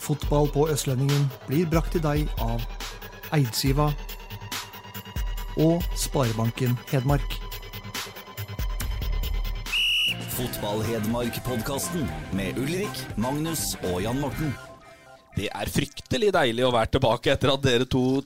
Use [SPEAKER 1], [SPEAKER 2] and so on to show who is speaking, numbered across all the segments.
[SPEAKER 1] Fotball på Østlendingen blir brakt til deg av Eidsiva og Sparebanken Hedmark.
[SPEAKER 2] Fotball-Hedmark-podkasten med Ulrik, Magnus og Jan Morten.
[SPEAKER 3] Det er fryktelig deilig å være tilbake etter at dere to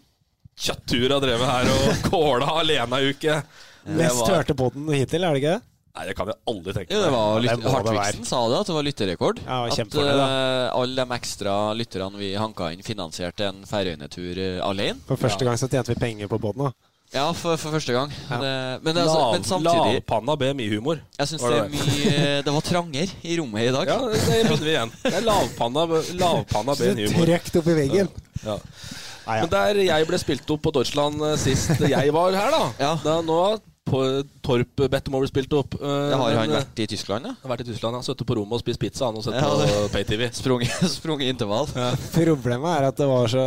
[SPEAKER 3] tjattur har drevet her og kåla alene ei uke. Det
[SPEAKER 4] Mest
[SPEAKER 3] var,
[SPEAKER 4] hørte på den hittil, er det ikke det?
[SPEAKER 3] nei, det kan jeg aldri tenke
[SPEAKER 5] Jo, det var
[SPEAKER 4] Ja, det
[SPEAKER 5] lyt-
[SPEAKER 4] må det
[SPEAKER 5] Hartvigsen sa det, at det var lytterrekord.
[SPEAKER 4] Ja,
[SPEAKER 5] at
[SPEAKER 4] kjempefornøyd, da.
[SPEAKER 5] eh, alle de ekstra lytterne vi hanka inn, finansierte en Færøyene-tur eh, alene.
[SPEAKER 4] For første gang så tjente vi penger på båten. da.
[SPEAKER 5] Ja, for, for første gang.
[SPEAKER 4] Ja.
[SPEAKER 5] Det, men, det, er altså,
[SPEAKER 3] Lav,
[SPEAKER 5] men samtidig
[SPEAKER 3] Lavpanna BMI-humor.
[SPEAKER 5] Jeg syns
[SPEAKER 3] Var
[SPEAKER 5] det
[SPEAKER 3] det
[SPEAKER 5] er mye eh, Det var trangere i rommet i dag.
[SPEAKER 3] Ja, det det begynner vi igjen. Det er lavpanna, lavpanna
[SPEAKER 4] Så det
[SPEAKER 3] BMI-humor.
[SPEAKER 4] trøkt opp i veggen.
[SPEAKER 3] Ja.
[SPEAKER 4] Nei, ja.
[SPEAKER 3] Men der jeg ble spilt opp på Deutschland eh, sist jeg var her, da,
[SPEAKER 5] Ja.
[SPEAKER 3] da Nå har Tor- Torp bedt om å bli spilt opp. eh,
[SPEAKER 5] Det har
[SPEAKER 3] men,
[SPEAKER 5] han
[SPEAKER 3] eh,
[SPEAKER 5] vært i Tyskland, ja.
[SPEAKER 3] Han har vært i Tyskland, han sittet på rommet og spist pizza han og sett
[SPEAKER 5] Ja,
[SPEAKER 3] på
[SPEAKER 5] det-
[SPEAKER 3] PayTV.
[SPEAKER 5] Sprunget sprunget intervall.
[SPEAKER 4] Problemet er at det var så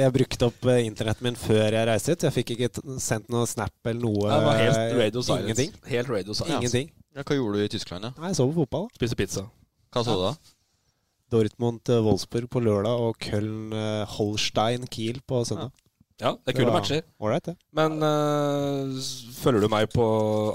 [SPEAKER 4] Jeg brukte opp eh, internettet min før jeg reiste hit. Jeg fikk ikke t- sendt noe snap eller noe.
[SPEAKER 3] Det var helt
[SPEAKER 4] eh,
[SPEAKER 3] radio silence.
[SPEAKER 4] Ingenting.
[SPEAKER 3] Helt radio silence.
[SPEAKER 4] Ingenting.
[SPEAKER 5] Ja, hva gjorde du i Tyskland, da?
[SPEAKER 4] Nei, jeg så på fotball. da.
[SPEAKER 3] Spiste pizza.
[SPEAKER 5] Hva så du da?
[SPEAKER 4] Dortmund eh, Wolfsburg på lørdag og Köln eh, Holstein Kiel på søndag.
[SPEAKER 3] Ja, det er kule
[SPEAKER 4] var
[SPEAKER 3] matcher.
[SPEAKER 4] Ålreit, det.
[SPEAKER 3] Men eh, s- følger du meg på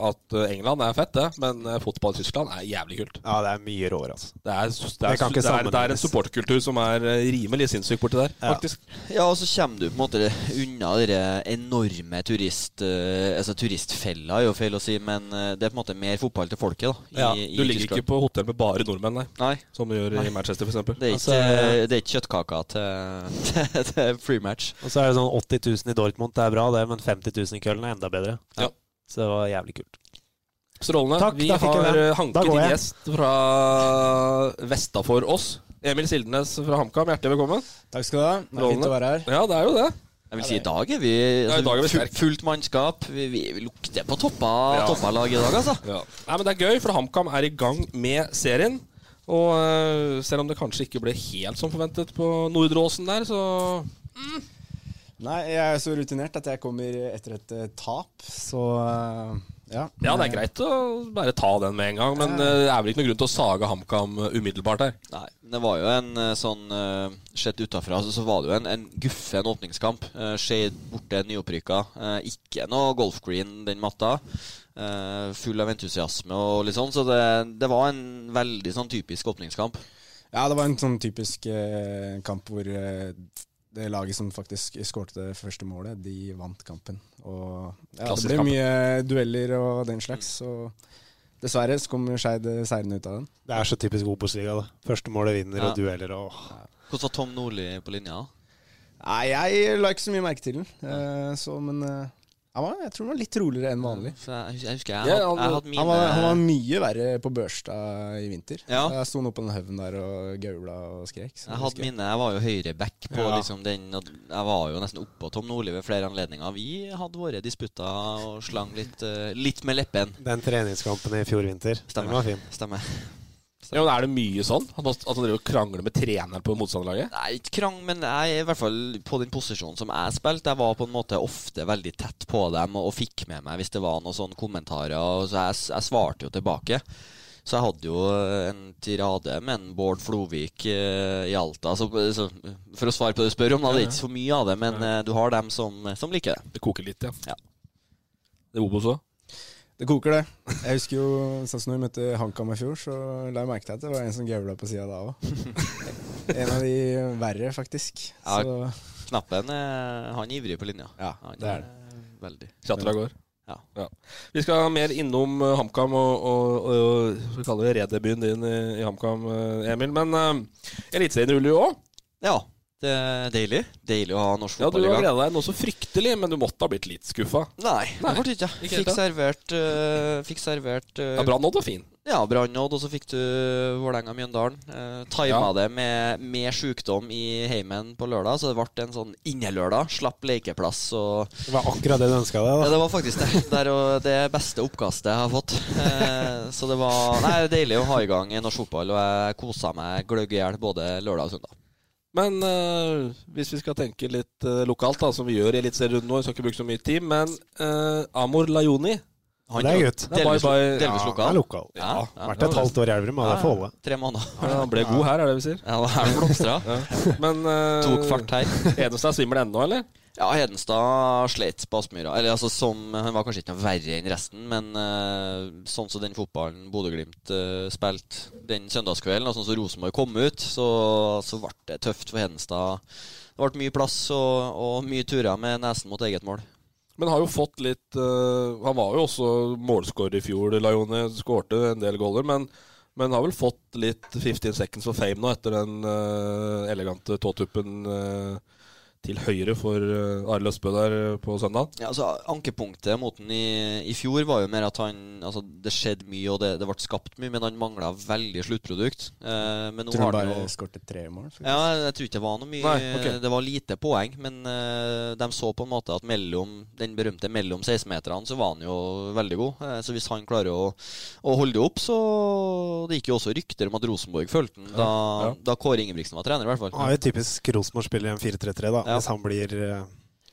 [SPEAKER 3] at eh, England er fett, det? Men eh, fotball i Tyskland er jævlig kult.
[SPEAKER 4] Ja, det er mye råere, altså.
[SPEAKER 3] Det er, det er,
[SPEAKER 4] Det kan ikke
[SPEAKER 3] det er, det er en
[SPEAKER 4] sammenlignes.
[SPEAKER 3] supporterkultur som er eh, rimelig sinnssyk borti der,
[SPEAKER 4] Ja.
[SPEAKER 3] faktisk.
[SPEAKER 5] Ja, og så kommer du på en måte unna dere enorme turist... eh, altså turistfella, er jo feil å si, men eh, det er på en måte mer fotball til folket, da. I,
[SPEAKER 3] Ja,
[SPEAKER 5] i
[SPEAKER 3] du ligger ikke
[SPEAKER 5] Tyskland.
[SPEAKER 3] på hotell med bare nordmenn, nei.
[SPEAKER 5] Nei.
[SPEAKER 3] Som du gjør
[SPEAKER 5] Nei.
[SPEAKER 3] i Manchester, f.eks.
[SPEAKER 5] Det er
[SPEAKER 4] Altså,
[SPEAKER 5] ikke, det er ikke kjøttkaka til, til, til free match.
[SPEAKER 4] Og så er det sånn 80 000 i Dortmund, det er bra det, men 50 000 i Köln er enda bedre.
[SPEAKER 3] Ja.
[SPEAKER 4] Så det var jævlig kult.
[SPEAKER 3] Strålende.
[SPEAKER 4] Takk,
[SPEAKER 3] vi
[SPEAKER 4] da fikk jeg
[SPEAKER 3] har
[SPEAKER 4] den.
[SPEAKER 3] eh,
[SPEAKER 4] Da
[SPEAKER 3] hanket
[SPEAKER 4] går
[SPEAKER 3] inn
[SPEAKER 4] jeg.
[SPEAKER 3] gjest fra vestafor oss. Emil Sildenes fra HamKam, hjertelig velkommen.
[SPEAKER 6] Takk skal du ha. Det er fint å være her.
[SPEAKER 3] Ja, det er jo det.
[SPEAKER 5] Jeg vil si i dag er vi, altså,
[SPEAKER 3] i dag er vi
[SPEAKER 5] full-
[SPEAKER 3] sterk.
[SPEAKER 5] fullt mannskap. Vi, vi, vi lukter på toppa,
[SPEAKER 3] Ja.
[SPEAKER 5] toppa lag i dag, altså.
[SPEAKER 3] Nei, men Det er gøy, for HamKam er i gang med serien. Og eh, selv om det kanskje ikke ble helt som forventet på Nordre Åsen der, så
[SPEAKER 6] Nei, jeg er så rutinert at jeg kommer etter et eh, tap, så eh, ja.
[SPEAKER 3] Ja, det er greit å bare ta den med en gang, men eh, det er vel ikke noen grunn til å sage HamKam eh, umiddelbart her.
[SPEAKER 5] Nei, men det var jo en eh, sånn eh, Sett utafra så, så var det jo en, en guffen åpningskamp. Uh, Skeid borte, nyopprykka. Eh, ikke noe golfgreen den matta. Eh, full av entusiasme og litt sånn, så det, det var en veldig sånn typisk åpningskamp.
[SPEAKER 6] Ja, det var en sånn typisk eh, kamp hvor eh, det laget som faktisk skårte det første målet, de vant kampen. Og ja, det
[SPEAKER 3] Klassisk
[SPEAKER 6] ble
[SPEAKER 3] kamp.
[SPEAKER 6] mye dueller og den slags, så dessverre så kommer Skeid eh, seirende ut av den.
[SPEAKER 4] Det er så typisk Obos-liga, det. Første målet vinner,
[SPEAKER 5] Ja.
[SPEAKER 4] og dueller og
[SPEAKER 5] Hvordan var Tom Nordli på linja?
[SPEAKER 6] Nei, jeg la ikke så mye merke til den, eh, så men eh, han var, jeg tror han var litt roligere enn vanlig.
[SPEAKER 5] For jeg, jeg husker jeg,
[SPEAKER 3] Ja,
[SPEAKER 5] hadde-
[SPEAKER 3] han-
[SPEAKER 5] jeg hadde mine
[SPEAKER 6] Han var, han var mye verre på Børstad i vinter.
[SPEAKER 5] eh, Ja.
[SPEAKER 6] Jeg sto han oppå den haugen der og gaula og skrek. så
[SPEAKER 5] Jeg
[SPEAKER 6] husker
[SPEAKER 5] hadde mine, jeg var jo høyreback på
[SPEAKER 4] Ja.
[SPEAKER 5] liksom den og Jeg var jo nesten oppå Tom Nordli ved flere anledninger. Vi hadde våre disputter og slang litt, eh, litt med leppen.
[SPEAKER 4] Den treningskampen i fjor vinter, den
[SPEAKER 5] Stemmer.
[SPEAKER 4] var fin.
[SPEAKER 5] Stemmer.
[SPEAKER 3] Ja, men Er det mye sånn? At man- at han driver og krangler med treneren på motstanderlaget?
[SPEAKER 5] Nei, ikke krang, men jeg er i hvert fall på den posisjonen som jeg spilte. Jeg var på en måte ofte veldig tett på dem og, og fikk med meg hvis det var noen sånne kommentarer. Og så jeg, s- jeg svarte jo tilbake. Så jeg hadde jo eh, en tirade med en Bård Flovik eh, i Alta. Så, så, for å svare på det du spør om, da, det er ikke så mye av det, men eh, du har dem som, som liker det.
[SPEAKER 3] Det koker litt, ja.
[SPEAKER 5] Ja.
[SPEAKER 3] Det er Obos òg.
[SPEAKER 6] jeg. Det koker, det. Jeg husker jo sånn som når vi møtte HamKam i fjor, så la jeg merke til at det var en som gaula på sida da òg. En av de verre, faktisk.
[SPEAKER 5] Ja.
[SPEAKER 6] Så
[SPEAKER 5] Knappen eh, han er ivrig på linja.
[SPEAKER 6] ja,
[SPEAKER 5] Han
[SPEAKER 6] det er det.
[SPEAKER 5] er eh, Veldig.
[SPEAKER 3] Chatter av gårde.
[SPEAKER 5] Ja.
[SPEAKER 3] Vi skal mer innom eh, HamKam og, og, og, og vi kaller det redebuten din i, i HamKam, eh, Emil. Men uh, Eliteserien ruller jo òg.
[SPEAKER 5] Ja, det er deilig. Deilig å ha norsk
[SPEAKER 3] Ja, du
[SPEAKER 5] fotball i
[SPEAKER 3] har
[SPEAKER 5] gang.
[SPEAKER 3] gleda deg noe så fryktelig, men du måtte ha blitt litt skuffa.
[SPEAKER 5] Nei, det ble det ikke.
[SPEAKER 3] Ikke helt,
[SPEAKER 5] Fikk
[SPEAKER 3] da.
[SPEAKER 5] servert, eh, fikk servert eh,
[SPEAKER 3] Ja, Brann Odd var fin.
[SPEAKER 5] Ja, Brannodd, og så fikk du Vålerenga-Mjøndalen. Eh, Tima
[SPEAKER 3] Ja.
[SPEAKER 5] det med, med sjukdom i heimen på lørdag, så det ble en sånn innelørdag. Slapp lekeplass og
[SPEAKER 4] Det var akkurat det du ønska deg,
[SPEAKER 5] ja,
[SPEAKER 4] da.
[SPEAKER 5] Det var faktisk det. Det er jo det beste oppkastet jeg har fått. Eh, så det var nei, det er deilig å ha i gang i norsk fotball, og jeg kosa meg gløgg i hjel både lørdag og søndag.
[SPEAKER 3] Men eh, hvis vi skal tenke litt eh, lokalt, da, som vi gjør i Eliteserierunden nå, vi skal ikke bruke så mye tid, men eh, Amor Lajoni
[SPEAKER 5] Han
[SPEAKER 4] Det er
[SPEAKER 5] jo
[SPEAKER 4] gutt.
[SPEAKER 3] Det er
[SPEAKER 5] Delvis,
[SPEAKER 3] bye, bye.
[SPEAKER 5] lo- delvis
[SPEAKER 4] Ja,
[SPEAKER 5] lokal.
[SPEAKER 4] han er lokal. Ja,
[SPEAKER 5] Ja, ja.
[SPEAKER 4] Vært et halvt år i Elverum, og det får holde.
[SPEAKER 5] Tre måneder.
[SPEAKER 3] Han ble god her, er det vi sier.
[SPEAKER 5] Ja, her blomstra.
[SPEAKER 3] Men eh,
[SPEAKER 5] Tok fart her.
[SPEAKER 3] Hedenstad svimmer ennå, eller?
[SPEAKER 5] Ja, Hedenstad slet på Aspmyra. Eller altså, som Han var kanskje ikke noe verre enn resten, men eh, sånn som den fotballen Bodø-Glimt eh, spilte den søndagskvelden, og sånn som Rosenborg kom ut, så, så ble det tøft for Hedenstad. Det ble mye plass og, og mye turer med nesen mot eget mål.
[SPEAKER 3] Men har jo fått litt eh, Han var jo også målskårer i fjor, Lajoni. Skårte en del goller, men, men har vel fått litt 15 seconds for fame nå etter den eh, elegante tåtuppen eh, til høyre for uh, Arild Østbø der eh, på søndag.
[SPEAKER 5] Ja, altså Ankepunktet mot han i, i fjor var jo mer at han Altså, det skjedde mye, og det, det ble skapt mye, men han mangla veldig sluttprodukt. Eh, men nå
[SPEAKER 6] Tror
[SPEAKER 5] har
[SPEAKER 6] han
[SPEAKER 5] han jo
[SPEAKER 6] bare skårte tre mål. faktisk.
[SPEAKER 5] Ja, jeg tror ikke det var noe mye
[SPEAKER 3] Nei, ok.
[SPEAKER 5] Det var lite poeng, men eh, de så på en måte at mellom den berømte mellom 16-meterne, så var han jo veldig god. Eh, så hvis han klarer å, å holde det opp, så Det gikk jo også rykter om at Rosenborg fulgte han da,
[SPEAKER 3] ja.
[SPEAKER 5] da Kåre Ingebrigtsen var trener, i hvert fall.
[SPEAKER 4] Han er jo typisk Rosenborg-spiller i en 4-3-3, da,
[SPEAKER 5] Ja.
[SPEAKER 4] hvis han blir eh,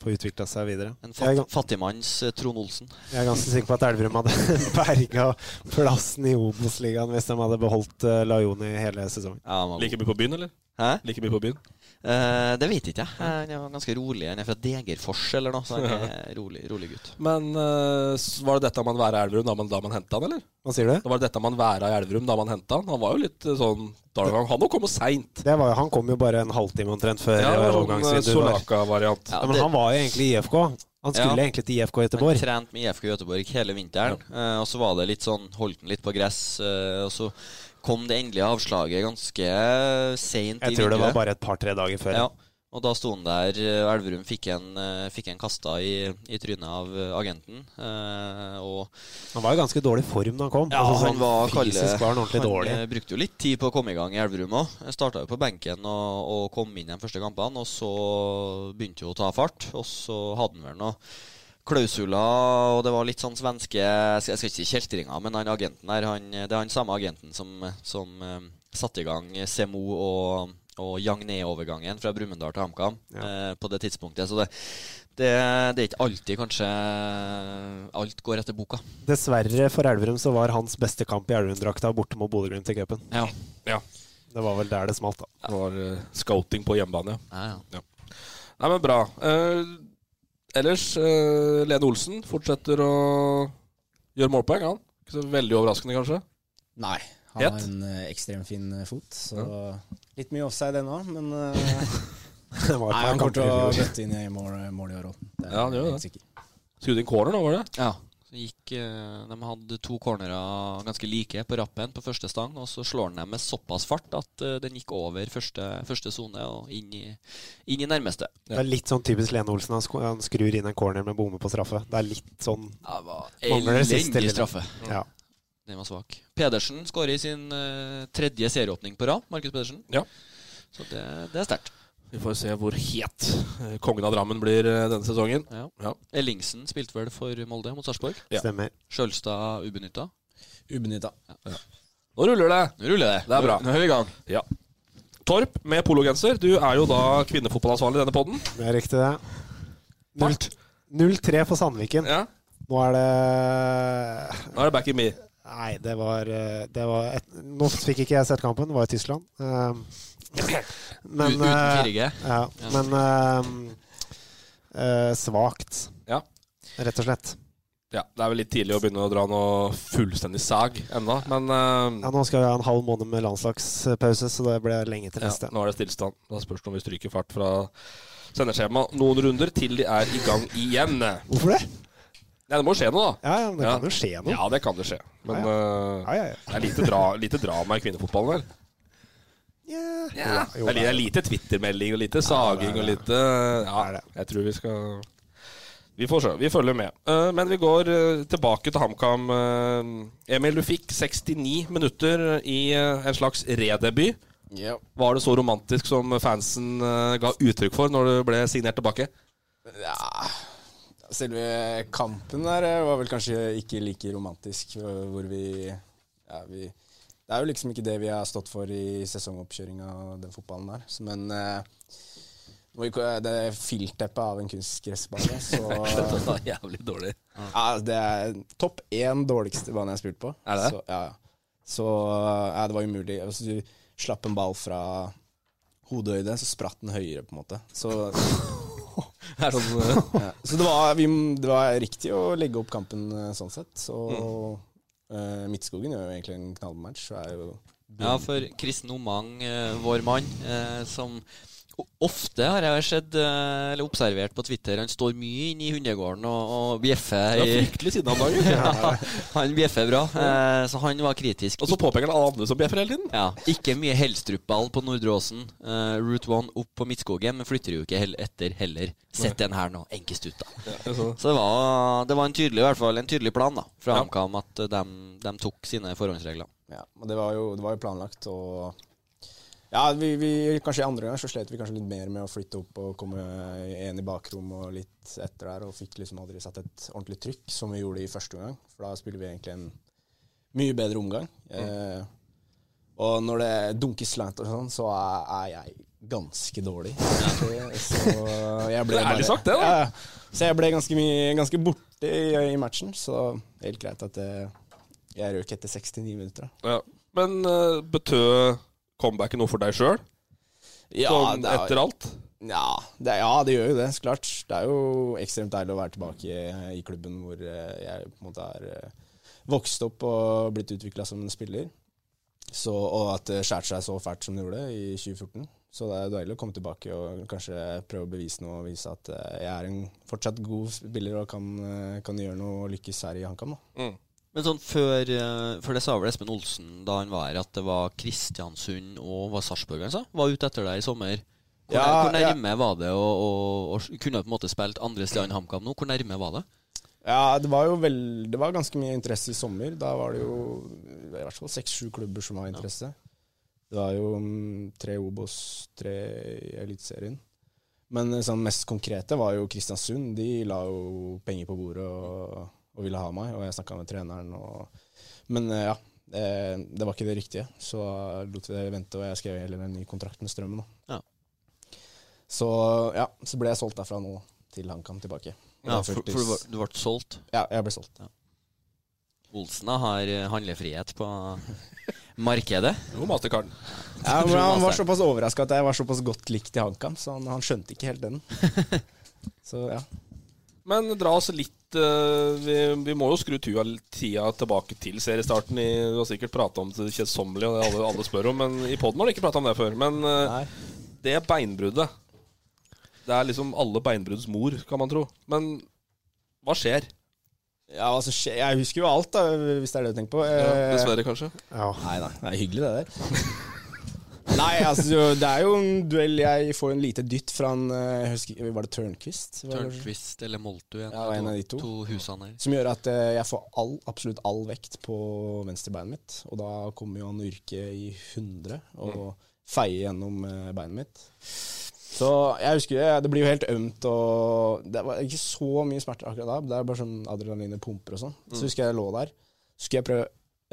[SPEAKER 4] får utvikla seg videre.
[SPEAKER 5] En
[SPEAKER 4] Jeg er,
[SPEAKER 5] fat,
[SPEAKER 4] ga-
[SPEAKER 5] fattigmanns eh, Trond Olsen.
[SPEAKER 4] jeg er ganske sikker på at Elverum hadde berga plassen i Obos-ligaen hvis de hadde beholdt eh, Lajoni hele sesongen.
[SPEAKER 5] Ja, han var god.
[SPEAKER 3] Like mye på byen, eller?
[SPEAKER 5] Hæ?
[SPEAKER 3] Like mye på byen.
[SPEAKER 5] Eh, det vet ikke jeg. Eh, Han er ganske rolig. Han er fra Degerfors eller noe, så han er rolig, rolig gutt.
[SPEAKER 3] Men eh, s- var det dette man væra i Elverum da man, da man henta han, eller?
[SPEAKER 4] Hva sier du?
[SPEAKER 3] Da var det dette man væra i Elverum da man henta han. Han var jo litt eh, sånn Darwin. Han òg kom seint.
[SPEAKER 4] Det var, jo- han kom jo bare en halvtime omtrent før eh,
[SPEAKER 3] Ja, det var sånn eh,
[SPEAKER 4] overgangsvinduet. var.
[SPEAKER 3] Solaka-variant.
[SPEAKER 5] Ja,
[SPEAKER 4] Ja, men
[SPEAKER 5] det-
[SPEAKER 4] han var jo egentlig i IFK. Han skulle
[SPEAKER 5] Ja.
[SPEAKER 4] egentlig til IFK
[SPEAKER 5] Han
[SPEAKER 4] Göteborg.
[SPEAKER 5] trente med IFK Göteborg hele vinteren. eh, og så var det litt sånn Holdt han litt på gress. eh, og så kom det endelige avslaget ganske seint i
[SPEAKER 4] Jeg tror det var
[SPEAKER 5] vinduet.
[SPEAKER 4] bare et par-tre dager før.
[SPEAKER 5] Ja, og da sto han der. eh, og Elverum fikk en, eh, fikk en kasta i, i trynet av eh, agenten. eh, og
[SPEAKER 4] Han var i ganske dårlig form da han kom.
[SPEAKER 5] Ja,
[SPEAKER 4] Altså,
[SPEAKER 5] han
[SPEAKER 4] sånn
[SPEAKER 5] var
[SPEAKER 4] fysisk
[SPEAKER 5] Kalle-
[SPEAKER 4] var han ordentlig
[SPEAKER 5] han,
[SPEAKER 4] dårlig.
[SPEAKER 5] eh, brukte jo litt tid på å komme i gang i Elverum òg. Starta jo på benken og, og kom inn de første kampene. Og så begynte jo å ta fart. Og så hadde han vel noe klausuler, og det var litt sånn svenske Jeg skal jeg skal ikke si kjeltringer, men han agenten der, han, det er han samme agenten som, som eh, satte i gang Semo og og Jagné-overgangen fra Brumunddal til HamKam eh, på det tidspunktet. Så det, det, det er ikke alltid kanskje alt går etter boka.
[SPEAKER 4] Dessverre for Elverum så var hans beste kamp i Elverum-drakta borte mot Bodø-Glimt i cupen.
[SPEAKER 5] Ja.
[SPEAKER 3] Ja.
[SPEAKER 4] Det var vel der det smalt, da.
[SPEAKER 3] Det var eh, scouting på hjemmebane, ja.
[SPEAKER 5] Ja, ja.
[SPEAKER 3] Nei, men bra. Eh, ellers, eh, Lene Olsen fortsetter å gjøre målpoeng, han. Ikke så veldig overraskende, kanskje.
[SPEAKER 6] Nei. Han
[SPEAKER 3] Het?
[SPEAKER 6] har en eh, ekstremt fin eh, fot, så litt mye offside ennå. Men eh,
[SPEAKER 4] Det var
[SPEAKER 6] nei,
[SPEAKER 4] et par
[SPEAKER 6] han kommer til
[SPEAKER 4] kamper i
[SPEAKER 6] å
[SPEAKER 4] fjor.
[SPEAKER 6] bøtte inn i mål, eh, mål i år òg.
[SPEAKER 3] Ja, han gjør det.
[SPEAKER 6] det.
[SPEAKER 3] Skudde inn corner nå, var det?
[SPEAKER 5] Ja. Så gikk, eh, de hadde to cornerer ganske like på rappen på første stang, og så slår han dem med såpass fart at eh, den gikk over første første sone og inn i, inn i nærmeste.
[SPEAKER 4] Det er litt sånn typisk Lene Olsen. Han sk- Han skrur inn en corner med bomme på straffe. Det er litt sånn
[SPEAKER 5] Ja, det var
[SPEAKER 4] Mangler det siste
[SPEAKER 5] Elendig
[SPEAKER 4] lille.
[SPEAKER 5] straffe.
[SPEAKER 4] Ja.
[SPEAKER 5] Den var svak. Pedersen skårer i sin eh, tredje serieåpning på rad. Markus Pedersen.
[SPEAKER 3] Ja.
[SPEAKER 5] Så det, det er sterkt.
[SPEAKER 3] Vi får se hvor het eh, kongen av Drammen blir eh, denne sesongen.
[SPEAKER 5] Ja.
[SPEAKER 3] Ja.
[SPEAKER 5] Ellingsen spilte vel for Molde mot Sarpsborg.
[SPEAKER 3] Ja.
[SPEAKER 4] Stemmer.
[SPEAKER 5] Sjølstad ubenytta.
[SPEAKER 6] Ubenytta.
[SPEAKER 3] Nå ruller det!
[SPEAKER 5] Nå ruller det.
[SPEAKER 3] Det er bra.
[SPEAKER 5] Nå er vi i gang.
[SPEAKER 3] Ja. Torp med pologenser. Du er jo da kvinnefotballansvarlig i denne podden.
[SPEAKER 4] Det er riktig, det. Null- 0-3 for Sandviken.
[SPEAKER 3] Ja.
[SPEAKER 4] Nå er det
[SPEAKER 3] Nå er det back in me.
[SPEAKER 4] Nei, det var, eh, det var et, Nå fikk ikke jeg sett kampen, det var i Tyskland. Um, Men,
[SPEAKER 5] U- uten 4G.
[SPEAKER 4] eh, Ja, men um, eh, svakt,
[SPEAKER 3] Ja.
[SPEAKER 4] rett og slett.
[SPEAKER 3] ja. Det er vel litt tidlig å begynne å dra noe fullstendig sag ennå, men eh,
[SPEAKER 4] Ja, nå skal vi ha en halv måned med landslagspause, så det ble lenge til
[SPEAKER 3] Ja,
[SPEAKER 4] neste.
[SPEAKER 3] nå er det stillstand. Da spørs det om vi stryker fart fra sendeskjema noen runder til de er i gang igjen. Nei,
[SPEAKER 4] Hvorfor det?
[SPEAKER 3] det må skje noe, da.
[SPEAKER 4] Ja, ja, men det
[SPEAKER 3] Ja.
[SPEAKER 4] kan jo skje noe.
[SPEAKER 3] Ja, det kan det skje. Men eh,
[SPEAKER 4] Ja, ja, ja.
[SPEAKER 3] det er lite, dra, lite drama i kvinnefotballen her.
[SPEAKER 4] Yeah. Jo,
[SPEAKER 3] Det er li- det er lite Twitter-melding og lite saging og lite
[SPEAKER 4] Det er
[SPEAKER 3] Ja,
[SPEAKER 4] det.
[SPEAKER 3] jeg tror vi skal Vi får se. Vi følger med. Eh, men vi går eh, tilbake til HamKam. Eh, Emil, du fikk 69 minutter i eh, en slags redebut.
[SPEAKER 6] Ja.
[SPEAKER 3] Var det så romantisk som fansen eh, ga uttrykk for når du ble signert tilbake?
[SPEAKER 6] Selve kampen der eh, var vel kanskje ikke like romantisk, eh, hvor vi, ja, vi Det er jo liksom ikke det vi har stått for i sesongoppkjøringa og den fotballen der. Så, men eh, hvor ikke- eh, det er filtteppet av en kunstgressbane, så
[SPEAKER 3] Det var jævlig dårlig.
[SPEAKER 6] ja, Det er topp én dårligste bane jeg har spilt på.
[SPEAKER 3] Er det?
[SPEAKER 6] Så, ja, ja. så ja, det var umulig. Altså, du slapp en ball fra hodehøyde, så spratt den høyere, på en måte. Så
[SPEAKER 3] Det er sånn, eh,
[SPEAKER 6] ja. Så det var, vi, det var riktig å legge opp kampen eh, sånn sett. Så
[SPEAKER 3] Mm.
[SPEAKER 6] eh, Midtskogen gjør jo egentlig en knallmatch. og Er jo,
[SPEAKER 5] Ja, for Kristen Omang, eh, vår mann, eh, som o- ofte har jeg sett, eh, eller observert på Twitter, han står mye inne i hundegården og, og bjeffer.
[SPEAKER 3] det er
[SPEAKER 5] i-
[SPEAKER 3] fryktelig siden av dagen.
[SPEAKER 5] Ja, han bjeffer bra, eh, så han var kritisk.
[SPEAKER 3] Og så påpeker han alle andre som bjeffer hele tiden.
[SPEAKER 5] Ja, ikke mye Helstrup-ball på Nordre Åsen. Eh, Route 1 opp på Midtskogen, men flytter jo ikke hell etter heller. Sett den her nå, enkest ut, da.
[SPEAKER 3] Altså,
[SPEAKER 5] Så det var, det var en tydelig i hvert fall, en tydelig plan da, fra
[SPEAKER 3] Ja.
[SPEAKER 5] HamKam at de, tok sine forhåndsregler.
[SPEAKER 6] ja. og det, var jo, det var jo planlagt. Og ja, vi, vi, kanskje i andre gang så slet vi kanskje litt mer med å flytte opp og komme en i bakrom og litt etter der, og fikk liksom aldri satt et ordentlig trykk, som vi gjorde i første omgang. For da spiller vi egentlig en mye bedre omgang. Eh, og når det dunker slant og sånn, så er, er jeg ganske dårlig. Så jeg ble
[SPEAKER 3] Det er ærlig sagt, det, da.
[SPEAKER 6] Ja, ja. så jeg ble ganske, mye, ganske borte i, i matchen, så helt greit at det, jeg røk etter 69 minutter. Da.
[SPEAKER 3] Ja. Men eh, betød comebacket noe for deg sjøl? sånn
[SPEAKER 6] det er-
[SPEAKER 3] etter alt?
[SPEAKER 6] Ja det, ja, det gjør jo det, så klart. Det er jo ekstremt deilig å være tilbake i klubben hvor eh, jeg på en måte er eh, vokst opp og blitt utvikla som en spiller. Så, og at det skjærte seg så fælt som det gjorde i 2014. Så det er deilig å komme tilbake og kanskje prøve å bevise noe og vise at eh, jeg er en fortsatt god spiller og kan, eh, kan gjøre noe og lykkes her i HamKam. da.
[SPEAKER 5] Men sånn før, eh, før det sa vel Espen Olsen da han var her, at det var Kristiansund og var Sarpsborg han sa? Var ute etter deg i sommer. Hvor,
[SPEAKER 6] Ja,
[SPEAKER 5] hvor
[SPEAKER 6] ja.
[SPEAKER 5] nærme var det å, å, å kunne på en måte spilt andre steder enn HamKam nå? Hvor nærme var det?
[SPEAKER 6] Ja, det var jo vel, det var ganske mye interesse i sommer. Da var det jo i hvert fall seks-sju klubber som var interesse. Det var jo mm, tre Obos, tre i Eliteserien. Men eh, sånn mest konkrete var jo Kristiansund. De la jo penger på bordet og, og ville ha meg, og jeg snakka med treneren og Men eh, ja, eh, det var ikke det riktige, så lot vi det vente, og jeg skrev heller en ny kontrakt med Strømmen. Da.
[SPEAKER 5] Ja.
[SPEAKER 6] Så ja, så ble jeg solgt derfra nå, til HamKam tilbake. Og
[SPEAKER 5] Ja,
[SPEAKER 6] det
[SPEAKER 5] for, for
[SPEAKER 6] føltes-
[SPEAKER 5] du, var, du ble solgt.
[SPEAKER 6] ja, jeg ble solgt.
[SPEAKER 5] Olsen da har eh, handlefrihet på markedet.
[SPEAKER 3] Jo, Mastercard.
[SPEAKER 6] Ja, men han var
[SPEAKER 5] Masteren.
[SPEAKER 6] såpass overraska at jeg var såpass godt likt i HamKam, så han, han skjønte ikke helt den. Så ja.
[SPEAKER 3] Men dra oss litt eh, vi, vi må jo skru tua, tida tilbake til seriestarten. I, du har sikkert prata om det kjedsommelig, og det alle, alle spør om, men i poden har du ikke prata om det før. Men eh,
[SPEAKER 6] Nei.
[SPEAKER 3] det beinbruddet Det er liksom alle beinbrudds mor, kan man tro. Men hva skjer?
[SPEAKER 6] ja altså, skje- jeg husker jo alt, da, hvis det er det du tenker på. Eh,
[SPEAKER 3] Dessverre, kanskje.
[SPEAKER 6] Nei da, det er hyggelig det der. Nei, altså jo, det er jo en duell Jeg får en lite dytt fra en eh, jeg husker, Var det Tørnquist? Var det-
[SPEAKER 5] Tørnquist eller Moltu, en,
[SPEAKER 6] Ja, en av de to.
[SPEAKER 5] husene her.
[SPEAKER 6] Som gjør at eh, jeg får all, absolutt all vekt på venstrebeinet mitt. Og da kommer jo han yrke i 100 og feier gjennom eh, beinet mitt. Så jeg husker det, det blir jo helt ømt og Det var ikke så mye smerter akkurat da. Det er bare sånn adrenalinet pumper og sånn. Så husker jeg jeg lå der. Så skulle jeg prøve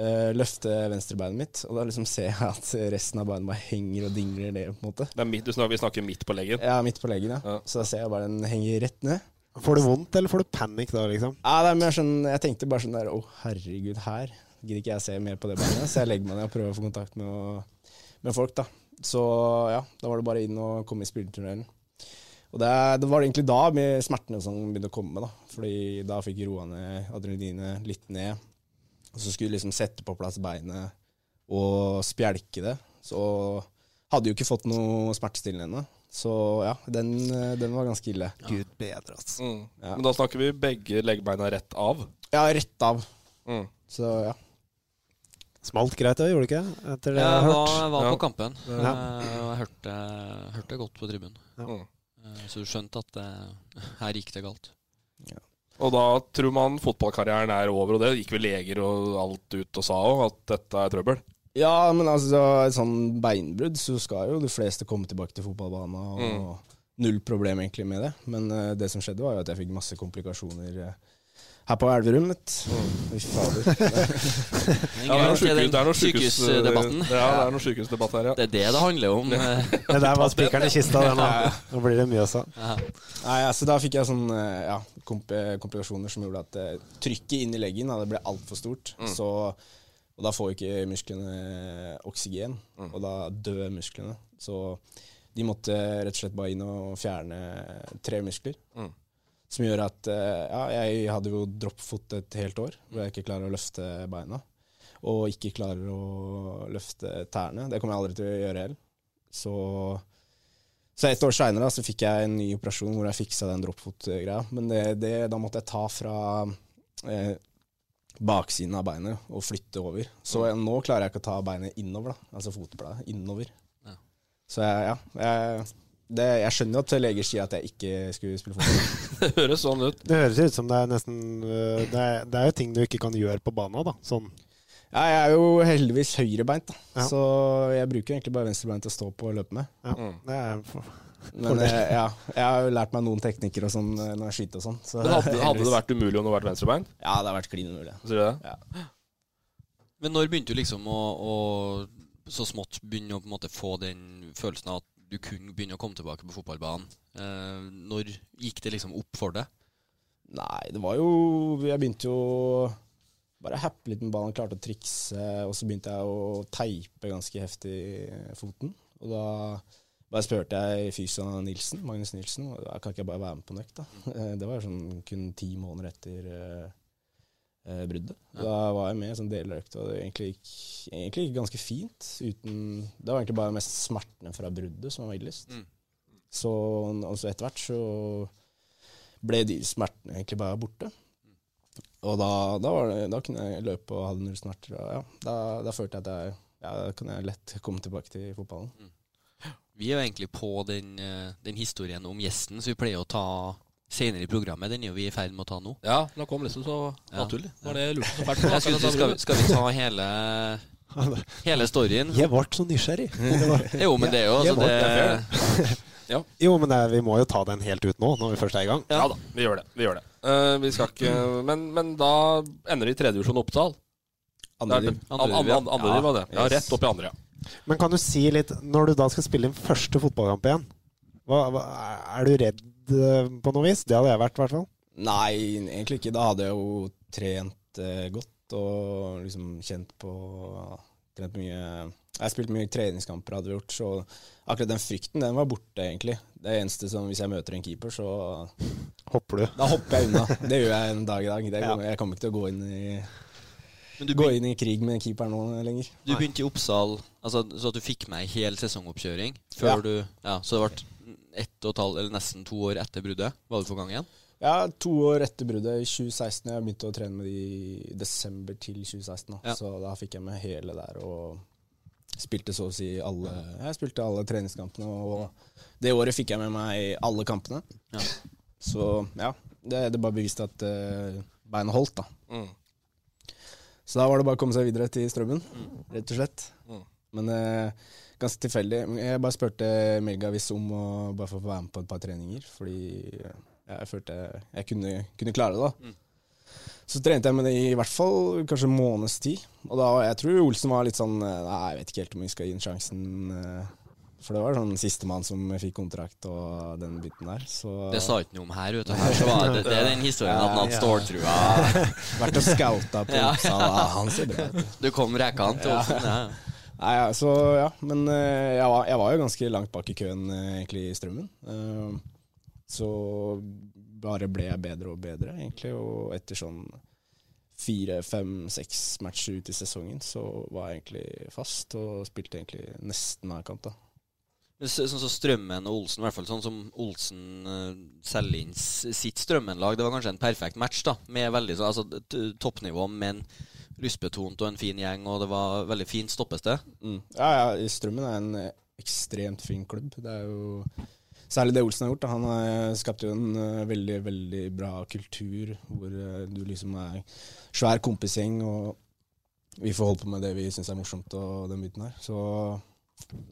[SPEAKER 6] eh, løfte venstrebeinet mitt, og da liksom ser jeg at resten av beinet bare henger og dingler ned, på en måte.
[SPEAKER 3] Det er midt, du snakker, vi snakker midt på leggen.
[SPEAKER 6] Ja, midt på leggen, ja.
[SPEAKER 3] Ja.
[SPEAKER 6] Så da ser jeg bare den henger rett ned.
[SPEAKER 4] Får du vondt, eller får du panikk da, liksom?
[SPEAKER 6] Ja, det er mer sånn, jeg tenkte bare sånn der Å, herregud, her gidder ikke jeg se mer på det beinet. Så jeg legger meg ned og prøver å få kontakt med, å- med folk, da. Så ja, da var det bare inn og komme i spillertunnelen. Og det, er- det var egentlig da med smertene som begynte å komme, da. Fordi da fikk jeg roa ned adrenalinet litt ned. Og så skulle jeg liksom sette på plass beinet og spjelke det. Så hadde jo ikke fått noe smertestillende ennå. Så ja, den, den var ganske ille.
[SPEAKER 4] Gud bedre, altså.
[SPEAKER 3] Mm.
[SPEAKER 6] Ja.
[SPEAKER 3] Men da snakker vi begge leggbeina rett av.
[SPEAKER 6] Ja, rett av.
[SPEAKER 3] Mm.
[SPEAKER 6] Så ja.
[SPEAKER 4] Smalt greit, da, gjorde det ikke? det? Etter det jeg
[SPEAKER 5] Jeg
[SPEAKER 4] har
[SPEAKER 5] var,
[SPEAKER 4] hørt.
[SPEAKER 5] jeg var
[SPEAKER 3] Ja.
[SPEAKER 5] på kampen, eh, og
[SPEAKER 4] Ja.
[SPEAKER 5] jeg hørte, hørte det godt på tribunen.
[SPEAKER 4] Ja.
[SPEAKER 3] Mm.
[SPEAKER 5] Eh, Så du skjønte at eh, her gikk det galt.
[SPEAKER 6] Ja.
[SPEAKER 3] Og da tror man fotballkarrieren er over, og det gikk vel leger og alt ut og sa òg, at dette er trøbbel.
[SPEAKER 6] Ja, men altså, et sånn beinbrudd, så skal jo de fleste komme tilbake til fotballbanen. Og null problem egentlig med det. Men eh, det som skjedde, var jo at jeg fikk masse komplikasjoner eh, her på Elverum. vet du. Fy fader.
[SPEAKER 3] Ja, det er noe
[SPEAKER 5] Det
[SPEAKER 3] sykehus-
[SPEAKER 5] er den
[SPEAKER 3] det er noe sykehus- eh,
[SPEAKER 5] sykehusdebatten.
[SPEAKER 3] Ja, det er noe sykehusdebatt her, ja.
[SPEAKER 5] Det er det det handler om.
[SPEAKER 4] Det der var spikeren i kista, det nå. Nå blir det mye også.
[SPEAKER 6] Nei, altså Da fikk jeg sånn eh, ja, komp eh, komplikasjoner som gjorde at eh, trykket inn i leggen da, det ble altfor stort. Så, og da får jo ikke musklene eh, oksygen, og da dør musklene. Så de måtte rett og slett bare inn og fjerne tre muskler. Som gjør at eh, ja, jeg hadde jo droppfot et helt år, hvor jeg ikke klarer å løfte beina. Og ikke klarer å løfte tærne. Det kommer jeg aldri til å gjøre heller. Så så et år seinere fikk jeg en ny operasjon hvor jeg fiksa den droppfot-greia. Men det, det, da måtte jeg ta fra eh, baksiden av beinet og flytte over. Så jeg, nå klarer jeg ikke å ta beinet innover, da. altså fotbladet innover. Så jeg, ja, jeg, det, jeg skjønner jo at leger sier at jeg ikke skulle spille fotball.
[SPEAKER 3] Det høres sånn ut.
[SPEAKER 4] Det høres ut som det er nesten øh, Det er, det er jo ting du ikke kan gjøre på banen, da. Sånn.
[SPEAKER 6] ja, jeg er jo heldigvis høyrebeint, da.
[SPEAKER 4] Ja.
[SPEAKER 6] så jeg bruker egentlig bare venstrebeint til å stå på og løpe med.
[SPEAKER 4] Ja. Det er,
[SPEAKER 6] Men eh, ja, jeg har jo lært meg noen teknikker og sånn eh, når jeg skyter og sånn. Så
[SPEAKER 3] Men hadde, hadde det vært umulig om det hadde vært venstrebein?
[SPEAKER 6] Ja, det har vært klin umulig.
[SPEAKER 3] Sier du det?
[SPEAKER 5] Men når begynte du liksom å, å så smått begynne å på en måte få den følelsen av at du kunne begynne å komme tilbake på fotballbanen? Eh, når gikk det liksom opp for deg?
[SPEAKER 6] Nei, det var jo Jeg begynte jo bare å happe litt med ballen, klarte å trikse, og så begynte jeg å teipe ganske heftig i foten. Og da bare spurte jeg fysio Nilsen, Magnus Nilsen, og da kan ikke jeg bare være med på en økt, da? Eh, Det var jo sånn kun ti måneder etter eh, eh, bruddet. Da var jeg med i en sånn deløkt, og det egentlig gikk, egentlig gikk ganske fint. Uten, det var egentlig bare mest smertene fra bruddet som var villest.
[SPEAKER 5] Mm.
[SPEAKER 6] Så og så etter hvert så ble de smertene egentlig bare borte. Og da, da, var det, da kunne jeg løpe og hadde null smerter. Og ja, da, da følte jeg at jeg ja, da kunne jeg lett komme tilbake til fotballen.
[SPEAKER 5] Vi er jo egentlig på den, eh, den historien om gjesten som vi pleier å ta senere i programmet. Den er jo vi i ferd med å ta nå.
[SPEAKER 3] Ja, nå kom liksom så naturlig. Var det jeg lurte så fælt på?
[SPEAKER 5] Jeg synes, vi skal, skal vi ta hele, hele storyen?
[SPEAKER 4] jeg ble så nysgjerrig.
[SPEAKER 5] Jo, men det er jo
[SPEAKER 4] Jeg- jeg
[SPEAKER 5] altså det
[SPEAKER 4] Jo, men det er, vi må jo ta den helt ut nå, når vi først er i gang.
[SPEAKER 3] Ja da, vi gjør det. Vi gjør det. Eh, vi skal ikke men, men da ender det i tredje divisjon Oppdal. Det er-
[SPEAKER 6] Andre, div-
[SPEAKER 3] Andre div, an- andre div var det. Ja, rett opp i andre, ja.
[SPEAKER 4] Men kan du si litt Når du da skal spille din første fotballkamp igjen, hva, hva, er du redd øh, på noe vis? Det hadde jeg vært, i hvert fall.
[SPEAKER 6] Nei, egentlig ikke. Da hadde jeg jo trent eh, godt og liksom kjent på Trent mye Jeg har spilt mye treningskamper, hadde vi gjort, så akkurat den frykten, den var borte, egentlig. Det eneste som Hvis jeg møter en keeper, så
[SPEAKER 4] Hopper du.
[SPEAKER 6] Da hopper jeg unna. Det gjør jeg en dag i dag. Det, Jeg kommer ikke til å gå inn i Gå inn i krig med keeperen nå lenger.
[SPEAKER 5] Du begynte i Oppsal, altså, så at du fikk med ei hel sesongoppkjøring før
[SPEAKER 6] Ja.
[SPEAKER 5] du Ja, så det ble ett og et halvt, eller nesten to år etter bruddet. Var du på gang igjen?
[SPEAKER 6] Ja, to år etter bruddet, i 2016. Jeg begynte å trene med de i desember til 2016. Da.
[SPEAKER 5] Ja.
[SPEAKER 6] Så da fikk jeg med hele der og spilte så å si alle Jeg spilte alle treningskampene, og det året fikk jeg med meg alle kampene.
[SPEAKER 5] Ja.
[SPEAKER 6] Så ja, det, det bare beviste at uh, beinet holdt, da. Så da var det bare å komme seg videre til Strømmen, rett og slett. Men eh, ganske tilfeldig. Men Jeg bare spurte Melgavis om å bare få være med på et par treninger, fordi eh, jeg følte jeg kunne, kunne klare det. da. Så trente jeg med det i i hvert fall kanskje en måneds tid. Og da, jeg tror Olsen var litt sånn eh, Nei, jeg vet ikke helt om vi skal gi den sjansen. eh, For det var sånn sistemann som fikk kontrakt og den biten der. Så
[SPEAKER 5] Det sa ikke noe om her, vet du. Her så var det, det er den historien at han hadde ståltrua.
[SPEAKER 6] vært og scouta på
[SPEAKER 5] Ja.
[SPEAKER 6] Oppsal. Ja, han ser bra ut.
[SPEAKER 5] Du kom rekende til Olsen. Ja. ja.
[SPEAKER 6] Nei, ja, så ja, men eh, jeg, var, jeg var jo ganske langt bak i køen eh, egentlig i strømmen. Eh, så bare ble jeg bedre og bedre, egentlig. Og etter sånn fire, fem, seks matcher ut i sesongen, så var jeg egentlig fast og spilte egentlig nesten hver kamp, da.
[SPEAKER 5] Men så- Sånn som Strømmen og Olsen, i hvert fall sånn som Olsen eh, selger inn s- sitt Strømmen-lag. Det var kanskje en perfekt match, da, med veldig sånn altså, t- toppnivå, men lystbetont og en fin gjeng, og det var veldig fint stoppested.
[SPEAKER 6] Mm. Ja, ja, Strømmen er en eh, ekstremt fin klubb. Det er jo Særlig det Olsen har gjort. Da. Han har skapt jo en eh, veldig veldig bra kultur hvor eh, du liksom er svær kompisgjeng, og vi får holde på med det vi syns er morsomt og den biten her. Så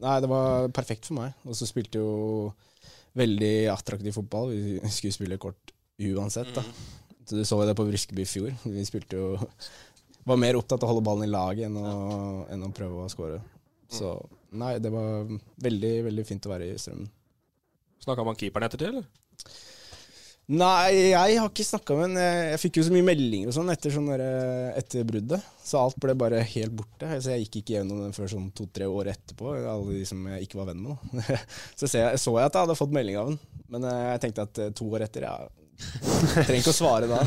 [SPEAKER 6] nei, det var perfekt for meg. Og så spilte jo veldig attraktiv fotball. Vi skulle spille kort uansett, da. Så du så jo det på Briskeby i fjor. Vi spilte jo Var mer opptatt av å holde ballen i laget enn å, enn å prøve å skåre. Så nei, det var veldig, veldig fint å være i Strømmen.
[SPEAKER 3] Snakka man keeperen etter det, eller?
[SPEAKER 6] Nei, jeg har ikke snakka med henne. Jeg fikk jo så mye meldinger og sånn etter, sånn derre- etter bruddet, så alt ble bare helt borte. Så jeg gikk ikke gjennom den før sånn to-tre år etterpå, alle de som jeg ikke var venn med. da. Så ser jeg, så jeg at jeg hadde fått melding av den, men eh, jeg tenkte at eh, to år etter, ja Trenger ikke å svare da.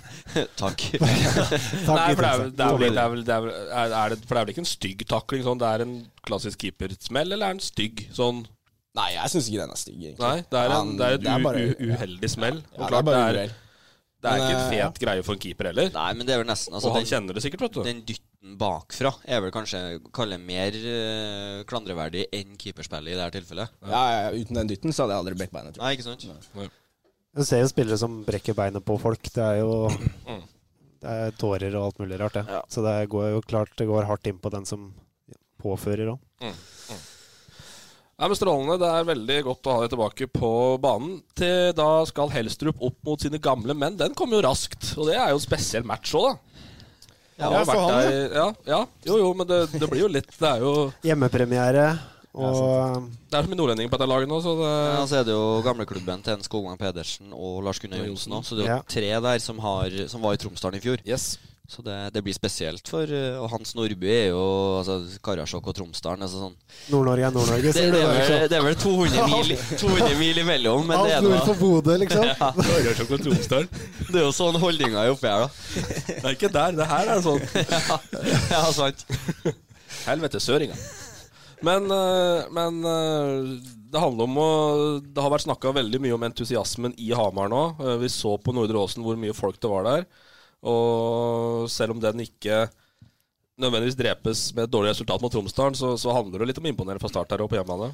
[SPEAKER 5] Takk.
[SPEAKER 3] Nei, for det er, vel- det er, vel- det er, vel- det er, vel- er, er det, for det er vel ikke en stygg takling? Sånn, det er en klassisk keepersmell, eller er den stygg? Sånn,
[SPEAKER 6] Nei, jeg syns ikke den er stygg, egentlig.
[SPEAKER 3] nei, det er, en,
[SPEAKER 6] Han-
[SPEAKER 3] det er et
[SPEAKER 6] det er bare-
[SPEAKER 3] u, u, uheldig smell.
[SPEAKER 6] Ja,
[SPEAKER 3] og klart,
[SPEAKER 6] det
[SPEAKER 3] det
[SPEAKER 6] er bare
[SPEAKER 3] er,
[SPEAKER 6] uhell.
[SPEAKER 3] det er ikke en
[SPEAKER 6] Men, eh,
[SPEAKER 3] fet greie for en keeper heller.
[SPEAKER 5] Nei, men det er vel nesten altså,
[SPEAKER 3] Og han
[SPEAKER 5] den-
[SPEAKER 3] kjenner det sikkert, vet du.
[SPEAKER 5] Den dytten bakfra er vel kanskje kalle mer eh, klandreverdig enn keeperspillet i det her tilfellet.
[SPEAKER 6] Ja, ja, ja, uten den dytten så hadde jeg aldri brekt beinet. tror jeg.
[SPEAKER 5] Nei, ikke sant?
[SPEAKER 4] Du ser jo spillere som brekker beinet på folk. Det er jo det er tårer og alt mulig rart, det.
[SPEAKER 5] Mm. Ja.
[SPEAKER 4] Så det går jo klart det går hardt inn på den som påfører òg.
[SPEAKER 3] Nei, men Strålende. Det er veldig godt å ha deg tilbake på banen. Til da skal Helstrup opp mot sine gamle menn. Den kom jo raskt, og det er jo en spesiell match òg, da.
[SPEAKER 6] Ja,
[SPEAKER 3] Det har
[SPEAKER 6] for
[SPEAKER 3] vært
[SPEAKER 6] han,
[SPEAKER 3] der- ja, ja. Jo, jo, men det, det blir jo litt Det er jo
[SPEAKER 4] Hjemmepremiere og
[SPEAKER 3] Det er så mye nordlendinger på dette laget nå, så det
[SPEAKER 5] Ja, altså. så er det jo gamleklubben til en Skogvang Pedersen og Lars Gunnar Johnsen òg, så det er jo
[SPEAKER 4] Ja.
[SPEAKER 5] tre der som, har, som var i Tromsdalen i fjor.
[SPEAKER 3] Yes.
[SPEAKER 5] Så det, det blir spesielt for eh, Og Hans Nordby er jo altså, Karasjok og Tromsdalen. Altså, sånn.
[SPEAKER 4] Nord-Norge er Nord-Norge,
[SPEAKER 5] det, det,
[SPEAKER 4] sier du.
[SPEAKER 5] er
[SPEAKER 4] da,
[SPEAKER 5] vel,
[SPEAKER 4] ikke sant?
[SPEAKER 5] det er vel 200 mil, 200 mil imellom, men det
[SPEAKER 4] Alt
[SPEAKER 5] er,
[SPEAKER 4] nord
[SPEAKER 5] da,
[SPEAKER 4] for Bodø, liksom.
[SPEAKER 5] det er jo sånn holdninga er oppe her, da.
[SPEAKER 3] Det er ikke der. Det her er sånn
[SPEAKER 5] Ja, sant.
[SPEAKER 3] Helvete, søringa. Men, eh, men eh, det handler om å Det har vært snakka veldig mye om entusiasmen i Hamar nå. Eh, Vi så på Nordre Åsen hvor mye folk det var der. Og selv om den ikke nødvendigvis drepes med et dårlig resultat mot Tromsdalen, så, så handler det litt om å imponere fra start her og på hjemmebane.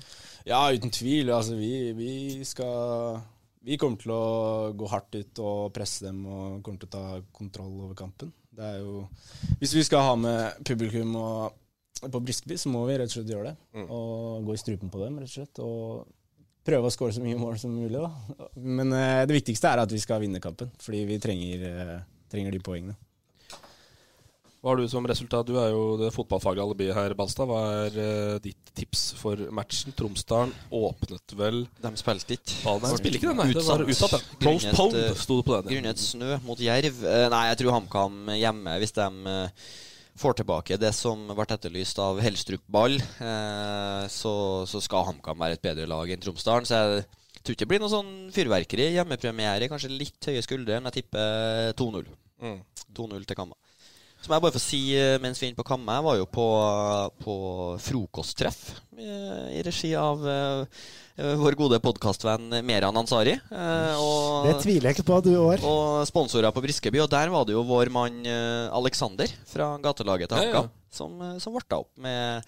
[SPEAKER 6] Ja, uten tvil. Altså, vi, vi skal Vi kommer til å gå hardt ut og presse dem og kommer til å ta kontroll over kampen. Det er jo Hvis vi skal ha med publikum og, på Briskeby, så må vi rett og slett gjøre det. Og gå i strupen på dem, rett og slett. Og prøve å skåre så mye mål som mulig, da. Men eh, det viktigste er at vi skal vinne kampen, fordi vi trenger, eh, trenger de poengene.
[SPEAKER 3] Hva har du som resultat? Du er jo det fotballfaglige alibiet her, Balstad. Hva er eh, ditt tips for matchen? Tromsdalen åpnet vel
[SPEAKER 5] De spilte ikke.
[SPEAKER 3] ballen her? Spiller ikke den, nei. Det var
[SPEAKER 5] Utsatt.
[SPEAKER 3] utsatt, den. Postponed,
[SPEAKER 5] Grunnet, eh,
[SPEAKER 3] sto det på den.
[SPEAKER 5] Grunnet snø mot jerv. Eh, Nei, jeg tror HamKam hjemme, hvis de eh, får tilbake det som ble etterlyst av Helstrup Ball, eh, så, så skal HamKam være et bedre lag enn Tromsdalen. Så jeg tror ikke det blir noe sånn fyrverkeri. Hjemmepremiere, kanskje litt høye skuldre, men jeg tipper 2-0.
[SPEAKER 3] Mm.
[SPEAKER 5] 2-0 til Kamma. Så må jeg bare få si, eh, mens vi er inne på Kamma, jeg var jo på, på frokosttreff eh, i regi av eh, vår gode podkastvenn Meran Ansari. eh, og-
[SPEAKER 4] Det tviler jeg ikke på at du var.
[SPEAKER 5] og sponsorer på Briskeby, og der var det jo vår mann eh, Alexander fra gatelaget til
[SPEAKER 3] Ja, ja.
[SPEAKER 5] Hamka som, eh, som varta opp med,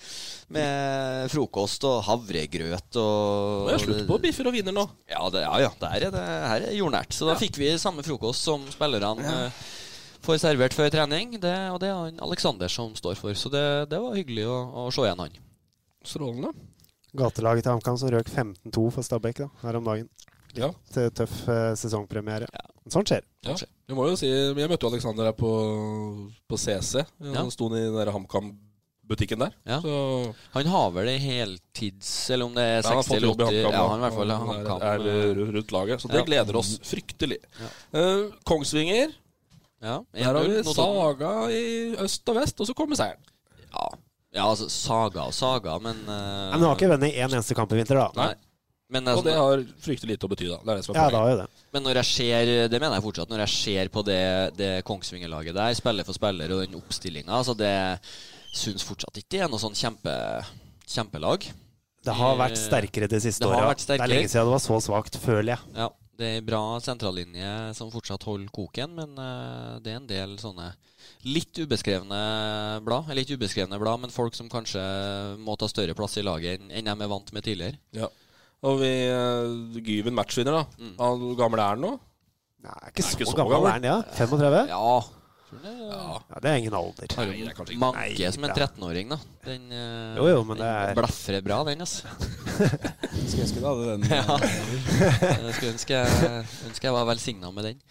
[SPEAKER 5] med frokost og havregrøt og
[SPEAKER 3] Nå er det slutt på biffer og viner nå.
[SPEAKER 5] Ja, det, ja, ja der er det, her er jordnært. Så da fikk vi samme frokost som spillerne eh, får servert før trening, det, og det er han Alexander som står for. Så det, det var hyggelig å, å se igjen han.
[SPEAKER 3] Strålende.
[SPEAKER 4] Gatelaget til HamKam som røk 15-2 for Stabæk da, her om dagen.
[SPEAKER 3] Ja.
[SPEAKER 4] Til tøff eh, sesongpremiere. Sånt skjer.
[SPEAKER 3] Ja. Jeg må jo si, jeg møtte jo Alexander her på, på CC. Han
[SPEAKER 5] Ja.
[SPEAKER 3] sto i den der HamKam-butikken der.
[SPEAKER 5] Ja.
[SPEAKER 3] Så
[SPEAKER 5] Han har vel en heltids, eller om det er
[SPEAKER 3] Ja, han har
[SPEAKER 5] 60
[SPEAKER 3] fått
[SPEAKER 5] eller
[SPEAKER 3] jobb i
[SPEAKER 5] 80
[SPEAKER 3] HamKam.
[SPEAKER 5] Ja,
[SPEAKER 3] da.
[SPEAKER 5] han i hvert fall er HamKam.
[SPEAKER 3] er, er rundt laget. Så det
[SPEAKER 5] Ja.
[SPEAKER 3] gleder oss fryktelig. Eh, Kongsvinger,
[SPEAKER 5] Ja,
[SPEAKER 3] der har vi
[SPEAKER 5] 1-0 Notodden.
[SPEAKER 3] Saga i øst og vest, og så kommer seieren.
[SPEAKER 5] Ja, ja altså saga og saga, men eh,
[SPEAKER 4] Nei, men du har ikke vunnet én eneste kamp i vinter, da.
[SPEAKER 5] Nei. Men,
[SPEAKER 3] Og
[SPEAKER 5] altså,
[SPEAKER 3] det har fryktelig lite å bety, da. Det er det som er
[SPEAKER 4] Ja,
[SPEAKER 3] poenget.
[SPEAKER 4] det har jo det.
[SPEAKER 5] men når jeg ser Det mener jeg fortsatt. Når jeg ser på det, det Kongsvinger-laget der, spiller for spiller og den oppstillinga, så det syns fortsatt ikke det er noe sånn kjempe, kjempelag.
[SPEAKER 4] Det har vært
[SPEAKER 5] Eh,
[SPEAKER 4] sterkere de siste
[SPEAKER 5] det har
[SPEAKER 4] åra.
[SPEAKER 5] vært
[SPEAKER 4] Det
[SPEAKER 5] sterkere.
[SPEAKER 4] er lenge siden det var så svakt, føler jeg.
[SPEAKER 5] Ja, det er en bra sentrallinje som fortsatt holder koken, men eh, det er en del sånne litt ubeskrevne blad. Eller ikke ubeskrevne blad, men folk som kanskje må ta større plass i laget enn enn de er vant med tidligere.
[SPEAKER 3] Ja. Og vi, eh, Gyven matchvinner, da.
[SPEAKER 5] Mm.
[SPEAKER 3] Han, Hvor gammel er han nå?
[SPEAKER 4] Nei, er ikke så, gammel. Er han, ja? 35?
[SPEAKER 5] Ja.
[SPEAKER 4] Ja, det er ingen alder.
[SPEAKER 5] Har
[SPEAKER 3] det er kanskje
[SPEAKER 5] jo
[SPEAKER 3] ikke-
[SPEAKER 4] Nei,
[SPEAKER 5] manke som en
[SPEAKER 4] da.
[SPEAKER 5] 13-åring, da. Den, eh,
[SPEAKER 4] Jo, jo, men det
[SPEAKER 5] den
[SPEAKER 4] er
[SPEAKER 5] blafrer bra, den, altså.
[SPEAKER 6] Skulle ønske du hadde den.
[SPEAKER 5] Ja. Eh, Jeg skulle ønske, jeg- ønske jeg var velsigna med den.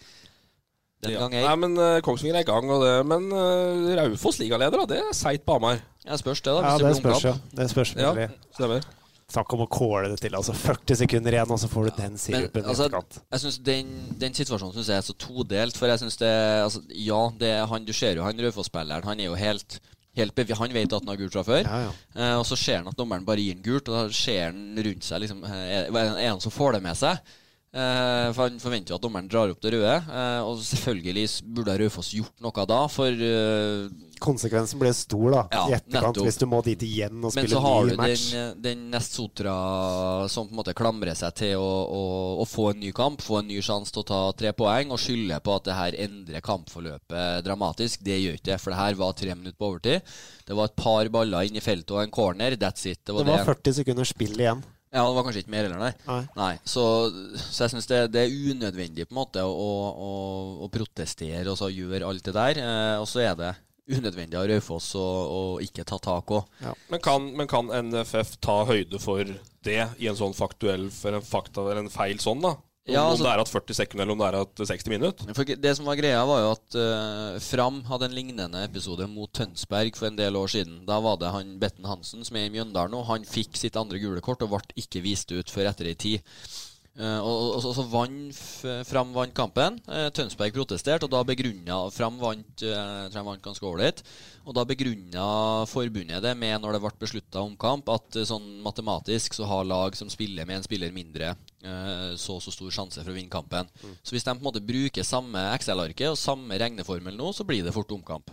[SPEAKER 5] Den
[SPEAKER 3] Ja.
[SPEAKER 5] gang
[SPEAKER 3] Nei,
[SPEAKER 5] jeg
[SPEAKER 3] men eh, Kongsvinger er i gang, og det, men eh, Raufoss ligaleder, da. Det er seigt på Hamar.
[SPEAKER 5] Ja, spørs det, da.
[SPEAKER 4] Ja,
[SPEAKER 5] Hvis
[SPEAKER 4] det
[SPEAKER 5] det blir
[SPEAKER 4] spørs jo.
[SPEAKER 5] omkamp.
[SPEAKER 4] Det spørs
[SPEAKER 3] Ja,
[SPEAKER 4] virkelig.
[SPEAKER 3] stemmer.
[SPEAKER 4] Snakk om å kåle det til. Altså 40 sekunder igjen, og så får du den
[SPEAKER 5] Men
[SPEAKER 4] sirupen i
[SPEAKER 5] altså,
[SPEAKER 4] etterkant.
[SPEAKER 5] jeg synes den, den situasjonen synes jeg er så todelt. For jeg synes det altså, Ja, det er han, du ser jo han Raufoss-spilleren. Han er jo helt, helt bevi- Han vet at han har gult fra før.
[SPEAKER 4] Ja, ja.
[SPEAKER 5] Eh, og så ser han at dommeren bare gir han gult, og da ser han rundt seg liksom, eh, Er er han som får det med seg? Eh, for Han forventer jo at dommeren drar opp det røde. eh, og selvfølgelig s- burde Raufoss gjort noe da, for eh,
[SPEAKER 4] Konsekvensen blir stor da,
[SPEAKER 5] Ja,
[SPEAKER 4] i etterkant,
[SPEAKER 5] nettopp.
[SPEAKER 4] hvis du må dit igjen og
[SPEAKER 5] Men
[SPEAKER 4] spille
[SPEAKER 5] så har du eh,
[SPEAKER 4] ny match.
[SPEAKER 5] den, den Nest Sotra som på en måte klamrer seg til å, å, å få en ny kamp, få en ny sjanse til å ta tre poeng, og skylder på at det her endrer kampforløpet dramatisk. Det gjør ikke det, for det her var tre minutter på overtid. Det var et par baller inn i feltet og en corner. That's it.
[SPEAKER 4] Det var 40 sekunder spill igjen.
[SPEAKER 5] Ja, det var kanskje ikke mer heller, nei.
[SPEAKER 4] Nei.
[SPEAKER 5] så, så jeg syns det, det er unødvendig på en måte å, å, å protestere og så gjøre alt det der. Eh, og så er det unødvendig av Raufoss å, å ikke ta tak òg.
[SPEAKER 3] Men kan, men kan NFF ta høyde for det i en sånn faktuell eller en, fakta, eller en feil sånn, da? Om,
[SPEAKER 5] Ja, altså-
[SPEAKER 3] om det er at 40 sekunder, eller om det er at 60 minutter?
[SPEAKER 5] For det som var greia, var jo at eh, Fram hadde en lignende episode mot Tønsberg for en del år siden. Da var det han Betten Hansen som er i Mjøndalen nå. Han fikk sitt andre gule kort og ble ikke vist ut før etter ei tid. Eh, og, og, og så vann, f- Fram vant kampen. Eh, Tønsberg protesterte, og da begrunna Fram vant, eh, jeg tror de vant ganske ålreit. Og da begrunna forbundet det med, når det ble beslutta omkamp, at eh, sånn matematisk så har lag som spiller med en spiller mindre, eh, så og så stor sjanse for å vinne kampen. Så hvis de på en måte bruker samme Excel-arket og samme regneformel nå, så blir det fort omkamp.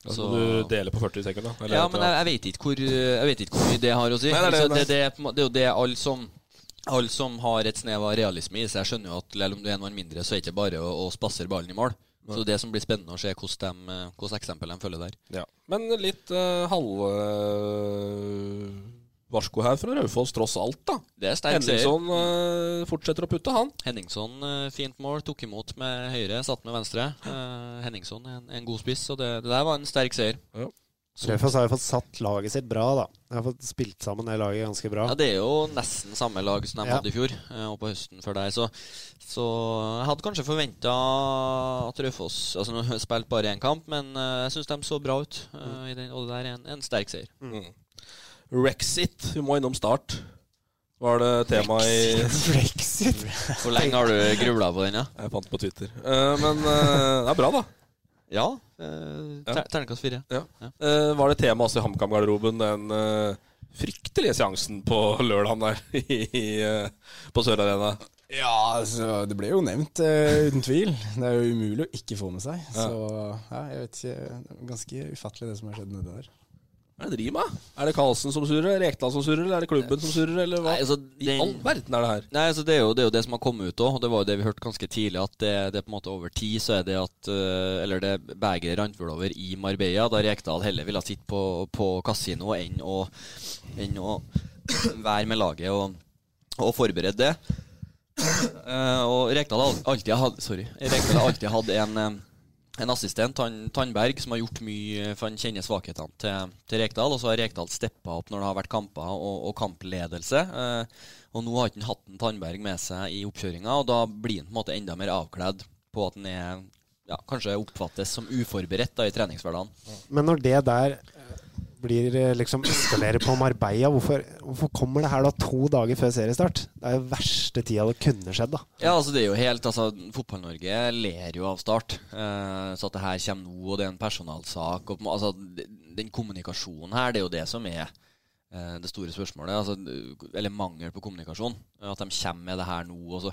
[SPEAKER 3] Så,
[SPEAKER 5] Så-
[SPEAKER 3] Altså, du deler på 40 sekunder? eller
[SPEAKER 5] Ja,
[SPEAKER 3] at-
[SPEAKER 5] men jeg, jeg, vet ikke hvor, eh, jeg vet ikke hvor mye det har å si.
[SPEAKER 3] Nei, nei, nei,
[SPEAKER 5] Altså,
[SPEAKER 3] nei.
[SPEAKER 5] det, det, er på en måte- det er jo det alle som alle som har et snev av realisme i seg, skjønner jo at selv om du er en mann mindre, så er det ikke bare å, å spassere ballen i mål. Så det som blir spennende å se, hvordan, de, eh, hvordan eksempel de følger der.
[SPEAKER 3] Ja. Men litt uh, halvvarsko her fra Raufoss, tross alt, da.
[SPEAKER 5] Det er sterk seier.
[SPEAKER 3] Henningsson eh, fortsetter å putte, han.
[SPEAKER 5] Henningson, eh, fint mål. Tok imot med høyre, satt med venstre. Eh, Henningson er en, en god spiss, så det, det der var en sterk seier.
[SPEAKER 4] Raufoss har jo fått satt laget sitt bra, da. De har fått spilt sammen det laget ganske bra.
[SPEAKER 5] Ja, Det er jo nesten samme lag som de
[SPEAKER 4] Ja.
[SPEAKER 5] hadde i fjor, eh, og på høsten før der. Så, så jeg hadde kanskje forventa at Raufoss altså, Nå har jeg spilt bare én kamp, men eh, jeg syns de så bra ut. eh, i den, og det der er en, en sterk seier.
[SPEAKER 3] Mm. Rexit, vi må innom start. Var det tema i
[SPEAKER 4] Brexit!
[SPEAKER 5] Hvor lenge har du grubla på den? Ja,
[SPEAKER 3] Jeg fant på Twitter. Eh, men eh, det er bra, da.
[SPEAKER 5] ja eh, ter, terningkast fire.
[SPEAKER 3] Eh, var det tema også i HamKam-garderoben, den eh, fryktelige seansen på lørdagen der i, eh, på Sør Arena?
[SPEAKER 6] Ja, altså, det ble jo nevnt, eh, uten tvil. Det er jo umulig å ikke få med seg. Så ja, jeg vet ikke. det er Ganske ufattelig det som har skjedd nedi der.
[SPEAKER 3] Hva er det de driver med? Er det Karlsen som surrer, er det Rekdal som surrer, eller er det klubben som surrer, eller hva?
[SPEAKER 5] Nei, altså,
[SPEAKER 3] I all
[SPEAKER 5] den,
[SPEAKER 3] verden er det her.
[SPEAKER 5] Nei, altså det, er jo, det er jo det som har kommet ut òg, og det var jo det vi hørte ganske tidlig, at det, det er på en måte over tid så er det at eh, Eller det begeret rant vel over i Marbella, da Rekdal heller ville sitte på, på kasino enn å, enn å være med laget og, og forberede det. Eh, og Rekdal har alltid hatt Sorry. Rekdal har alltid hatt en, eh, en assistent, han, Tandberg, som har gjort mye eh, for han kjenner svakhetene til, til Rekdal. Og så har Rekdal steppa opp når det har vært kamper og, og kampledelse. eh, og nå har ikke han hatt en Tandberg med seg i oppkjøringa, og da blir han på en måte enda mer avkledd på at han er ja, kanskje oppfattes som uforberedt da, i treningshverdagen.
[SPEAKER 4] Men når det der eh, blir eh, liksom eskalerer på Marbella, hvorfor, hvorfor kommer det her da to dager før seriestart? Det er jo verste tida det kunne skjedd, da.
[SPEAKER 5] Ja, altså det er jo helt altså, Fotball-Norge ler jo av Start. Eh, så at det her kommer nå, og det er en personalsak og, på en må- altså, d- Den kommunikasjonen her, det er jo det som er eh, det store spørsmålet. Altså, eller mangel på kommunikasjon. At de kommer med det her nå, og så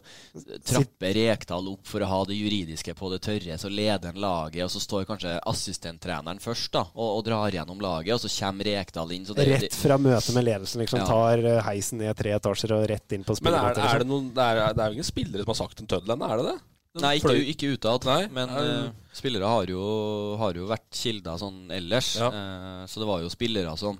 [SPEAKER 5] trapper Rekdal opp for å ha det juridiske på det tørre. Så leder han laget, og så står kanskje assistenttreneren først da, og, og drar gjennom laget, og så kommer Rekdal inn. Så det,
[SPEAKER 4] Rett
[SPEAKER 5] det,
[SPEAKER 4] fra møtet med ledelsen, liksom.
[SPEAKER 5] Ja.
[SPEAKER 4] Tar eh, heisen ned tre etasjer og rett inn på
[SPEAKER 3] Men er,
[SPEAKER 4] spillermøtet.
[SPEAKER 3] er
[SPEAKER 4] Liksom.
[SPEAKER 3] det noen Det er, det er jo ingen spillere som har sagt en tøddel ennå, er det det? Den
[SPEAKER 5] Nei, ikke,
[SPEAKER 3] fløy-
[SPEAKER 5] ikke utad,
[SPEAKER 3] Nei,
[SPEAKER 5] men
[SPEAKER 3] er-
[SPEAKER 5] eh, spillere har jo, har jo vært kilder sånn ellers.
[SPEAKER 3] Ja.
[SPEAKER 5] Eh, så det var jo spillere som,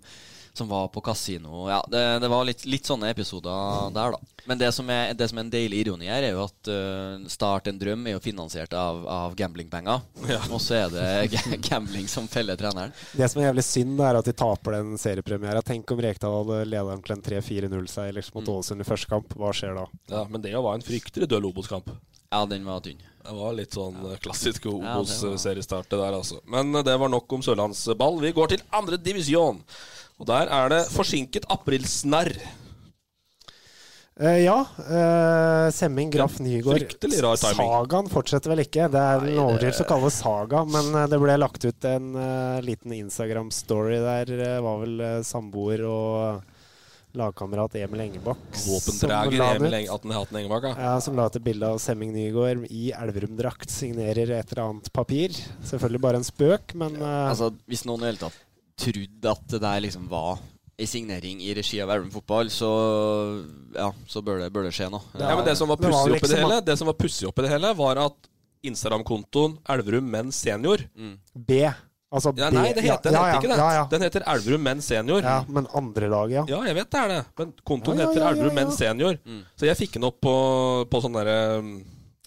[SPEAKER 5] som var på kasino. Ja, det, det var litt, litt sånne episoder der, da. Men det som er, det som er en deilig ironi her, er jo at eh, Start en drøm er jo finansiert av, av gamblingpenger. Og så er det ga- gambling som feller treneren.
[SPEAKER 4] Det som er jævlig synd, er at de taper den seriepremiera. Tenk om Rekdal hadde ledet dem til en 3-4-0-seier liksom,
[SPEAKER 3] Mm.
[SPEAKER 4] mot Ålesund i første kamp. Hva skjer da?
[SPEAKER 3] Ja, men det var en fryktelig døll Obos-kamp.
[SPEAKER 5] Ja, den var tynn.
[SPEAKER 3] Det var litt sånn eh, klassisk
[SPEAKER 5] var-
[SPEAKER 3] Obos-seriestart det der, altså. Men eh, det var nok om sørlandsball. Vi går til andre divisjon. Og der er det forsinket aprilsnarr.
[SPEAKER 4] Eh, ja. eh, Semming, Graff, Nygaard.
[SPEAKER 3] Fryktelig rar timing.
[SPEAKER 4] Sagaen fortsetter vel ikke. Det er en overdrivelse å kalle det saga, men eh, det ble lagt ut en eh, liten Instagram-story der. eh, var vel eh, samboer og lagkamerat Emil Engebakk som la
[SPEAKER 3] Våpendrager
[SPEAKER 4] den
[SPEAKER 3] Emil
[SPEAKER 4] ut.
[SPEAKER 3] Eng- at den het den Engebakk, ja.
[SPEAKER 4] Ja, som la ut et bilde av Semming Nygaard i Elverum-drakt. Signerer et eller annet papir. Selvfølgelig bare en spøk, men eh,
[SPEAKER 5] Altså, hvis noen i det hele tatt trodde at det der liksom var en signering i regi av Elverum fotball, så ja, så bør det, bør det skje noe.
[SPEAKER 3] Ja, men det som var
[SPEAKER 4] Det var
[SPEAKER 3] pussig oppi det
[SPEAKER 4] liksom
[SPEAKER 3] hele, det som var pussig oppi det hele, var at Instagram-kontoen Elverum Menn Senior
[SPEAKER 4] B. Altså
[SPEAKER 3] ja,
[SPEAKER 4] B.
[SPEAKER 3] Nei, det heter, den
[SPEAKER 4] ja,
[SPEAKER 3] heter ikke det.
[SPEAKER 4] Ja, ja, ja.
[SPEAKER 3] Den heter Elverum Menn Senior.
[SPEAKER 4] ja, men andre laget, ja.
[SPEAKER 3] Ja, jeg vet det er det. Men kontoen
[SPEAKER 4] Ja, ja,
[SPEAKER 3] heter
[SPEAKER 4] ja,
[SPEAKER 3] Elverum
[SPEAKER 4] ja,
[SPEAKER 3] Menn
[SPEAKER 4] ja.
[SPEAKER 3] Senior. Så jeg fikk den opp på, på sånn derre um,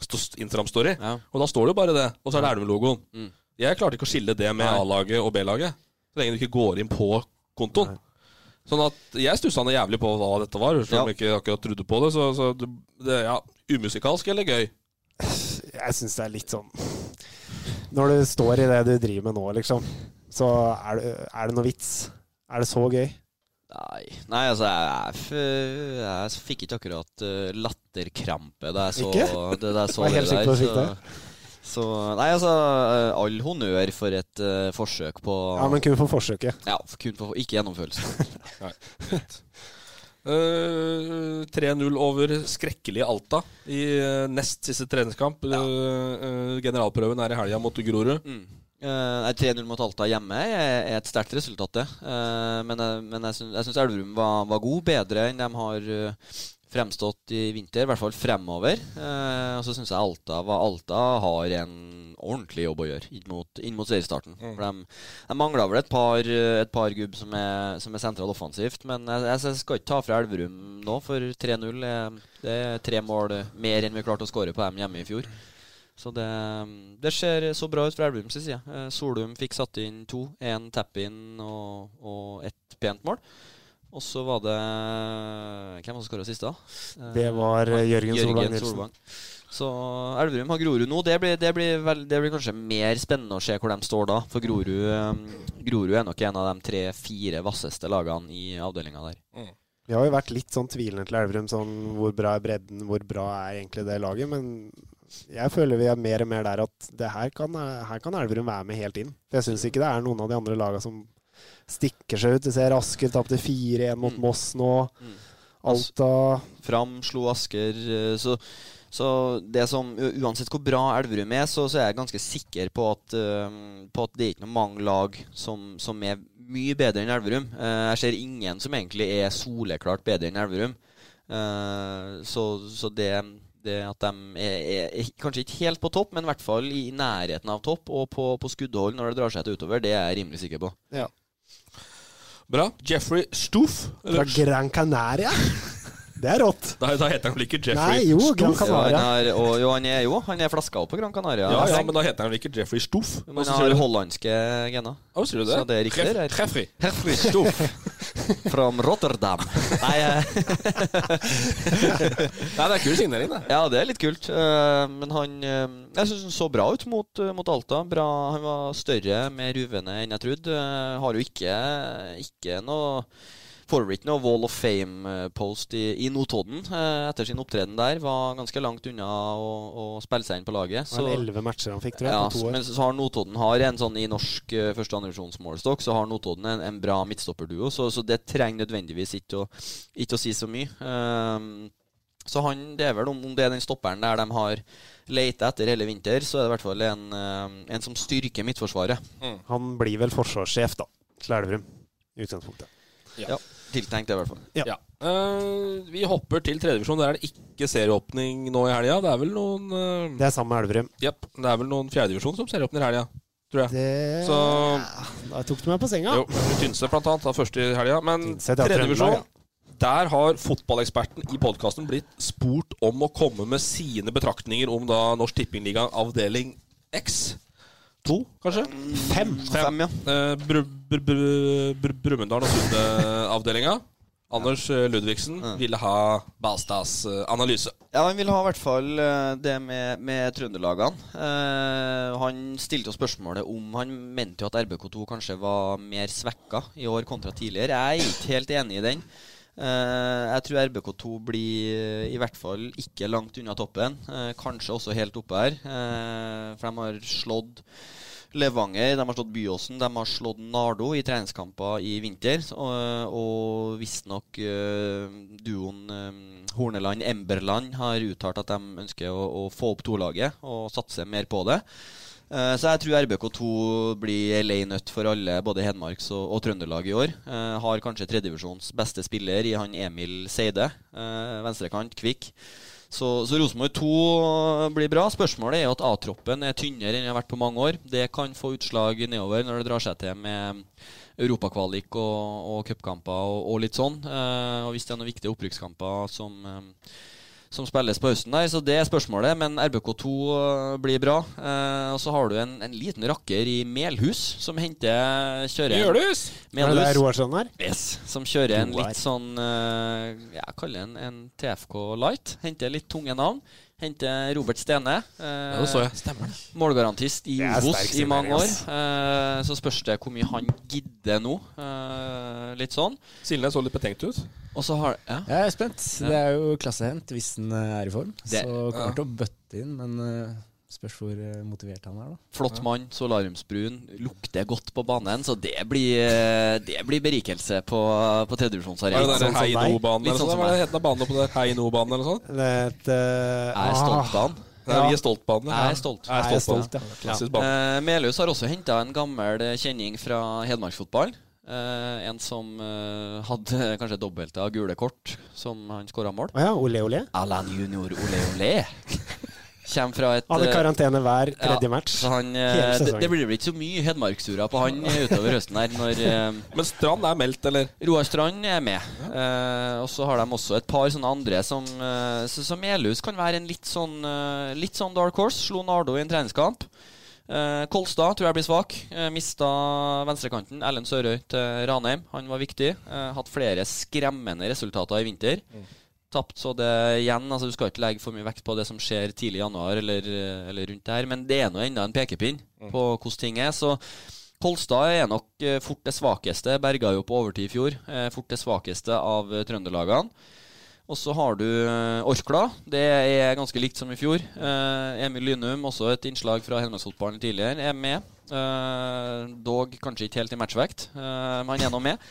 [SPEAKER 3] st- Instagram-story.
[SPEAKER 5] Ja.
[SPEAKER 3] Og da står det jo bare det. Og så er det Elverum-logoen. Jeg klarte ikke å skille det med
[SPEAKER 5] Mm. Nei.
[SPEAKER 3] A-laget og B-laget. Så lenge du ikke går inn på kontoen. Sånn at jeg stussa noe jævlig på hva dette var, selv om jeg ikke akkurat trodde på det. Så, så det, det, ja, umusikalsk eller gøy?
[SPEAKER 4] jeg syns det er litt sånn Når du står i det du driver med nå, liksom, så er det, er det noe vits? Er det så gøy?
[SPEAKER 5] Nei, nei altså jeg, jeg, jeg fikk ikke akkurat eh, latterkrampe da jeg så
[SPEAKER 4] Ikke?
[SPEAKER 5] det da jeg så
[SPEAKER 4] Jeg er
[SPEAKER 5] det
[SPEAKER 4] helt sikker på at
[SPEAKER 5] der.
[SPEAKER 4] du
[SPEAKER 5] Så,
[SPEAKER 4] fikk
[SPEAKER 5] så Nei, altså eh, all honnør for et eh, forsøk på
[SPEAKER 4] Ja, men kun for forsøket.
[SPEAKER 5] Ja, for kun for ikke gjennomførelse.
[SPEAKER 3] Eh, 3-0 over skrekkelige Alta i eh, nest siste treningskamp. Eh, eh, generalprøven er i helga mot Grorud.
[SPEAKER 5] Eh, nei, 3-0 mot Alta hjemme er er et sterkt resultat, det. Eh, men jeg- men jeg syns- jeg syns Elverum var, var god, bedre enn de har eh, fremstått i vinter. I hvert fall fremover. Eh, og så syns jeg Alta, var, Alta har en ordentlig jobb å gjøre inn mot, inn mmot seriestarten. For de, de mangler vel et par, eh, et par gubb som er, som er sentralt offensivt. Men jeg, jeg, jeg skal ikke ta fra Elverum nå, for 3-0 er, det er tre mål mer enn vi klarte å skåre på dem hjemme i fjor. Så det, det ser så bra ut fra Elverums side. Eh, Solum fikk satt inn to. Én tap-in og, og ett pent mål. Og så var det Hvem var det som skåra sist, da? Eh,
[SPEAKER 4] Det var eh, Jørgen, Solvang Nilsen.
[SPEAKER 5] Så Elverum har Grorud nå. Det blir, det, blir vel, det blir kanskje mer spennende å se hvor de står da. For Grorud, eh, Grorud er nok en av de tre-fire vasseste lagene i avdelinga der.
[SPEAKER 4] Vi har jo vært litt sånn tvilende til Elverum, sånn hvor bra er bredden, hvor bra er egentlig det laget, men jeg føler vi er mer og mer der at det her kan, her kan Elverum være med helt inn. For jeg syns ikke det er noen av de andre lagene som stikker seg ut. Du ser Asker tapte 4-1 mot
[SPEAKER 5] Mm.
[SPEAKER 4] Moss nå. Alta
[SPEAKER 5] Fram slo Asker. eh, Så, så det som u- Uansett hvor bra Elverum er, så, så er jeg ganske sikker på at, eh, på at det er ikke noe mange lag som, som er mye bedre enn Elverum. Eh, Jeg ser ingen som egentlig er soleklart bedre enn Elverum. Eh, Så, så det, det at de er, er, er kanskje ikke helt på topp, men i hvert fall i nærheten av topp og på, på skuddhold når det drar seg til utover, det er jeg rimelig sikker på.
[SPEAKER 3] Bra. Jeffrey Stoof.
[SPEAKER 4] fra
[SPEAKER 3] Eller,
[SPEAKER 4] Gran Canaria. Det er rått.
[SPEAKER 3] nei, da heter han vel ikke Jeffrey
[SPEAKER 4] Nei, jo,
[SPEAKER 3] Stoof?
[SPEAKER 4] Gran
[SPEAKER 5] Ja, han
[SPEAKER 4] Canaria.
[SPEAKER 5] er, og, jo, han er jo han er flaska opp på Gran Canaria.
[SPEAKER 3] Ja, ja, men da heter han vel ikke Jeffrey Stoof?
[SPEAKER 5] Men han har hollandske gener.
[SPEAKER 3] Å, sier du det?
[SPEAKER 5] Så det er riktig,
[SPEAKER 3] Treff-
[SPEAKER 5] det er-
[SPEAKER 3] Treffri.
[SPEAKER 5] Herfru Stoff from Rotterdam. Nei, eh,
[SPEAKER 3] Nei, det er kul signering, det.
[SPEAKER 5] ja, det er litt kult. eh, Men han eh, Jeg syns han så bra ut mot, eh, mot Alta. Bra, han var større, mer ruvende enn jeg trodde. Eh, Har jo ikke, ikke noe Får ikke noe Wall of Fame-post i, i Notodden eh, etter sin opptreden der. Var ganske langt unna å, å spille seg inn på laget.
[SPEAKER 4] Det var
[SPEAKER 5] så-
[SPEAKER 4] elleve matcher han fikk, tror jeg,
[SPEAKER 5] Ja,
[SPEAKER 4] på to år.
[SPEAKER 5] men så har Notodden har en sånn i norsk eh, første- og andrevisjonsmålestokk, så har Notodden en, en bra midtstopperduo, så, så det trenger nødvendigvis ikke å, ikke å si så mye. Ehm, så han, det er vel om, om det er den stopperen der de har leita etter hele vinter, så er det i hvert fall en, eh, en som styrker midtforsvaret.
[SPEAKER 4] Han blir vel forsvarssjef, da, til Elverum. I utgangspunktet.
[SPEAKER 5] Mm. Ja. Tiltenkt det, i hvert fall.
[SPEAKER 3] Ja. Eh, vi hopper til tredjevisjon. Der er det ikke serieåpning nå i helga. Det er vel noen eh,
[SPEAKER 4] Det er sammen med Elverum.
[SPEAKER 3] Jepp. Det er vel noen fjerdedivisjon som ser opp i helga. tror jeg.
[SPEAKER 4] Det-
[SPEAKER 3] Så
[SPEAKER 4] Da tok du meg på senga.
[SPEAKER 3] jo, Tynset blant annet, da, første i helga. Men
[SPEAKER 4] Tynset, ja, Trøndelag,
[SPEAKER 3] tredjevisjon,
[SPEAKER 4] ja.
[SPEAKER 3] der har fotballeksperten i podkasten blitt spurt om å komme med sine betraktninger om da Norsk Tippingliga avdeling X. To, kanskje?
[SPEAKER 4] Fem.
[SPEAKER 5] Fem, ja.
[SPEAKER 3] Eh, Bru- Bru- Bru- Bru- Brumunddal og Sunde-avdelinga. Anders eh, Ludvigsen ville ha Balstads eh, analyse.
[SPEAKER 5] Ja, han vil ha i hvert fall eh, det med, med trønderlagene. Eh, han stilte jo spørsmålet om han mente jo at RBK2 kanskje var mer svekka i år kontra tidligere. Jeg er ikke helt enig i den. Eh, jeg tror RBK2 blir eh, i hvert fall ikke langt unna toppen. Eh, kanskje også helt oppe her. Eh, for de har slått Levanger, de har slått Byåsen, de har slått Nardo i treningskamper i vinter. så, øh, Og visstnok øh, duoen øh, Horneland-Emberland har uttalt at de ønsker å, å få opp to-laget og satse mer på det. Eh, Så jeg tror RBK2 blir ei lei nøtt for alle, både Hedmarks og, og Trøndelag i år. Eh, har kanskje tredjevisjons beste spiller i han Emil Seide. eh, venstrekant, kvikk. Så, så Rosenborg 2 blir bra. Spørsmålet er jo at A-troppen er tynnere enn den har vært på mange år. Det kan få utslag nedover når det drar seg til med europakvalik og, og cupkamper og, og litt sånn. Eh, og hvis det er noen viktige opprykkskamper som eh, som spilles på høsten der, så det er spørsmålet. Men RBK2 blir bra. Eh, og så har du en, en liten rakker i Melhus som henter kjører
[SPEAKER 3] Gjøles!
[SPEAKER 4] Er det der
[SPEAKER 5] Melhus,
[SPEAKER 4] Roar Strand er?
[SPEAKER 5] yes, som kjører en
[SPEAKER 4] Roar.
[SPEAKER 5] litt sånn eh, Jeg kaller den en TFK Light. Henter litt tunge navn. Henter Robert Stene. eh,
[SPEAKER 3] Ja, det så jeg. Stemmer det.
[SPEAKER 5] Målgarantist i
[SPEAKER 4] Det er sterk
[SPEAKER 5] Obos i
[SPEAKER 4] signering,
[SPEAKER 5] mange år.
[SPEAKER 4] ass.
[SPEAKER 5] Eh, så spørs det hvor mye han gidder nå. Eh, litt sånn.
[SPEAKER 3] Silnes så litt betenkt ut.
[SPEAKER 5] Og så har ja.
[SPEAKER 6] Jeg er spent. Det er jo klassehent hvis han eh, er i form.
[SPEAKER 5] Det-
[SPEAKER 6] så kommer til å bøtte inn, men eh, spørs hvor eh, motivert han er, da.
[SPEAKER 5] Flott mann, solariumsbrun, lukter godt på banen. Så det blir, eh, det blir berikelse på, på
[SPEAKER 3] Er det
[SPEAKER 5] tredjevisjonsarenaen.
[SPEAKER 3] der
[SPEAKER 4] sånn som
[SPEAKER 3] Hei
[SPEAKER 4] meg.
[SPEAKER 3] No-banen
[SPEAKER 5] Litt
[SPEAKER 3] eller
[SPEAKER 5] sånn
[SPEAKER 3] sånn?
[SPEAKER 5] som
[SPEAKER 3] Hva er
[SPEAKER 5] meg.
[SPEAKER 3] det heter banen oppå der? Hei No-banen eller sånn?
[SPEAKER 4] Det er et eh,
[SPEAKER 5] Jeg er stolt av han.
[SPEAKER 3] Ja.
[SPEAKER 4] Ja.
[SPEAKER 3] Vi er stolt på den.
[SPEAKER 5] Jeg er stolt.
[SPEAKER 3] Ah. Jeg
[SPEAKER 4] Jeg er stolt, ja.
[SPEAKER 3] Klassisk bane.
[SPEAKER 5] Eh, Melhus har også henta en gammel eh, kjenning fra Hedmarksfotball. Eh, en som eh, hadde kanskje dobbelte av gule kort, som han skåra mål.
[SPEAKER 4] Å ja, ole, ole.
[SPEAKER 5] Alan junior Ole Ole. Kjem fra et
[SPEAKER 4] Hadde
[SPEAKER 5] eh,
[SPEAKER 4] karantene hver tredje
[SPEAKER 5] ja,
[SPEAKER 4] match.
[SPEAKER 5] Så han,
[SPEAKER 4] Hele
[SPEAKER 5] eh, det,
[SPEAKER 4] sesongen.
[SPEAKER 5] det blir vel ikke så mye hedmarksura på han eh, utover høsten her, når eh,
[SPEAKER 3] Men Strand er meldt, eller?
[SPEAKER 5] Roar Strand er med. Eh, og så har de også et par sånne andre som eh, så- Som Elhus kan være en litt sånn eh, Litt sånn dark horse. Slo Nardo i en treningskamp. Eh, Kolstad tror jeg blir svak. Eh, mista venstrekanten. Erlend Sørøy til Ranheim. Han var viktig. Eh, hatt flere skremmende resultater i vinter. Tapt så det igjen. altså Du skal ikke legge for mye vekt på det som skjer tidlig i januar eller, eh, eller rundt der, men det er nå enda en pekepinn på hvordan ting er. så Kolstad er nok eh, fort det svakeste. Berga jo på overtid i fjor. Eh, Fort det svakeste av eh, trønderlagene. Og så har du eh, Orkla. Det er ganske likt som i fjor. Eh, Emil Lynum, også et innslag fra Hedmarksfotballen tidligere, er med. Eh, Dog kanskje ikke helt i matchvekt, eh, men han er nå med.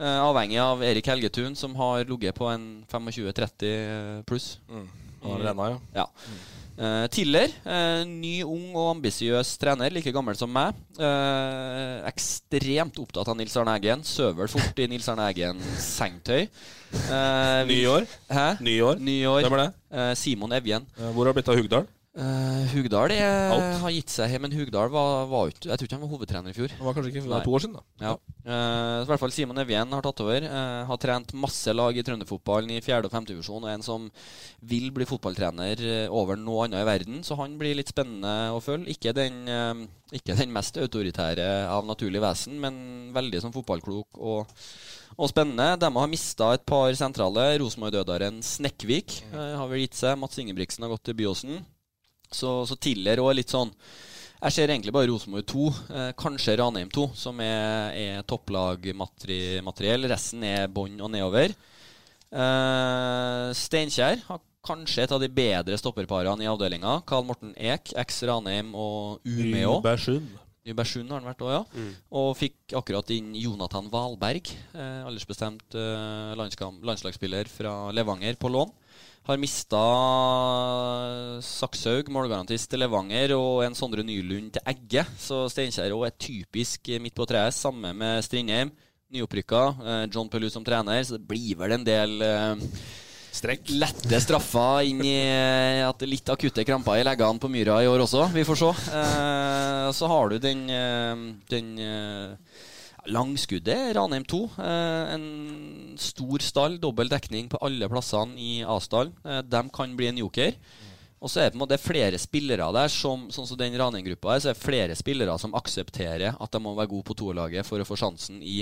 [SPEAKER 5] Eh, Avhengig av Erik Helgetun, som har ligget på en 25-30 pluss.
[SPEAKER 3] Ja, det renna, ja.
[SPEAKER 5] Ja. Eh, Tiller, eh, ny, ung og ambisiøs trener, like gammel som meg. Eh, ekstremt opptatt av Nils Arne Eggen. Søver fort i Nils Arne Eggens sengtøy. Eh, vi-
[SPEAKER 3] Nyår.
[SPEAKER 5] Hæ?
[SPEAKER 3] Nyår.
[SPEAKER 5] Nyår.
[SPEAKER 3] Hvem er det?
[SPEAKER 5] Eh, Simon Evjen.
[SPEAKER 3] Eh, Hvor har det blitt av Hugdal?
[SPEAKER 5] Eh, Hugdal er,
[SPEAKER 3] Alt.
[SPEAKER 5] har gitt seg, men Hugdal var, var ut, Jeg tror ikke han var hovedtrener i fjor.
[SPEAKER 3] Han var kanskje ikke
[SPEAKER 5] Nei.
[SPEAKER 3] to år siden, da.
[SPEAKER 5] Ja. Eh, så I hvert fall Simon Evjen har tatt over. eh, har trent masse lag i trønderfotballen i fjerde- og femtedivisjon, og er en som vil bli fotballtrener eh, over noe annet i verden. Så han blir litt spennende å følge. Ikke den, eh, ikke den mest autoritære av naturlig vesen, men veldig som fotballklok og, og spennende. De har mista et par sentrale. Rosenborg-dødaren Snekkvik eh, har vel gitt seg. Mats Ingebrigtsen har gått til Byåsen. Så, så Tiller òg er litt sånn jeg ser egentlig bare Rosenborg 2, eh, kanskje Ranheim 2, som er, er topplagmateriell. Resten er bånn og nedover. Eh, Steinkjer har kanskje et av de bedre stopperparene i avdelinga. Karl Morten Eek, eks Ranheim og Umeå.
[SPEAKER 3] Nybergsund.
[SPEAKER 5] Nybergsund har han vært òg, ja. Og fikk akkurat inn Jonathan Valberg, eh, aldersbestemt eh, landskam- landslagsspiller fra Levanger, på lån. Har mista Sakshaug, målgarantist til Levanger, og en Sondre Nylund til Egge. Så Steinkjer òg er typisk eh, midt på treet, samme med Strindheim. Nyopprykka. eh, John Pelu som trener, så det blir vel en del eh, Lette straffer inn i eh, at det er litt akutte kramper i leggene på Myra i år også. Vi får se. Eh, så har du den, eh, den eh, langskuddet, Ranheim 2. Eh, en stor stall, dobbel dekning på alle plassene i A-stallen. Eh, de kan bli en joker. Og så er det på en måte flere spillere der, som, sånn som den Ranheim-gruppa her, så er det flere spillere som aksepterer at de må være gode på toerlaget for å få sjansen i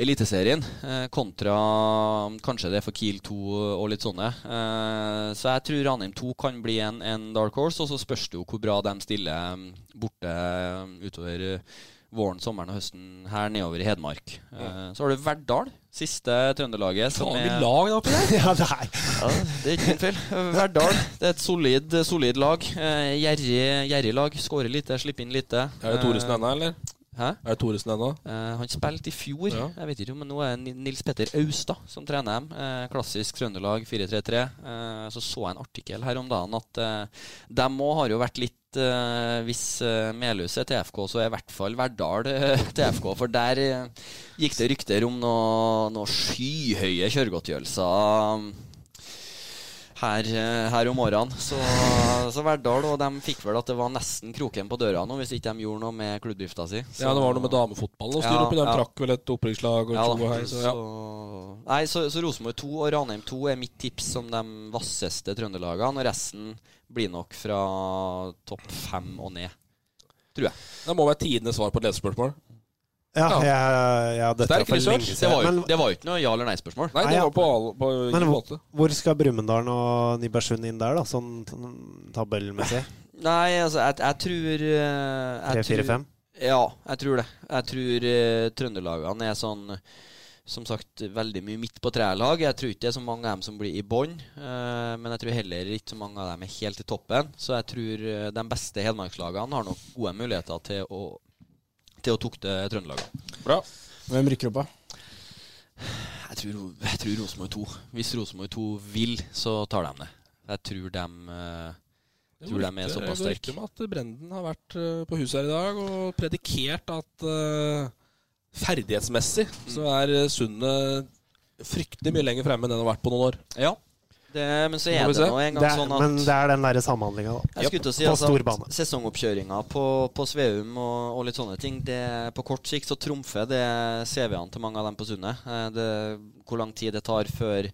[SPEAKER 5] Eliteserien, eh, kontra mm, kanskje det for Kiel 2 og litt sånne. Eh, så jeg tror Ranheim 2 kan bli en, en dark horse, og så spørs det jo hvor bra de stiller mm, borte mm, utover eh, våren, sommeren og høsten her nedover i Hedmark. Eh, så har du Verdal, siste Trøndelaget. som
[SPEAKER 3] Faen, vi
[SPEAKER 5] er-
[SPEAKER 3] lag da oppi der!
[SPEAKER 4] Ja, nei.
[SPEAKER 5] ja, det er ikke min feil. Verdal. Det er et solid, solid lag. Eh, Gjerrig gjerrig lag. Skårer lite, slipper inn lite.
[SPEAKER 3] Er det Thoresen ennå, eller?
[SPEAKER 5] Eh, Hæ?
[SPEAKER 3] Er det Thoresen ennå?
[SPEAKER 5] Eh, han spilte i fjor,
[SPEAKER 3] Ja.
[SPEAKER 5] jeg vet ikke, men nå er det Ni- Nils Petter Austad som trener dem. Eh, klassisk Trøndelag 4-3-3. Eh, så så jeg en artikkel her om dagen at eh, dem òg har jo vært litt eh, Hvis eh, Melhus er TFK, så er i hvert fall Verdal eh, TFK. For der eh, gikk det rykter om noen noe skyhøye kjøregodtgjørelser. um, Her, eh, her om årene. Så, så Verdal og de fikk vel at det var nesten kroken på døra nå, hvis ikke de gjorde noe med klubbdrifta si. Så-
[SPEAKER 3] Ja, det var noe med damefotballen og styr
[SPEAKER 5] Ja,
[SPEAKER 3] oppi. De
[SPEAKER 5] ja.
[SPEAKER 3] trakk vel et opprykkslag og
[SPEAKER 5] ja,
[SPEAKER 3] tjo og
[SPEAKER 5] da.
[SPEAKER 3] hei. Så ja.
[SPEAKER 5] Så, nei, så, så Rosenborg 2 og Ranheim 2 er mitt tips som de vasseste trøndelagene. Og resten blir nok fra topp fem og ned.
[SPEAKER 3] Det må være tidenes svar på et lesespørsmål.
[SPEAKER 4] Ja,
[SPEAKER 3] Ja.
[SPEAKER 4] jeg, ja, dette
[SPEAKER 3] Sterk
[SPEAKER 4] er for
[SPEAKER 3] research.
[SPEAKER 4] lenge
[SPEAKER 5] Det var,
[SPEAKER 4] siden.
[SPEAKER 5] jo,
[SPEAKER 4] Men
[SPEAKER 5] det var jo ikke noe ja- eller nei-spørsmål.
[SPEAKER 3] Nei,
[SPEAKER 4] Nei,
[SPEAKER 3] det
[SPEAKER 4] ja.
[SPEAKER 3] var på alle på
[SPEAKER 4] Men
[SPEAKER 3] ingen
[SPEAKER 4] hvor-
[SPEAKER 3] måte.
[SPEAKER 4] hvor skal Brumunddal og Nybergsund inn der, da? Sånn sånn tabellmessig?
[SPEAKER 5] Nei, altså, jeg, jeg tror eh, jeg tror-
[SPEAKER 4] 3-4-5?
[SPEAKER 5] Ja, jeg tror det. Jeg tror eh, trønderlagene er sånn som sagt veldig mye midt på treet-lag. Jeg tror ikke det er så mange av dem som blir i bånn. eh, men jeg tror heller ikke så mange av dem er helt i toppen. Så jeg tror eh, de beste hedmarkslagene har nok gode muligheter til å, til å tukte trøndelagene.
[SPEAKER 3] Bra.
[SPEAKER 6] Hvem rykker opp, da?
[SPEAKER 5] Jeg tror, jeg tror Rosenborg 2. Hvis Rosenborg 2 vil, så tar de det. Jeg tror de eh, Tror de er
[SPEAKER 3] Det
[SPEAKER 5] såpass
[SPEAKER 3] går
[SPEAKER 5] sterk.
[SPEAKER 3] rykter om at Brenden har vært eh, på huset her i dag og predikert at eh, ferdighetsmessig så
[SPEAKER 5] Mm.
[SPEAKER 3] er eh, Sundet fryktelig mye lenger fremme enn den har vært på noen år.
[SPEAKER 5] Ja. Det, men så
[SPEAKER 3] Må
[SPEAKER 5] er
[SPEAKER 3] vi
[SPEAKER 5] det
[SPEAKER 3] se.
[SPEAKER 5] nå en gang
[SPEAKER 4] Det er,
[SPEAKER 5] sånn at
[SPEAKER 4] men det er den derre samhandlinga, da.
[SPEAKER 5] Jeg skulle til å si
[SPEAKER 4] På
[SPEAKER 5] altså,
[SPEAKER 4] stor bane.
[SPEAKER 5] at Sesongoppkjøringa på, på Sveum og, og litt sånne ting det, På kort sikt så trumfer det CV-ene til mange av dem på Sundet. Eh, det- Hvor lang tid det tar før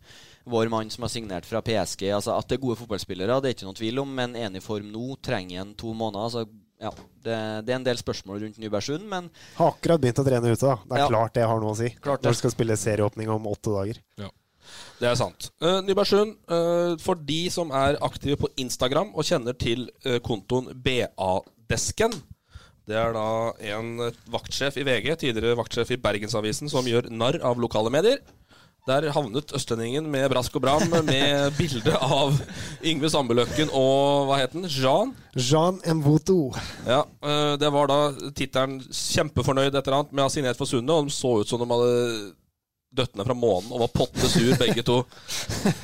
[SPEAKER 5] vår mann som har signert fra PSG altså At det er gode fotballspillere, det er ikke noe tvil om, men en i form nå trenger en to måneder. Altså, ja, det, det er en del spørsmål rundt Nybergsund, men
[SPEAKER 4] Har akkurat begynt å trene ute, da. Det er
[SPEAKER 5] Ja.
[SPEAKER 4] klart det har noe å si.
[SPEAKER 5] Klart det.
[SPEAKER 4] Når du skal spille serieåpning om åtte dager.
[SPEAKER 3] Det er sant. Eh, Nybergsund, eh, for de som er aktive på Instagram og kjenner til eh, kontoen BA-desken Det er da en eh, vaktsjef i VG, tidligere vaktsjef i Bergensavisen, som gjør narr av lokale medier. Der havnet østlendingen med brask og bram med bilde av Yngve Sandbøløkken og hva het han? Jean?
[SPEAKER 4] Jean Mvoto.
[SPEAKER 3] Ja, eh, Det var da tittelen kjempefornøyd et eller annet med å ha signert for Sundet, og de så ut som de hadde døtt ned fra månen og var potte sur, begge to.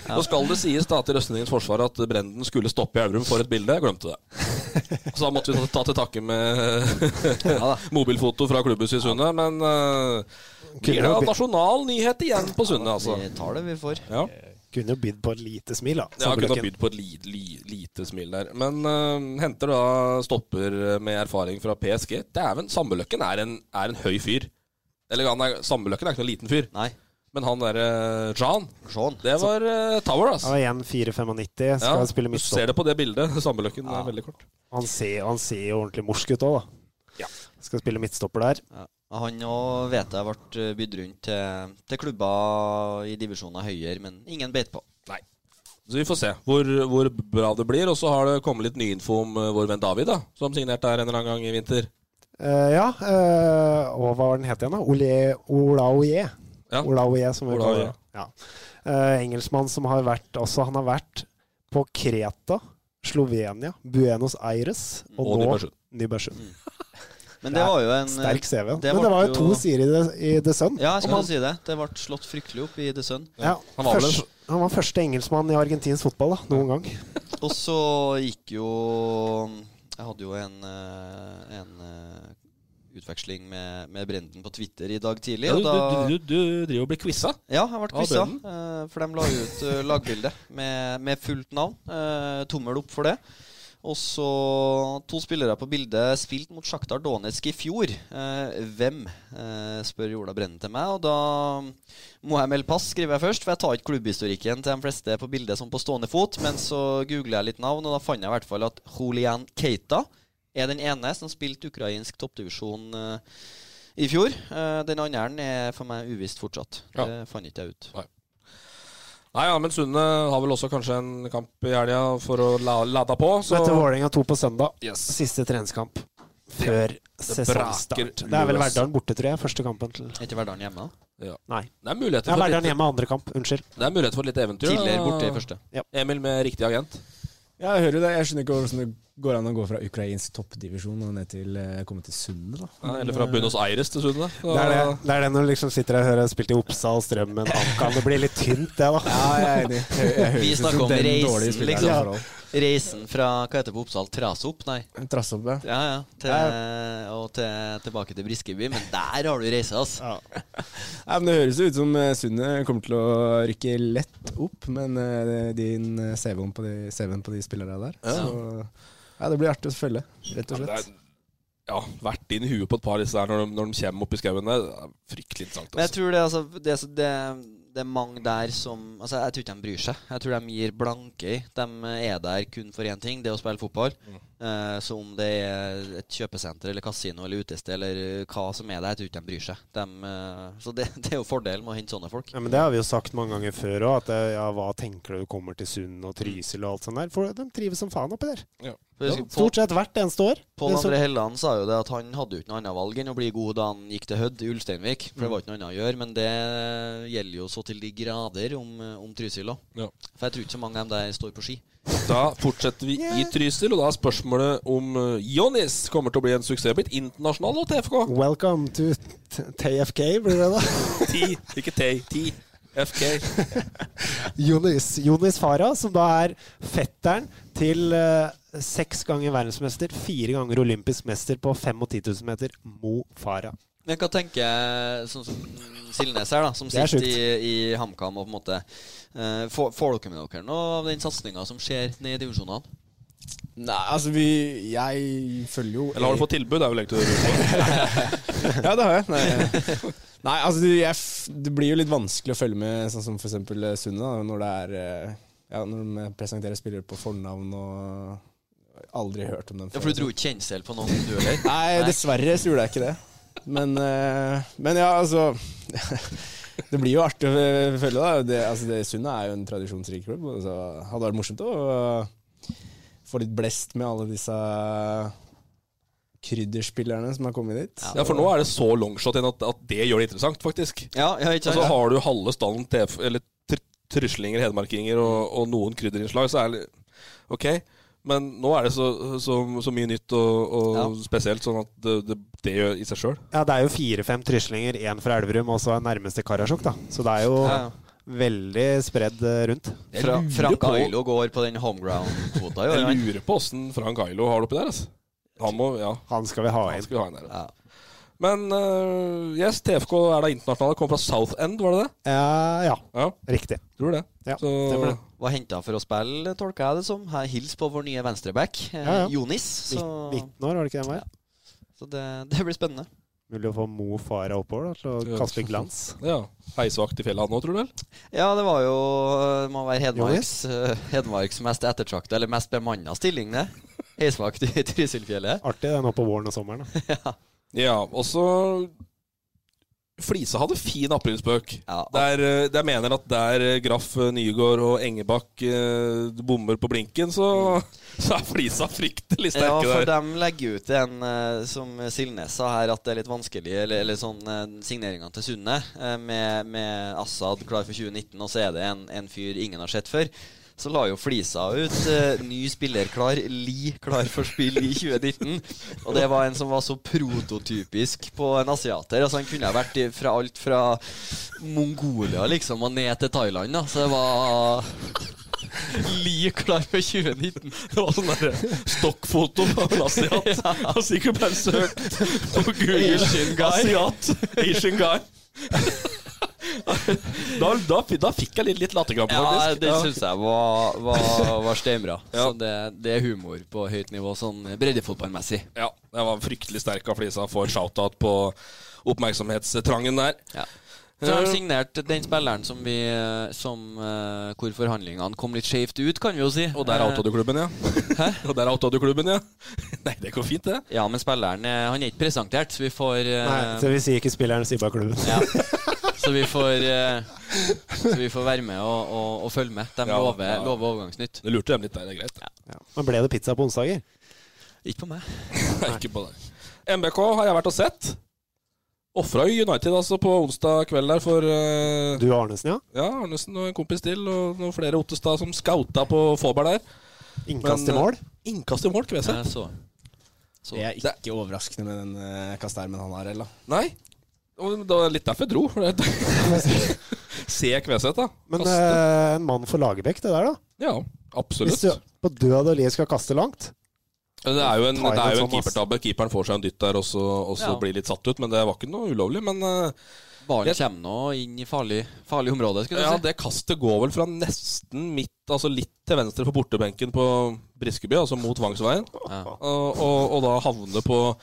[SPEAKER 3] Nå skal det sies da til Røstningens forsvar at Brenden skulle stoppe i Elverum for et bilde. Jeg glemte det. Så da måtte vi ta- ta til takke med
[SPEAKER 5] ja da.
[SPEAKER 3] mobilfoto fra klubbhuset i Sundet, men uh, blir det nasjonal nyhet igjen på Sundet, altså.
[SPEAKER 5] vi tar det vi får.
[SPEAKER 3] Ja.
[SPEAKER 4] Kunne jo bydd på et lite smil, da.
[SPEAKER 3] Ja, kunne ha
[SPEAKER 4] Sandbøkken.
[SPEAKER 3] bydd på et li, li, lite smil der. Men eh, henter da stopper eh, med erfaring fra PSG. Dæven, Sandbøløkken er, en- er en høy fyr. Eller han er, Sandbøløkken er ikke noen liten fyr,
[SPEAKER 5] Nei.
[SPEAKER 3] men han derre Jean,
[SPEAKER 5] Sean.
[SPEAKER 3] det var eh, Tower, altså.
[SPEAKER 4] Ja, igjen 4,95. Skal
[SPEAKER 3] Ja,
[SPEAKER 4] spille
[SPEAKER 3] du ser
[SPEAKER 4] midtstopp.
[SPEAKER 3] det på det bildet. Sandbøløkken er veldig kort.
[SPEAKER 4] Han ser, han ser jo ordentlig morsk ut òg, da. Skal spille midtstopper der.
[SPEAKER 5] Ja. Han òg vet jeg ble eh, bydd rundt til, til klubber i divisjoner høyere, men ingen beit på.
[SPEAKER 3] Så vi får se hvor, hvor bra det blir. Og så har det kommet litt nyinfo om eh, vår venn David, da, som signerte her en eller annen gang i vinter.
[SPEAKER 4] Eh, ja, eh, og hva var den het igjen, da? Ole, Olaoye.
[SPEAKER 3] Ja.
[SPEAKER 4] Olaoye, som vi kaller
[SPEAKER 3] Olaoye.
[SPEAKER 4] det. Ja. Eh, engelskmann som har vært også, Han har vært på Kreta, Slovenia, Buenos Aires og,
[SPEAKER 3] Og
[SPEAKER 4] nå
[SPEAKER 3] Nybergsund.
[SPEAKER 4] Nybergsund.
[SPEAKER 5] Men
[SPEAKER 4] Det
[SPEAKER 5] det
[SPEAKER 4] er
[SPEAKER 5] var jo en
[SPEAKER 4] Sterk CV.
[SPEAKER 5] eh, det
[SPEAKER 4] Men det var
[SPEAKER 5] ble
[SPEAKER 4] jo
[SPEAKER 5] jo-
[SPEAKER 4] to sider i The, i The Sun.
[SPEAKER 5] Ja, jeg
[SPEAKER 4] Og
[SPEAKER 5] skulle
[SPEAKER 4] han,
[SPEAKER 5] si det. Det ble slått fryktelig opp i The Sun.
[SPEAKER 4] ja,
[SPEAKER 3] Han var vel
[SPEAKER 4] først, han var første engelskmann i argentinsk fotball da, noen gang.
[SPEAKER 5] Og så gikk jo Jeg hadde jo en, eh, en eh, utveksling med, med Brenden på Twitter i dag tidlig.
[SPEAKER 3] Ja,
[SPEAKER 5] og
[SPEAKER 3] du,
[SPEAKER 5] da,
[SPEAKER 3] du, du, du driver og blir quiza?
[SPEAKER 5] ja, jeg
[SPEAKER 3] Av
[SPEAKER 5] ble quiza.
[SPEAKER 3] Brenden?
[SPEAKER 5] eh, For de la ut eh, lagbildet med, med fullt navn. Eh, Tommel opp for det. Og så to spillere på bildet spilt mot Sjaktar Donetsk i fjor. Eh, hvem, eh, spør Ola Brennen til meg. Og da må jeg melde pass, skriver jeg først. For jeg tar ikke klubbhistorikken til de fleste på bildet som på stående fot. Men så googler jeg litt navn, og da fant jeg i hvert fall at Julian Keita er den ene som spilte ukrainsk toppdivisjon eh, i fjor. Eh, den andre er for meg uvisst fortsatt.
[SPEAKER 3] Ja.
[SPEAKER 5] Det fant ikke jeg ut.
[SPEAKER 3] Nei, ja, men Sunne har vel også kanskje en kamp i helga for å la, lade på. Så
[SPEAKER 4] Møtte Vålerenga 2 på søndag.
[SPEAKER 3] Yes.
[SPEAKER 4] Siste treningskamp før
[SPEAKER 3] braker
[SPEAKER 4] sesongstart. Det er vel
[SPEAKER 3] løs.
[SPEAKER 4] Verdalen borte, tror jeg. Første kampen til
[SPEAKER 5] Er ikke Verdalen hjemme? da?
[SPEAKER 4] Nei.
[SPEAKER 3] det er
[SPEAKER 4] Det
[SPEAKER 3] muligheter
[SPEAKER 4] er
[SPEAKER 3] for,
[SPEAKER 4] Verdalen
[SPEAKER 3] litt,
[SPEAKER 4] hjemme andre kamp. Unnskyld.
[SPEAKER 3] det er mulighet for litt eventyr. da.
[SPEAKER 5] Tidligere borte i første.
[SPEAKER 3] Emil med riktig agent.
[SPEAKER 6] Ja, jeg hører jo det. Jeg skjønner ikke hvordan det går an å gå fra ukrainsk toppdivisjon og ned til eh, komme til Sunde, da.
[SPEAKER 3] Ja, eller fra
[SPEAKER 6] Men, eh,
[SPEAKER 3] Buenos Aires til Sunne.
[SPEAKER 4] Mm. Det er det, det er det når du liksom sitter og hører spilt i Oppsal, Strømmen, Ankan. Det blir litt tynt, det, da.
[SPEAKER 6] Ja, jeg er enig. Jeg- jeg hører
[SPEAKER 5] Vi
[SPEAKER 6] ikke
[SPEAKER 5] snakker
[SPEAKER 6] som
[SPEAKER 5] om
[SPEAKER 6] den
[SPEAKER 5] reisen,
[SPEAKER 6] dårlige spilleren
[SPEAKER 5] liksom.
[SPEAKER 6] i forhold.
[SPEAKER 5] Reisen fra hva heter det på Oppsal? Trasop? Nei.
[SPEAKER 6] Trasse opp, ja.
[SPEAKER 5] Ja, ja. Til, og til, tilbake til Briskeby. Men der har du reise, altså.
[SPEAKER 6] Nei, men Det høres jo ut som eh, Sundet kommer til å rykke lett opp, men eh, din eh, CV-en på de, CV-en på de spillerne der Så ja, det blir artig å følge, rett og
[SPEAKER 3] Det
[SPEAKER 6] slett.
[SPEAKER 3] er, ja, vært inn i huet på et par av disse der når de, når de kommer opp i skauen der. Det er Fryktelig interessant.
[SPEAKER 5] Men jeg
[SPEAKER 3] Altså.
[SPEAKER 5] tror det, altså, det, er så- det, det er mange der som altså, Jeg tror ikke de bryr seg. Jeg tror de gir blanke i. De er der kun for én ting, det å spille fotball.
[SPEAKER 4] Mm.
[SPEAKER 5] Eh, så om det er et kjøpesenter eller kasino eller utested eller hva som er der, jeg tror ikke de bryr seg. De, eh, så det, det er jo fordelen med å hente sånne folk.
[SPEAKER 4] Ja, men Det har vi jo sagt mange ganger før òg, at eh, ja, hva tenker du kommer til Sund og Trysil og alt sånt der? For de trives som faen oppi der.
[SPEAKER 5] For jeg husker Pål-
[SPEAKER 4] Stort sett hvert eneste år.
[SPEAKER 5] Pål
[SPEAKER 4] Men så-
[SPEAKER 5] André Helland sa jo det at han hadde jo ikke noe annet valg enn å bli god da han gikk til Hødd i Ulsteinvik.
[SPEAKER 4] Mm.
[SPEAKER 5] For det var ikke noe annet å gjøre. Men det gjelder jo så til de grader om, eh, om Trysil òg.
[SPEAKER 3] Ja.
[SPEAKER 5] For jeg tror ikke så mange av dem der står på ski.
[SPEAKER 3] Da fortsetter vi i Trysil, og da er spørsmålet om eh, Jonis kommer til å bli en suksessbit internasjonal nå til FK.
[SPEAKER 4] Welcome to t- TFK, blir det da?
[SPEAKER 3] Ti, ikke Tay. Ti. FK.
[SPEAKER 4] Jonis, Jonis Farah, som da er fetteren til eh, seks ganger verdensmester, fire ganger olympisk mester på 5 og 10 000 meter, Mo Farah.
[SPEAKER 5] Men hva tenker sånn som Silnes her, da, som
[SPEAKER 4] Det er
[SPEAKER 5] sitter
[SPEAKER 4] sjukt.
[SPEAKER 5] i, i HamKam og på en måte eh, Får får dere med dere noe av den satsinga som skjer nede i divisjonene?
[SPEAKER 6] Nei, altså vi Jeg følger jo
[SPEAKER 3] Eller har du fått tilbud? Det er vel egentlig det du lurer på.
[SPEAKER 6] Ja, det har jeg. Nei, Nei altså du, jeg, f- det blir jo litt vanskelig å følge med, sånn som f.eks. Sunde, da, når det er eh, Ja, når de presenterer spillere på fornavn og Aldri hørt om dem
[SPEAKER 5] Ja, for du dro ikke kjensel på noen, du heller?
[SPEAKER 6] Nei, dessverre så gjorde jeg ikke det. Men, eh, men ja, altså Det blir jo artig å følge, da. Det, altså, det Sundet er jo en tradisjonsrik klubb. og Så hadde det vært morsomt å få litt blest med alle disse krydderspillerne som har kommet dit.
[SPEAKER 3] Ja, for nå er det så longshot igjen at, at det gjør det interessant, faktisk.
[SPEAKER 5] Ja, ja,
[SPEAKER 3] Og så
[SPEAKER 5] ikke sant?
[SPEAKER 3] Altså, har du halve stallen til F- eller tr tryslinger, hedmarkinger og, og noen krydderinnslag, så er det OK. Men nå er det så, så, så mye nytt og, og spesielt, sånn at det, det, det gjør i seg sjøl.
[SPEAKER 4] Ja, det er jo fire-fem tryslinger, én fra Elverum og så en nærmeste Karasjok, da. Så det er jo
[SPEAKER 5] Ja, ja.
[SPEAKER 4] veldig spredd eh, rundt.
[SPEAKER 5] Fra,
[SPEAKER 3] lurer
[SPEAKER 5] Frank
[SPEAKER 3] på-
[SPEAKER 5] Ailo går på den homeground-kvota, jo.
[SPEAKER 3] Jeg
[SPEAKER 5] han.
[SPEAKER 3] lurer på åssen Frank Ailo har det oppi der. Altså. Han må, ja,
[SPEAKER 4] Han skal vi ha
[SPEAKER 3] han
[SPEAKER 4] inn.
[SPEAKER 3] skal vi ha en der.
[SPEAKER 5] Ja.
[SPEAKER 3] Men øh, yes, TFK er da internasjonale. Kom fra South End, var det det?
[SPEAKER 4] Ja, ja.
[SPEAKER 3] Ja,
[SPEAKER 4] Riktig.
[SPEAKER 3] tror det.
[SPEAKER 4] Ja,
[SPEAKER 3] Så,
[SPEAKER 4] stemmer det.
[SPEAKER 5] Var henta for å spille, tolka jeg det som. Her Hils på vår nye venstreback, eh,
[SPEAKER 4] Ja, ja.
[SPEAKER 5] Jonis.
[SPEAKER 4] Nitt-
[SPEAKER 5] Så,
[SPEAKER 4] 19 år, var det ikke det han var?
[SPEAKER 5] så det, det blir spennende.
[SPEAKER 4] Mulig å få Mo Farah oppover da, til
[SPEAKER 3] Ja.
[SPEAKER 4] å kaste litt glans.
[SPEAKER 3] ja. Heisevakt i fjellet han nå, tror du vel?
[SPEAKER 5] Ja, det var jo eh, må være Hedmarks, eh, Hedmarks mest ettertrakta, eller mest bemanna stilling, det. Heisvakt i Trysilfjellet.
[SPEAKER 4] Artig det nå på våren og sommeren. Da.
[SPEAKER 3] Ja, og så Flisa hadde fin aprilspøk.
[SPEAKER 5] Ja.
[SPEAKER 3] Der, eh, der mener at der eh, Graff, eh, Nygaard og Engebakk eh, bommer på blinken, så, så er Flisa fryktelig
[SPEAKER 5] Ja,
[SPEAKER 3] sterke
[SPEAKER 5] for
[SPEAKER 3] der.
[SPEAKER 5] de legger ut en, eh, som Silnes sa her, at det er litt vanskelig, eller, eller sånn eh, signeringene til Sunne, eh, med, med Assad klar for 2019, og så er det en, en fyr ingen har sett før. Så la jo Flisa ut eh, ny spiller klar, Li klar for spill i 2019. Og det var en som var så prototypisk på en asiater. Altså Han kunne ha vært i- fra alt fra Mongolia liksom og ned til Thailand. Da. Så det var Li klar for 2019.
[SPEAKER 3] Det var sånn derre stokkfoto på en asiat. Han sikkert bare søkt på Google.
[SPEAKER 5] Asian guy.
[SPEAKER 3] Asiat. Asian guy. Da, da, da fikk jeg litt, litt latterkrampe,
[SPEAKER 5] Ja,
[SPEAKER 3] faktisk.
[SPEAKER 5] det syns jeg var, var, var steinbra.
[SPEAKER 3] Ja.
[SPEAKER 5] Så det, det er humor på høyt nivå, sånn breddefotballmessig.
[SPEAKER 3] Ja, jeg var fryktelig sterk av flisa for shout-out på oppmerksomhetstrangen der.
[SPEAKER 5] Ja. Så har de signert den spilleren som vi som, eh, Hvor forhandlingene kom litt skjevt ut, kan vi jo si.
[SPEAKER 3] Og der
[SPEAKER 5] Eh,
[SPEAKER 3] outa du klubben, ja. Hæ? Og der outa du klubben, ja. Nei, det går fint, det.
[SPEAKER 5] Ja, men spilleren eh, han er ikke presentert, så vi får eh,
[SPEAKER 4] Nei, så vi sier ikke spilleren, sier bare klubben.
[SPEAKER 5] ja. Så vi får eh, Så vi får være med og, og, og følge med. De
[SPEAKER 3] Ja,
[SPEAKER 5] lover,
[SPEAKER 3] ja.
[SPEAKER 5] lover overgangsnytt.
[SPEAKER 3] Du lurte dem litt der, det er greit.
[SPEAKER 4] Ja. Men ble det pizza på onsdager?
[SPEAKER 5] Ikke på meg.
[SPEAKER 3] Nei, ikke på deg. MBK har jeg vært og sett. Ofra United altså på onsdag kveld der for eh,
[SPEAKER 4] Du og Arnesen, ja?
[SPEAKER 3] ja, Arnesen og en kompis til og noen flere Ottestad som skauta på Faaberg der.
[SPEAKER 4] Innkast
[SPEAKER 3] Men, eh,
[SPEAKER 4] i mål?
[SPEAKER 3] Innkast i mål, skal vi se.
[SPEAKER 5] Jeg Eh, så. Så.
[SPEAKER 6] Det er ikke overraskende med den eh, kastermen han har, eller?
[SPEAKER 3] Nei. Og det var litt derfor jeg dro. for det- Se Kveseth, da.
[SPEAKER 4] Men
[SPEAKER 3] Kaste.
[SPEAKER 4] eh, en mann for Lagerbäck, det der, da?
[SPEAKER 3] ja,
[SPEAKER 4] Hvis du
[SPEAKER 3] absolutt.
[SPEAKER 4] på død og liv skal kaste langt?
[SPEAKER 3] Men Det er jo en,
[SPEAKER 4] Ta i
[SPEAKER 3] det er
[SPEAKER 4] det,
[SPEAKER 3] jo en
[SPEAKER 4] Thomas.
[SPEAKER 3] keepertabbe. Keeperen får seg en dytt der og så, og så
[SPEAKER 5] Ja.
[SPEAKER 3] blir litt satt ut, men det var ikke noe ulovlig. Men eh,
[SPEAKER 5] Ballen
[SPEAKER 3] Jeg-
[SPEAKER 5] kommer nå inn i farlig, farlig område, skulle du
[SPEAKER 3] Ja,
[SPEAKER 5] si.
[SPEAKER 3] det kastet går vel fra nesten midt, altså litt til venstre for bortebenken på Briskeby, altså mot Vangsveien,
[SPEAKER 5] Ja.
[SPEAKER 3] og, og, og da havner på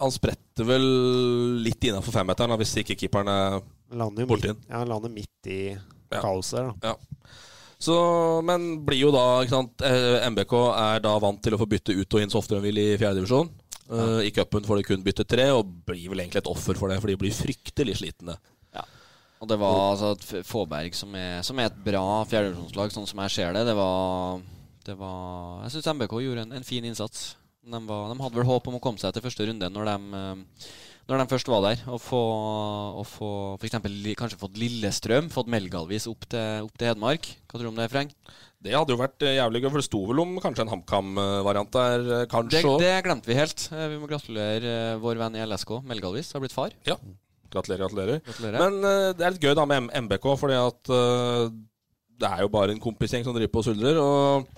[SPEAKER 3] Han spretter vel litt innafor femmeteren, da, hvis ikke keeperen er
[SPEAKER 4] Lander jo
[SPEAKER 3] Borti
[SPEAKER 4] midt, ja, han lander midt i
[SPEAKER 3] Ja.
[SPEAKER 4] kaoset der, da.
[SPEAKER 3] så, Men blir jo da ikke sant, eh, MBK er da vant til å få bytte ut og inn så ofte de vil i fjerdedivisjon. Uh, I cupen får de kun bytte tre, og blir vel egentlig et offer for det, for de blir fryktelig slitne.
[SPEAKER 5] Og det var altså at F- Fåberg, som er, som er et bra fjerdedivisjonslag, sånn som jeg ser det, det var, det var Jeg syns MBK gjorde en, en fin innsats. De, var, de hadde vel håp om å komme seg til første runde når de, eh, når de først var der. Og få, og få for eksempel, li- kanskje fått Lillestrøm, fått Melgalvis opp til, opp til Hedmark. Hva tror du om det, Freng?
[SPEAKER 3] Det hadde jo vært eh, jævlig gøy, for det sto vel om kanskje en HamKam-variant der, eh,
[SPEAKER 5] Det,
[SPEAKER 3] kanskje.
[SPEAKER 5] det glemte vi helt. Eh, Vi må gratulere eh, vår venn i LSK, Melgalvis, har blitt far.
[SPEAKER 3] Gratulerer, gratulerer.
[SPEAKER 5] Gratulerer.
[SPEAKER 3] Men eh, det er litt gøy da med M- MBK, fordi at eh, det er jo bare en kompisgjeng som driver på og suldrer. Og,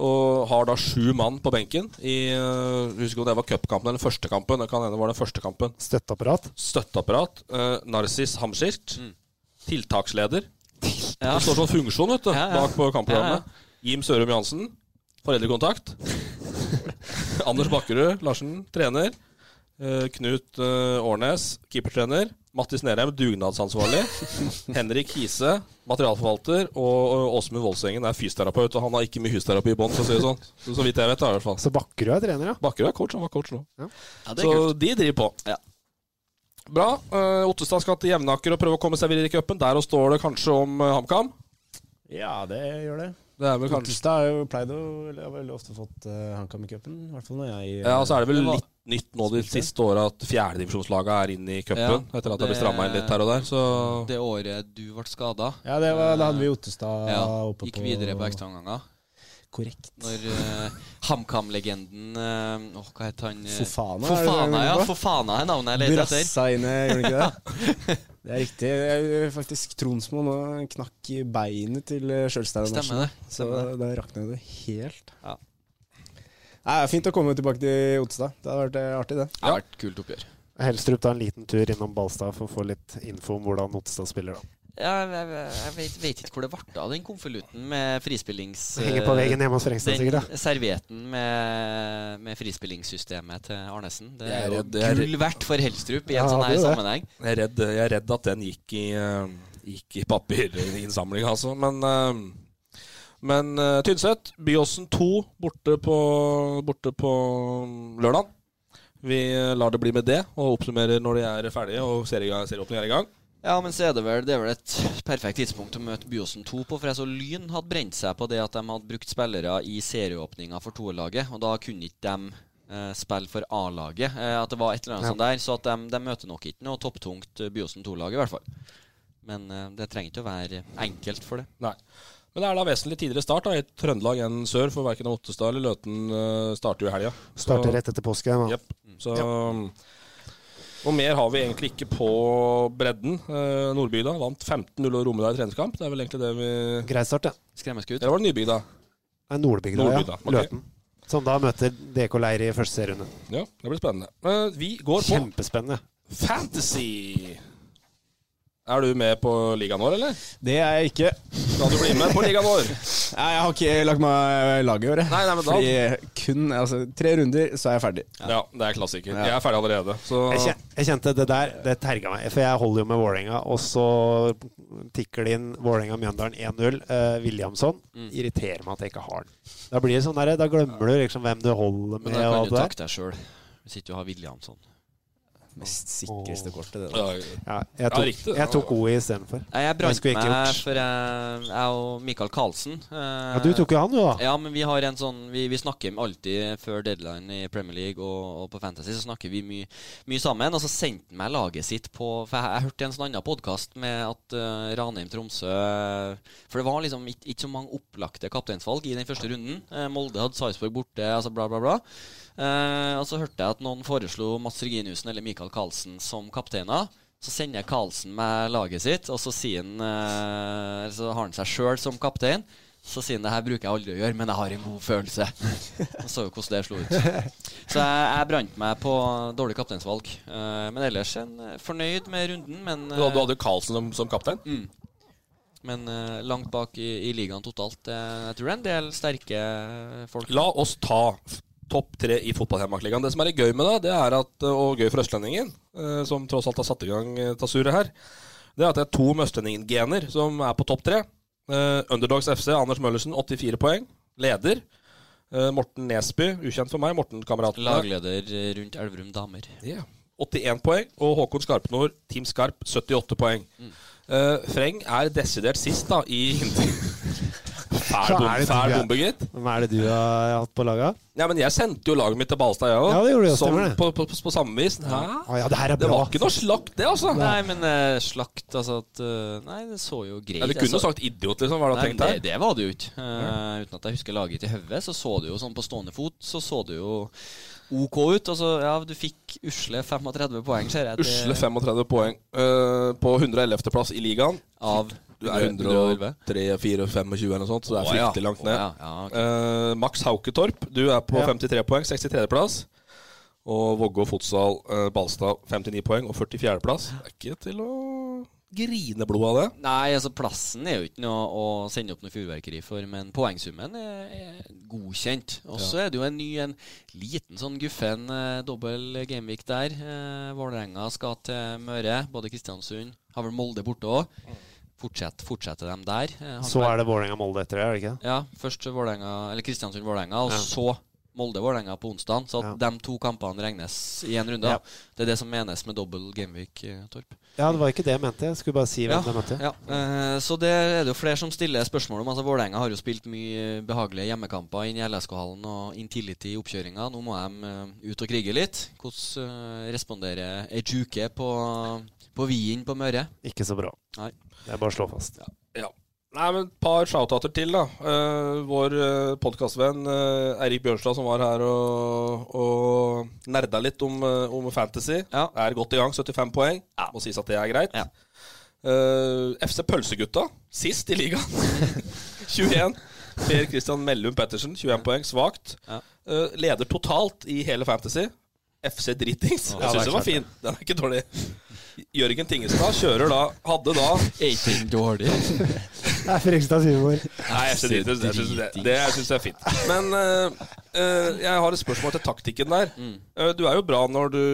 [SPEAKER 3] og har da sju mann på benken i eh, Husker ikke om det var cupkampen eller den første kampen. Det kan hende det var den første kampen.
[SPEAKER 4] Støtteapparat?
[SPEAKER 3] Støtteapparat. eh, Narsis Hamskilt.
[SPEAKER 5] Mm.
[SPEAKER 3] Tiltaksleder.
[SPEAKER 5] Ja.
[SPEAKER 3] Det står sånn funksjon vet du,
[SPEAKER 5] Ja, ja.
[SPEAKER 3] bak på
[SPEAKER 5] Ja,
[SPEAKER 3] kampprogrammet. Jim Sørum Johansen. Foreldrekontakt. Anders Bakkerud Larsen, trener. Eh, Knut eh, Årnes, keepertrener. Mattis Nerheim, dugnadsansvarlig. Henrik Hise, materialforvalter. Og og Åsmund Voldsengen er fysioterapeut, og han har ikke mye husterapi i bånn, for å si det sånn. Så, så vidt jeg vet, da, i hvert fall.
[SPEAKER 4] Så Bakkerud er trener, ja.
[SPEAKER 3] Bakkerud er coach, han var coach nå.
[SPEAKER 5] Ja, det er
[SPEAKER 3] Så
[SPEAKER 5] kult.
[SPEAKER 3] de driver på.
[SPEAKER 5] Ja.
[SPEAKER 3] Bra. Eh, Ottestad skal til Jevnaker og prøve å komme seg videre i cupen. Der og står det kanskje om eh, HamKam.
[SPEAKER 6] Ja, det gjør det.
[SPEAKER 3] Det er vel kanskje
[SPEAKER 6] Ottestad har jo pleid å eller har veldig ofte fått eh, HamKam i cupen, i hvert fall når jeg
[SPEAKER 3] Ja, og så er det vel
[SPEAKER 5] Det var-
[SPEAKER 3] litt nytt nå de siste åra at fjerdedivisjonslaga er inne i cupen.
[SPEAKER 5] Ja,
[SPEAKER 3] etter at det har blitt
[SPEAKER 5] det-
[SPEAKER 3] stramma inn litt her og der, så
[SPEAKER 5] Det året du ble skada,
[SPEAKER 6] Ja, det var, da hadde vi Ottestad
[SPEAKER 5] ja,
[SPEAKER 6] oppe
[SPEAKER 5] gikk videre på ekstraomganger.
[SPEAKER 6] Korrekt.
[SPEAKER 5] Når eh, HamKam-legenden eh, åh, Hva het han? eh,
[SPEAKER 6] Fofana, er det det
[SPEAKER 5] Fofana,
[SPEAKER 6] han
[SPEAKER 5] ja.
[SPEAKER 6] heter?
[SPEAKER 5] Fofana er navnet jeg
[SPEAKER 6] Du
[SPEAKER 5] leter etter.
[SPEAKER 6] rassa inn, eh, gjorde du ikke det? Det er riktig. Jeg, faktisk Tronsmo nå knakk i beinet til eh, Sjølstein
[SPEAKER 5] Stemmer det.
[SPEAKER 6] Så
[SPEAKER 5] Stemmer det.
[SPEAKER 6] da rakna det helt.
[SPEAKER 5] Ja.
[SPEAKER 6] Nei, det er Fint å komme tilbake til Otstad. Det hadde vært eh, artig, det.
[SPEAKER 5] Det har vært et kult oppgjør.
[SPEAKER 4] Helstrup tar en liten tur innom Balstad for å få litt info om hvordan Ottestad spiller, da.
[SPEAKER 5] Ja, jeg, jeg, jeg vet, vet ikke hvor det ble av den konvolutten med frispillings... eh,
[SPEAKER 4] Henger på
[SPEAKER 3] Eh,
[SPEAKER 4] veggen hjemme hos Frengstad, sikkert. da.
[SPEAKER 5] Den servietten med, med frispillingssystemet til Arnesen. Det
[SPEAKER 3] Jeg er
[SPEAKER 5] er jo
[SPEAKER 3] redd- jeg er
[SPEAKER 5] gull verdt for Helstrup i en
[SPEAKER 4] Ja,
[SPEAKER 5] sånn her
[SPEAKER 4] det er det.
[SPEAKER 5] sammenheng.
[SPEAKER 3] jeg er redd, jeg er redd at den gikk i, eh, gikk i papirinnsamlinga, altså. Men, eh, men eh, Tynset, Byåsen 2 borte på, borte på mm, lørdag. Vi lar det bli med det, og oppsummerer når de er ferdige og serieåpningen er i gang.
[SPEAKER 5] Ja, men så er det vel, det er vel et perfekt tidspunkt å møte Byåsen 2 på, for jeg så Lyn hadde brent seg på det at de hadde brukt spillere i serieåpninga for toerlaget, og da kunne ikke de eh, spille for A-laget. Eh, at det var et eller annet
[SPEAKER 4] Ja.
[SPEAKER 5] sånt der, så at de, de møter nok ikke noe topptungt eh, Byåsen 2-lag, i hvert fall. Men eh, det trenger ikke å være enkelt for det.
[SPEAKER 3] Nei. Men det er da vesentlig tidligere start da, i Trøndelag enn sør, for verken Ottestad eller Løten eh, starter jo i helga. Så-
[SPEAKER 4] Starter rett etter påske. da.
[SPEAKER 3] Jepp. Så um, Og mer har vi egentlig ikke på bredden. Eh, Nordby da vant 15-0 over Romedal i treningskamp. Det er vel egentlig det vi
[SPEAKER 4] Grei start, ja.
[SPEAKER 5] Skremmeskudd.
[SPEAKER 3] Eller var det Nybygda?
[SPEAKER 4] Nei, Nordbygda,
[SPEAKER 3] Nordbygda,
[SPEAKER 4] ja.
[SPEAKER 3] ok.
[SPEAKER 4] Løten. Som da møter DK Leir i første serierunde.
[SPEAKER 3] Ja, det blir spennende. Eh, Vi går på
[SPEAKER 4] Kjempespennende.
[SPEAKER 3] Fantasy. Er du med på ligaen vår, eller?
[SPEAKER 6] Det er jeg ikke.
[SPEAKER 3] Skal du bli med på ligaen vår?
[SPEAKER 6] Nei, jeg har ikke lagt meg i laget i år. jeg.
[SPEAKER 3] Nei, nei, men da-
[SPEAKER 6] Fordi kun altså, tre runder, så er jeg ferdig.
[SPEAKER 3] Ja, det er klassiker. Jeg er ferdig allerede. Så
[SPEAKER 4] Jeg kjen- jeg kjente det der, det terga meg. For jeg holder jo med Vålerenga, og så tikker det inn Vålerenga-Mjøndalen 1-0. Eh, Williamson irriterer meg at jeg ikke har den. Da blir det sånn der, da glemmer du liksom hvem du holder
[SPEAKER 5] Men
[SPEAKER 4] med.
[SPEAKER 5] da
[SPEAKER 4] og
[SPEAKER 5] kan
[SPEAKER 4] alt
[SPEAKER 5] du
[SPEAKER 4] det der.
[SPEAKER 5] takke deg sjøl. Hvis ikke du har Williamson.
[SPEAKER 6] Mest sikreste kortet, det. da.
[SPEAKER 3] Ja,
[SPEAKER 4] Ja, jeg
[SPEAKER 3] Ja,
[SPEAKER 4] tok,
[SPEAKER 3] riktig.
[SPEAKER 4] jeg tok O istedenfor.
[SPEAKER 5] Nei, jeg
[SPEAKER 4] Det
[SPEAKER 5] brant
[SPEAKER 4] skulle jeg ikke
[SPEAKER 5] meg
[SPEAKER 4] gjort.
[SPEAKER 5] for jeg, jeg og Michael Karlsen. eh,
[SPEAKER 4] Ja, du tok jo han, du, da.
[SPEAKER 5] Ja, men vi har en sånn Vi, vi snakker alltid før deadline i Premier League og, og på Fantasy, så snakker vi mye mye sammen. Og så sendte han meg laget sitt på For jeg, jeg hørte en sånn annen podkast med at eh, Ranheim Tromsø For det var liksom ikke, ikke så mange opplagte kapteinsvalg i den første runden. Eh, Molde hadde Sarpsborg borte, altså bla, bla, bla. Eh, og så hørte jeg at noen foreslo Mats Reginiussen eller Michael Karlsen som kapteiner. Så sender jeg Karlsen med laget sitt, og så, sier han, eh, så har han seg sjøl som kaptein. Så sier han det her bruker jeg aldri å gjøre, men jeg har en god følelse. Jeg så jo hvordan det slo ut. Så jeg, jeg brant meg på dårlig kapteinsvalg. Eh, men ellers en, eh, fornøyd med runden, men, eh,
[SPEAKER 3] Du hadde- du hadde jo Carlsen som, som kaptein.
[SPEAKER 5] men eh, langt bak i, i ligaen totalt. Eh, jeg tror det er en del sterke folk.
[SPEAKER 3] La oss ta f- topp tre i fotballhjemmakligaen. Det som er litt gøy med det, det er at, og gøy for østlendingen, eh, som tross alt har satt i gang eh, Tasuret her, det er at det er to med østlendingen-gener som er på topp tre. Eh, Underdogs FC, Anders Møllersen, 84 poeng. Leder. Eh, Morten Nesby, ukjent for meg. Morten-kameraten.
[SPEAKER 5] Lagleder rundt Elverum damer.
[SPEAKER 3] Ja. 81 poeng. Og Håkon Skarpnord, Team Skarp, 78 poeng. Eh, Freng er desidert sist da i Fæl
[SPEAKER 4] Så
[SPEAKER 3] bom-
[SPEAKER 4] er det
[SPEAKER 3] fæl
[SPEAKER 4] du er-
[SPEAKER 3] bombe, gitt.
[SPEAKER 4] Hvem er det du har hatt på laga?
[SPEAKER 3] Ja, men jeg sendte jo laget mitt til Balstad, jeg òg.
[SPEAKER 4] Ja, det gjorde du,
[SPEAKER 3] Som-
[SPEAKER 4] stemmer det.
[SPEAKER 3] På, på, på, på samme vis. Hæ?
[SPEAKER 4] Å ja, det her er
[SPEAKER 3] Det
[SPEAKER 4] bra.
[SPEAKER 3] var ikke noe slakt, det, altså.
[SPEAKER 5] Nei, men eh, slakt, altså at eh, Nei, det så jo greit
[SPEAKER 3] Eller kunne jo
[SPEAKER 5] altså.
[SPEAKER 3] sagt idiot, liksom. Var det
[SPEAKER 5] Nei,
[SPEAKER 3] jeg
[SPEAKER 5] men
[SPEAKER 3] tenkte
[SPEAKER 5] det,
[SPEAKER 3] her?
[SPEAKER 5] det var det jo ikke. Eh, uten at jeg husker laget i hodet, så så det jo sånn på stående fot så så det jo OK ut. Altså, ja, du fikk usle 35 poeng, ser jeg. til-
[SPEAKER 3] Usle 35 poeng eh, på 111. plass i ligaen.
[SPEAKER 5] Av
[SPEAKER 3] Du er
[SPEAKER 5] 111.
[SPEAKER 3] 103, 4, 25 eller noe sånt, så det er
[SPEAKER 5] Å, ja.
[SPEAKER 3] fryktelig langt ned.
[SPEAKER 5] Å, ja. Ja, ok.
[SPEAKER 3] Eh, Max Hauketorp, du er på
[SPEAKER 4] Ja.
[SPEAKER 3] 53 poeng, 63. plass. Og Vågå Fotsal eh, Balstad 59 poeng og 44. plass. Det er ikke til å grine blod av det.
[SPEAKER 5] Nei, altså plassen er jo ikke noe å sende opp noe fyrverkeri for, men poengsummen er, er godkjent. Og så er det jo en ny, en liten sånn guffen eh, dobbel gameweek der. Eh, Vålerenga skal til Møre, både Kristiansund, har vel Molde borte òg. Fortsett, fortsetter de der. Eh, har
[SPEAKER 4] Så er det Vålerenga-Molde etter det, er det ikke?
[SPEAKER 5] ja, først Vålerenga, eller Kristiansund-Vålerenga, og så Molde-Vålerenga på onsdag. Så at de to kampene regnes i én runde. da.
[SPEAKER 4] Ja.
[SPEAKER 5] Det er det som menes med dobbel gameweek, eh, Torp.
[SPEAKER 4] Ja, det var ikke det jeg mente. Jeg skulle bare si hvem
[SPEAKER 5] Ja,
[SPEAKER 4] jeg mente.
[SPEAKER 5] ja. Eh, Så det er det jo flere som stiller spørsmål om. Altså Vålerenga har jo spilt mye behagelige hjemmekamper inn i LSK-hallen og Intility i oppkjøringa. Nå må de eh, ut og krige litt. Hvordan eh, responderer Ejuke på, på Wien på Møre?
[SPEAKER 4] Ikke så bra.
[SPEAKER 5] Nei.
[SPEAKER 4] Det er bare å slå fast.
[SPEAKER 3] Ja. Nei, men et par shoutouter til, da. Eh, vår eh, podkastvenn eh, Eirik Bjørnstad, som var her og, og nerda litt om, eh, om fantasy,
[SPEAKER 5] Ja.
[SPEAKER 3] er godt i gang. 75 poeng. Må sies at det er greit.
[SPEAKER 5] Ja.
[SPEAKER 3] Eh, FC Pølsegutta, sist i ligaen. 21. Per Christian Mellum Pettersen, 21 poeng. Svakt.
[SPEAKER 5] Ja.
[SPEAKER 3] Eh, leder totalt i hele Fantasy. FC Dritings.
[SPEAKER 4] det
[SPEAKER 3] Jeg
[SPEAKER 4] er
[SPEAKER 3] syns den var
[SPEAKER 4] klart det.
[SPEAKER 3] fin. Den er ikke dårlig. Jørgen Tingestad kjører da Hadde da
[SPEAKER 5] Er ikke den dårlig?
[SPEAKER 4] Det er Fredrikstads humor.
[SPEAKER 3] Nei, FC Dritings. Det syns jeg, det synes jeg er fint. Men eh, eh, jeg har et spørsmål til taktikken der. Eh, du er jo bra når du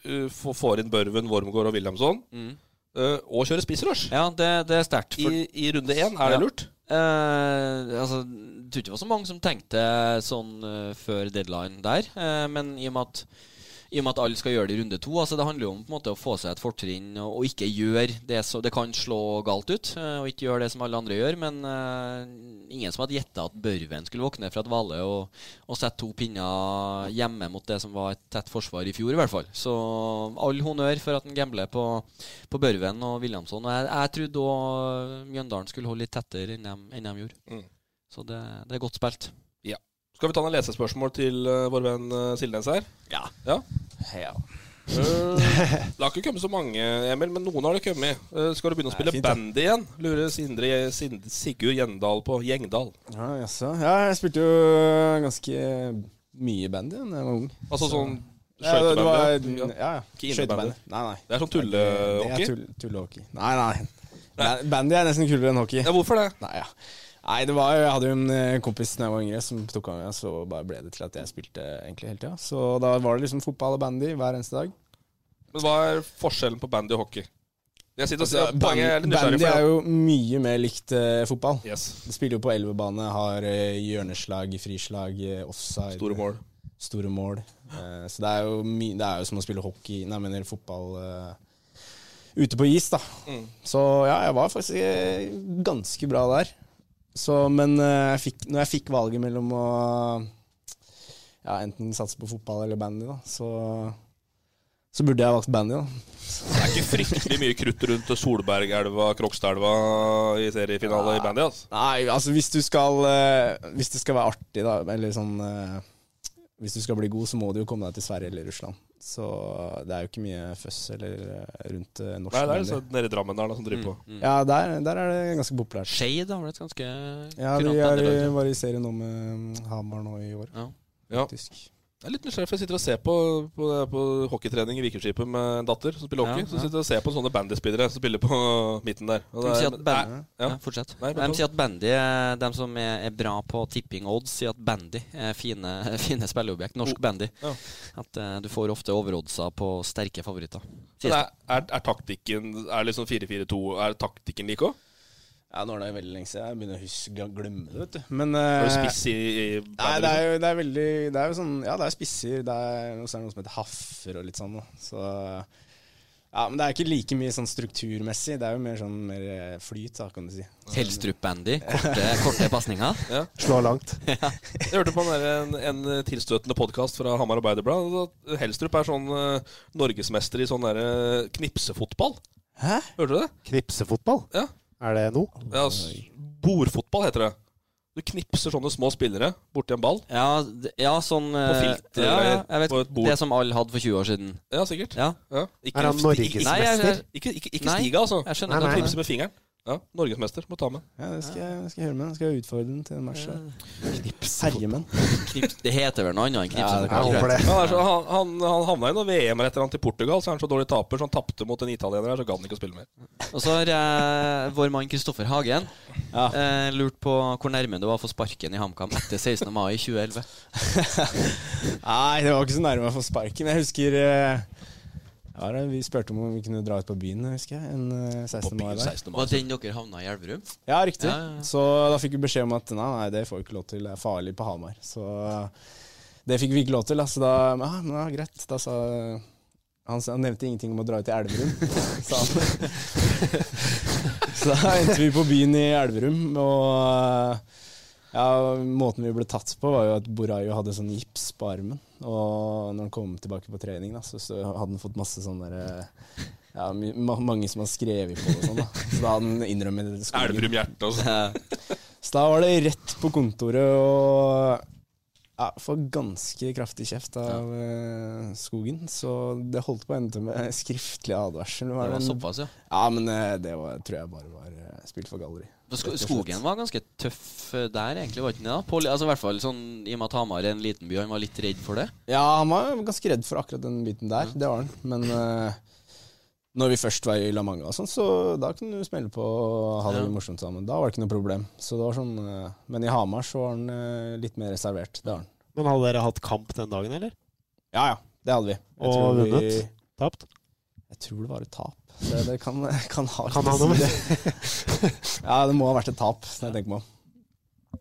[SPEAKER 3] eh, får- får inn Børven, Wormgård og Wilhelmsson, eh, og kjører spissrush.
[SPEAKER 5] Ja, det, det er sterkt. for-
[SPEAKER 3] I, I runde én, er det
[SPEAKER 5] Ja.
[SPEAKER 3] lurt?
[SPEAKER 5] Eh, altså, jeg tror ikke det var så mange som tenkte sånn eh, før deadline der. Eh, men i og med at i og med at alle skal gjøre det i runde to. altså Det handler jo om på en måte å få seg et fortrinn og, og ikke gjøre det som Det kan slå galt ut, eh, og ikke gjøre det som alle andre gjør. Men eh, ingen som hadde gjetta at Børven skulle våkne fra et hvale og, og sette to pinner hjemme mot det som var et tett forsvar i fjor, i hvert fall. Så all honnør for at han gambler på, på Børven og Williamson. Og jeg, jeg trodde òg Mjøndalen skulle holde litt tettere enn de, enn de gjorde.
[SPEAKER 3] Mm.
[SPEAKER 5] Så det, det er godt spilt.
[SPEAKER 3] Skal vi ta noen lesespørsmål til eh, vår venn eh, Silnes her?
[SPEAKER 5] Ja.
[SPEAKER 3] Ja. Eh, det har ikke kommet så mange, Emil, men noen har det kommet. Eh, skal du begynne å
[SPEAKER 6] Det er
[SPEAKER 3] spille
[SPEAKER 6] fint, da.
[SPEAKER 3] band igjen? Lurer Sindre, Sind, Sigurd Gjendal på Gjengdal.
[SPEAKER 6] Ja, jaså. Ja, jeg spilte jo ganske mye i band da jeg var ung.
[SPEAKER 3] Altså
[SPEAKER 6] Så-
[SPEAKER 3] sånn
[SPEAKER 6] Ja, det- det var-
[SPEAKER 3] skøytebandet?
[SPEAKER 6] Ja, ja.
[SPEAKER 3] Ikke innebandet.
[SPEAKER 6] Skøytebandet. Nei, nei.
[SPEAKER 3] Det er sånn
[SPEAKER 6] Det er
[SPEAKER 3] tullehockey?
[SPEAKER 6] tull- tullehockey. Nei, nei. Ba- Bandy er nesten kulere enn hockey.
[SPEAKER 3] Ja, hvorfor det?
[SPEAKER 6] Nei, ja. Nei, det var, jeg hadde jo en eh, kompis da jeg var yngre som tok av meg, så bare ble det til at jeg spilte egentlig hele tida. Så da var det liksom fotball og bandy hver eneste dag.
[SPEAKER 3] Men hva er forskjellen på bandy og hockey? Jeg sitter og
[SPEAKER 6] Altså,
[SPEAKER 3] sier poenget er litt nysgjerrig
[SPEAKER 6] bandy er
[SPEAKER 3] for.
[SPEAKER 6] jo mye mer likt eh, fotball.
[SPEAKER 3] Yes.
[SPEAKER 6] Det spiller jo på elvebane, har eh, hjørneslag, frislag, eh, offside.
[SPEAKER 3] Store mål.
[SPEAKER 6] Store mål. Eh, så det er, jo my det er jo som å spille hockey, nei, men eller fotball eh, ute på is, da. Så ja, jeg var faktisk eh, ganske bra der. Så, men eh, jeg fikk, når jeg fikk valget mellom å ja, enten satse på fotball eller bandy, da, så, så burde jeg valgt bandy, da.
[SPEAKER 3] Det er ikke fryktelig mye krutt rundt Solbergelva, Krokstadelva i seriefinale i bandy. Altså.
[SPEAKER 6] Nei, altså hvis du skal eh, Hvis det skal være artig da Eller sånn eh, Hvis du skal bli god så må du jo komme deg til Sverige eller Russland Så eh, det er jo ikke mye føss Eller eh, rundt eh, norsk
[SPEAKER 3] Nei, det er
[SPEAKER 6] bandy.
[SPEAKER 3] altså nede i Drammen der da, som
[SPEAKER 6] Mm.
[SPEAKER 3] driver på.
[SPEAKER 6] Ja, der, der er det ganske populært
[SPEAKER 5] Shade Mm. har blitt ganske
[SPEAKER 6] Ja, vi er, i- var i serien nå med mm, Hamar nå i år
[SPEAKER 3] Ja.
[SPEAKER 6] faktisk.
[SPEAKER 3] Jeg er litt nysgjerrig, for jeg sitter og ser på, på, på hockeytrening i Vikerskipet med en datter som spiller hockey.
[SPEAKER 5] Ja,
[SPEAKER 3] Så
[SPEAKER 5] ja.
[SPEAKER 3] sitter jeg og ser på sånne bandyspillere som spiller på midten der. Og
[SPEAKER 5] De
[SPEAKER 3] det er-
[SPEAKER 5] sier at bandy,
[SPEAKER 3] Nei,
[SPEAKER 5] ja.
[SPEAKER 3] ja.
[SPEAKER 5] fortsett.
[SPEAKER 3] Nei, bare
[SPEAKER 5] de
[SPEAKER 3] ta.
[SPEAKER 5] sier at bandy, eh, de som er, er bra på tipping odds, sier at bandy er fine, fine spilleobjekt. Norsk bandy.
[SPEAKER 3] Oh. Ja.
[SPEAKER 5] At eh, du får ofte overoddser på sterke favoritter.
[SPEAKER 3] Men
[SPEAKER 5] Sies det.
[SPEAKER 3] er, er, er taktikken Er liksom 4-4-2 Er taktikken lik òg?
[SPEAKER 6] Ja, nå er det veldig lenge siden Jeg begynner å huske å glemme det, vet du Men
[SPEAKER 3] Er du
[SPEAKER 6] eh,
[SPEAKER 3] spiss i, i
[SPEAKER 6] Nei,
[SPEAKER 3] bandy?
[SPEAKER 6] det
[SPEAKER 3] liksom?
[SPEAKER 6] er jo det er veldig Det er jo sånn Ja, det er spisser, det er, og så er det noe som heter haffer og litt sånn, da. Så Ja, men det er ikke like mye sånn strukturmessig. Det er jo mer sånn mer eh, flyt, da, kan du si.
[SPEAKER 5] Helstrup-bandy. Korte, korte pasninger.
[SPEAKER 4] Slå langt.
[SPEAKER 3] Jeg hørte på en, en, en tilstøtende podkast fra Hamar Arbeiderblad. og at Helstrup er sånn eh, norgesmester i sånn der, eh, knipsefotball.
[SPEAKER 6] Hæ?
[SPEAKER 3] Hørte du det?
[SPEAKER 4] Knipsefotball?
[SPEAKER 3] Ja.
[SPEAKER 4] Er det noe?
[SPEAKER 3] Ja, s- bordfotball heter det. Du knipser sånne små spillere borti en ball.
[SPEAKER 5] Ja, d- ja, sånn eh,
[SPEAKER 3] På filt,
[SPEAKER 5] ja, ja,
[SPEAKER 3] eller
[SPEAKER 5] jeg vet,
[SPEAKER 3] på et bord.
[SPEAKER 5] Det som alle hadde for 20 år siden.
[SPEAKER 3] Ja, sikkert.
[SPEAKER 5] Ja.
[SPEAKER 3] Ja. Ikke,
[SPEAKER 4] Er han
[SPEAKER 3] sti-
[SPEAKER 4] norgesmester?
[SPEAKER 3] Ikke,
[SPEAKER 5] Nei, jeg, jeg,
[SPEAKER 3] ikke, ikke, ikke
[SPEAKER 5] Nei.
[SPEAKER 3] stiga, altså.
[SPEAKER 5] jeg
[SPEAKER 4] Nei,
[SPEAKER 5] skjønner.
[SPEAKER 3] Han
[SPEAKER 4] nei,
[SPEAKER 3] knipser med fingeren. Ja, Norgesmester. Må ta med.
[SPEAKER 6] Ja, det skal jeg, det skal jeg høre med. Det skal jeg utfordre den til en match. der. Herjemenn.
[SPEAKER 5] Knips, det heter vel noe annet enn
[SPEAKER 6] Ja,
[SPEAKER 5] knipse?
[SPEAKER 6] det
[SPEAKER 4] Jeg håper det.
[SPEAKER 3] Ja, han, er så, han, han, han havna i noe VM rett etter han til Portugal, så er han så dårlig taper, så han tapte mot en italiener her, så gadd han ikke å spille mer.
[SPEAKER 5] Og så har eh, vår mann Kristoffer Hagen
[SPEAKER 6] Ja.
[SPEAKER 5] eh, lurt på hvor nærme det var å få sparken i HamKam etter 16. mai 2011.
[SPEAKER 6] Nei, det var ikke så nærme å få sparken. Jeg husker eh, ja, det, Vi spurte om vi kunne dra ut på byen, husker jeg. En eh, 16. mai der.
[SPEAKER 5] Var den dere havna i Elverum?
[SPEAKER 6] Ja, riktig.
[SPEAKER 5] Ja, ja, ja.
[SPEAKER 6] Så da fikk vi beskjed om at nei, nei, det får vi ikke lov til, det er farlig på Hamar. Så det fikk vi ikke lov til, da. Så da ja, men ja, greit. Da sa han, sa- han nevnte ingenting om å dra ut i Elverum, sa han. Så da endte vi på byen i Elverum, og ja, måten vi ble tatt på, var jo at Borayo hadde sånn gips på armen. Og når han kom tilbake på trening, da, så, så hadde han fått masse sånn derre ja, my- ma mange som har skrevet på det og sånn, da. Så da hadde han innrømmet det. skogen.
[SPEAKER 3] Elverum hjerte, altså.
[SPEAKER 6] Så da var det rett på kontoret og ja, få ganske kraftig kjeft av eh, skogen. Så det holdt på å ende med skriftlig advarsel.
[SPEAKER 5] Det var
[SPEAKER 6] en-
[SPEAKER 5] såpass, ja.
[SPEAKER 6] Ja, men eh, det var, tror jeg bare var eh, spilt for galleri.
[SPEAKER 5] For Sko skogen var ganske tøff eh, der, egentlig, var ikke den det? da? På, li- altså, I hvert fall sånn, i og med at Hamar er en liten by, han var litt redd for det.
[SPEAKER 6] Ja, han var ganske redd for akkurat den biten der. Det var han. Men eh, når vi først var i La Manga, og sånn, så da kunne du smelle på og ha det
[SPEAKER 5] Ja.
[SPEAKER 6] morsomt sammen. Da var det ikke noe problem. Så det var sånn, eh, men i Hamar så var han eh, litt mer reservert. Det var han.
[SPEAKER 4] Men hadde dere hatt kamp den dagen, eller?
[SPEAKER 6] Ja ja, det hadde vi. Jeg
[SPEAKER 4] Og
[SPEAKER 6] tror vi-
[SPEAKER 4] vunnet? Tapt?
[SPEAKER 6] Jeg tror det var et tap. Det, det kan, kan ha
[SPEAKER 4] Kan
[SPEAKER 6] litt
[SPEAKER 4] ha
[SPEAKER 6] å
[SPEAKER 4] noe
[SPEAKER 6] si,
[SPEAKER 4] med
[SPEAKER 6] Ja, det må ha vært et tap, når jeg tenker meg om.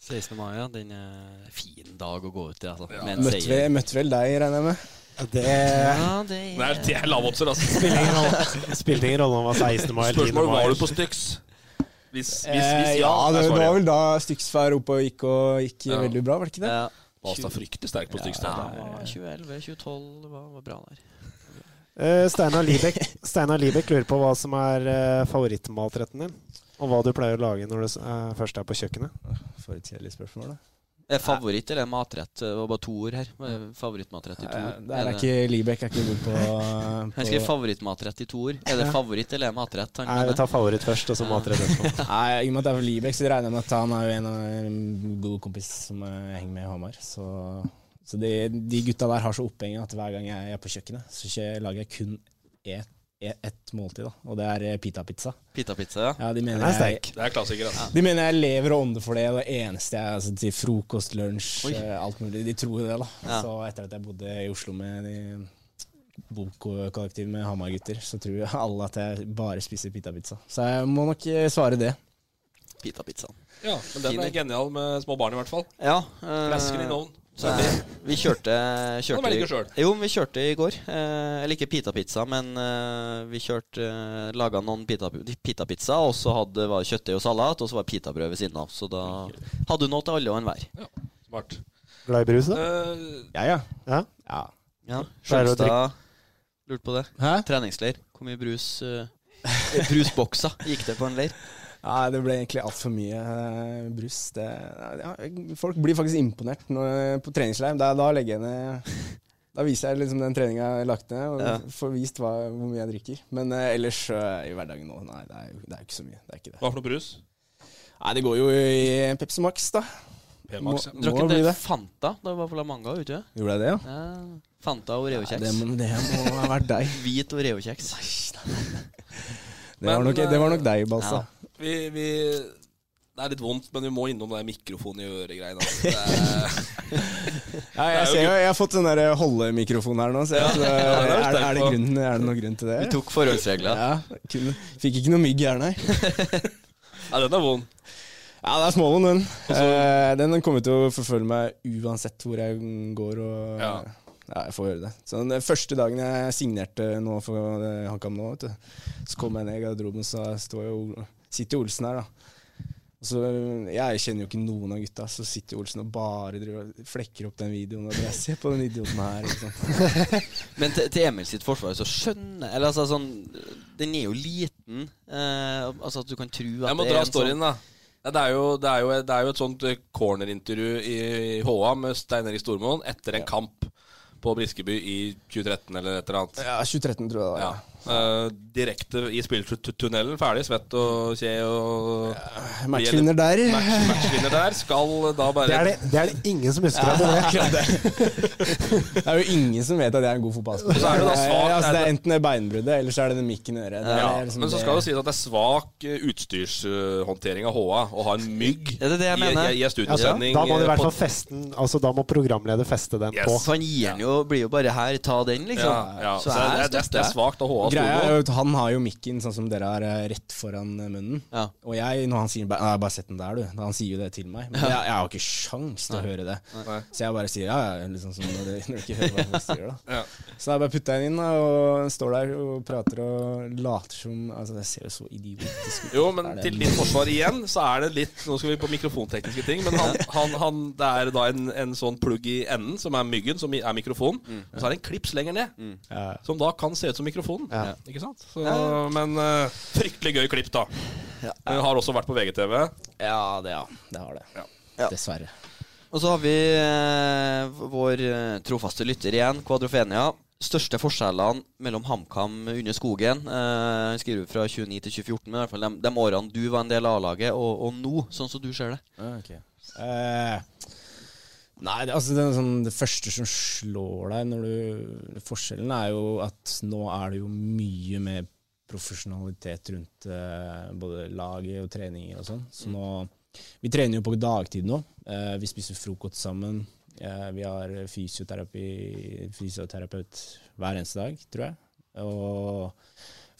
[SPEAKER 5] 16. mai, ja. Den er fin dag å gå ut i, altså. Ja.
[SPEAKER 6] Møtte, vi, møtte vel deg, regner jeg med? Eh,
[SPEAKER 4] Det
[SPEAKER 5] Ja, det
[SPEAKER 3] Nei,
[SPEAKER 5] er
[SPEAKER 3] det er lavoppser, altså.
[SPEAKER 4] spilte ingen rolle, spilte ingen rolle om det var 16. mai eller 10.
[SPEAKER 3] Spørsmålet var du
[SPEAKER 4] mai.
[SPEAKER 3] på Styx? Hvis, hvis,
[SPEAKER 6] Eh,
[SPEAKER 3] hvis ja,
[SPEAKER 6] det,
[SPEAKER 3] er
[SPEAKER 6] det var
[SPEAKER 3] svaret.
[SPEAKER 6] vel da Stygsfær oppe og gikk, og gikk
[SPEAKER 3] Ja.
[SPEAKER 6] veldig bra, var det ikke det?
[SPEAKER 5] ja.
[SPEAKER 3] Basta fryktelig sterk på Styx.
[SPEAKER 5] Ja,
[SPEAKER 3] da.
[SPEAKER 5] 2011, 2012 var, var bra der.
[SPEAKER 4] Eh, Steinar Libek, Steinar Libek lurer på hva som er eh, favorittmatretten din. Og hva du pleier å lage når du s- eh, først er på kjøkkenet.
[SPEAKER 6] For et kjedelig spørsmål, da.
[SPEAKER 5] Er Eh, favoritt eller matrett? Det var bare to ord her. Hva er Favorittmatrett i to ord?
[SPEAKER 6] Der Eh, er ikke Libek er ikke god på,
[SPEAKER 5] Han
[SPEAKER 6] på
[SPEAKER 5] skriver favorittmatrett i to ord. Er det favoritt eller er det matrett? Han
[SPEAKER 4] Nei, vi tar favoritt først, og så matrett etterpå.
[SPEAKER 6] Nei, I og med at det er for Libek, så regner jeg med at han er jo en, av- en god kompis som jeg henger med i Hamar. Så, så de, de gutta der har så opphengen at hver gang jeg er på kjøkkenet, så kjø- lager jeg kun ett et måltid, da. og det er pita-pizza.
[SPEAKER 5] Pitapizza, ja.
[SPEAKER 6] Ja, de mener
[SPEAKER 4] Den er
[SPEAKER 6] jeg,
[SPEAKER 4] sterk.
[SPEAKER 3] Det er klassiker, altså.
[SPEAKER 6] de mener jeg lever og ånder for det. og Det eneste jeg altså, til frokost, lunsj, eh, alt mulig. De tror jo det, da.
[SPEAKER 5] Ja.
[SPEAKER 6] Så etter at jeg bodde i Oslo med de bokkollektiv med Hamar-gutter, så tror jeg alle at jeg bare spiser pita-pizza. Så jeg må nok eh, svare det.
[SPEAKER 5] Pitapizzaen.
[SPEAKER 3] Ja, men den
[SPEAKER 5] Fin,
[SPEAKER 3] er genial med små barn, i hvert fall.
[SPEAKER 5] Ja. eh,
[SPEAKER 3] Flasken in ovn.
[SPEAKER 5] så
[SPEAKER 3] Eh,
[SPEAKER 5] er- vi kjørte,
[SPEAKER 3] Kan
[SPEAKER 5] kjørte
[SPEAKER 3] velge selv.
[SPEAKER 5] Jo, vi kjørte i går. Eh, eller ikke pitapizza, men eh, vi kjørte eh, laga noen pita- pitapizza, og så hadde, var det kjøttdeig og salat, og så var det pitabrød ved siden av. Så da hadde du noe til alle og enhver.
[SPEAKER 3] Smart.
[SPEAKER 4] Glad i brus, da?
[SPEAKER 3] Eh,
[SPEAKER 6] Jeg, ja.
[SPEAKER 4] Ja?
[SPEAKER 6] ja.
[SPEAKER 5] Ja,
[SPEAKER 4] Pleier å
[SPEAKER 5] Skjølstad lurte på det.
[SPEAKER 6] Hæ?
[SPEAKER 5] Treningsleir. Hvor mye brus eh, eh, Brusbokser gikk det på en leir?
[SPEAKER 6] Nei, det ble egentlig altfor mye eh, brus. Det, ja, folk blir faktisk imponert når, på treningsleir. Da, da legger jeg ned Da viser jeg liksom den treninga jeg har lagt ned, og
[SPEAKER 5] Ja.
[SPEAKER 6] får vist hva, hvor mye jeg drikker. Men eh, ellers eh, i hverdagen nå, nei, det er jo det er jo ikke så mye. Det er ikke det.
[SPEAKER 3] hva for noe brus?
[SPEAKER 6] Nei, det går jo i Pepsi Max, da.
[SPEAKER 3] P-Max.
[SPEAKER 6] Må-
[SPEAKER 3] ja.
[SPEAKER 5] Drakk
[SPEAKER 6] Nå
[SPEAKER 5] en
[SPEAKER 6] blir
[SPEAKER 5] del
[SPEAKER 6] det.
[SPEAKER 5] Fanta da vi var på La Manga, vet du.
[SPEAKER 6] Gjorde jeg det, ja?
[SPEAKER 5] Ja. Fanta og
[SPEAKER 6] det,
[SPEAKER 5] Oreo-kjeks.
[SPEAKER 6] må- det må ha vært deg.
[SPEAKER 5] Hvit Oreo-kjeks.
[SPEAKER 6] Det var nok, det var nok deg, Balsa.
[SPEAKER 3] Vi, vi Det er litt vondt, men vi må innom den mikrofonen i øret-greia. Altså. Det
[SPEAKER 6] Ja, jeg, ser jo, jeg har fått sånn der holdemikrofon her nå, så jeg, tror-
[SPEAKER 3] det er
[SPEAKER 6] er, er, det
[SPEAKER 3] sterkt på.
[SPEAKER 6] grunnen, er det noen grunn til det?
[SPEAKER 5] Vi tok forholdsregler.
[SPEAKER 6] Ja, kunne, fikk ikke noe mygg her, nei.
[SPEAKER 3] er- Nei, den er vond.
[SPEAKER 6] Ja, det er smålen, den. Eh, den kommer til å forfølge meg uansett hvor jeg går. Og, ja.
[SPEAKER 3] Ja.
[SPEAKER 6] jeg får gjøre det. Så den første dagen jeg signerte nå for eh, HamKam nå, vet du, så kom jeg ned i garderoben, så står jo sitter jo Olsen her, da. Og så, eh, jeg kjenner jo ikke noen av gutta, så sitter jo Olsen og bare driver, og flekker opp den videoen. Og jeg ser på den idioten her. Ikke sant?
[SPEAKER 5] Men til, til Emil sitt forsvar så skjønner Eller altså sånn Den er jo liten. Eh, altså at du kan tro at
[SPEAKER 3] Jeg må
[SPEAKER 5] det er
[SPEAKER 3] dra
[SPEAKER 5] en sånn
[SPEAKER 3] storyen, da. Nei, sånn- Det er, jo, det, er jo, det er jo et sånt eh, cornerintervju i i HA med Stein Erik Stormoen etter en kamp på Briskeby i 2013 eller et eller annet.
[SPEAKER 6] Ja, 2013, tror jeg det var.
[SPEAKER 3] Ja.
[SPEAKER 6] Ja.
[SPEAKER 3] Eh, direkte i spilltunnelen, ferdig, svett og kje og
[SPEAKER 6] Matchvinner der.
[SPEAKER 3] Match, matchvinner der. Skal da bare
[SPEAKER 4] Det er det, det er det ingen som husker av det.
[SPEAKER 6] Akkurat det. det er jo ingen som vet at jeg er en god fotballspiller.
[SPEAKER 3] Så er det da
[SPEAKER 6] Jeg-
[SPEAKER 3] svakt,
[SPEAKER 6] altså,
[SPEAKER 3] er
[SPEAKER 6] det er
[SPEAKER 3] det-
[SPEAKER 6] enten det er beinbruddet, eller så er det den mikken i øret. Det er
[SPEAKER 3] ja,
[SPEAKER 6] liksom
[SPEAKER 3] Men så skal det sies at det er svak eh, utstyrshåndtering av HA å ha en mygg
[SPEAKER 5] Er det det jeg
[SPEAKER 3] i,
[SPEAKER 5] mener?
[SPEAKER 3] i, i en
[SPEAKER 4] Altså,
[SPEAKER 3] studiosending.
[SPEAKER 4] da må det i
[SPEAKER 3] eh,
[SPEAKER 4] hvert
[SPEAKER 3] på-
[SPEAKER 4] fall festen Altså, da må programleder feste den
[SPEAKER 3] Yes.
[SPEAKER 4] på.
[SPEAKER 5] sånn- Han gir den jo Blir jo bare her, ta den, liksom.
[SPEAKER 3] ja, ja. Så, det, er- det, er- det er svakt av HA
[SPEAKER 6] Greia er
[SPEAKER 3] Stormoen.
[SPEAKER 6] jo at Han har jo mikken sånn som dere har, eh, rett foran eh, munnen.
[SPEAKER 5] Ja.
[SPEAKER 6] Og jeg, når han sier bare, «Nei, 'bare sett den der, du', Da han sier jo det til meg. Men jeg, jeg har jo ikke sjans til å høre det. Så jeg bare sier ja, ja, liksom som når du når du ikke hører hva folk sier, da.
[SPEAKER 3] Ja.
[SPEAKER 6] Så da bare putter jeg den inn, da, og står der og prater og later som Altså, det ser jo så idiotisk ut.
[SPEAKER 3] Jo, men
[SPEAKER 6] Er det-
[SPEAKER 3] til ditt forsvar igjen, så er det litt Nå skal vi på mikrofontekniske ting, men han, han, han, det er da en, en sånn plugg i enden, som er myggen, som er mikrofonen, og så er det en klips lenger ned, som da kan se ut som mikrofonen. Ikke sant? Så, men eh, fryktelig gøy klipp, da. Den har også vært på VGTV.
[SPEAKER 6] Ja, det, ja. det har det.
[SPEAKER 5] Ja.
[SPEAKER 6] Dessverre.
[SPEAKER 5] Og så har vi eh, vår eh, trofaste lytter igjen, Kvadrofenia. Største forskjellene mellom HamKam under skogen eh, Han skriver fra 29 til 2014, men i hvert fall de, de årene du var en del av A-laget, og, og nå, sånn som du ser det.
[SPEAKER 6] Eh, nei, det, altså det, er sånn, det første som slår deg når du Forskjellen er jo at nå er det jo mye mer profesjonalitet rundt eh, både laget og treninger og sånn. Så nå Vi trener jo på dagtid nå. Eh, vi spiser frokost sammen. Eh, vi har fysioterapi, fysioterapeut hver eneste dag, tror jeg. Og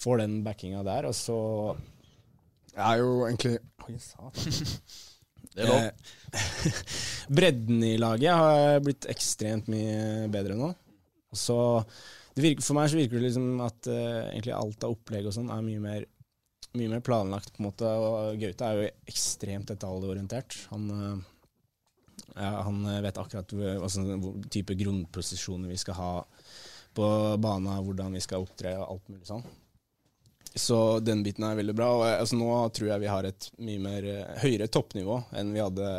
[SPEAKER 6] får den backinga der. Og så er jo egentlig Oi, satan.
[SPEAKER 5] Det er lov.
[SPEAKER 6] Eh, Bredden i laget har blitt ekstremt mye bedre nå. Og Så det virker, for meg så virker det liksom at eh, egentlig alt av opplegg og sånn er mye mer, mye mer planlagt, på en måte. Og Gaute er jo ekstremt detaljorientert. Han, eh, ja, han eh, vet akkurat hvor, altså, hvor type grunnposisjoner vi skal ha på bana, hvordan vi skal opptre og alt mulig sånn. Så den biten er veldig bra. Og eh, altså, nå tror jeg vi har et mye mer eh, høyere toppnivå enn vi hadde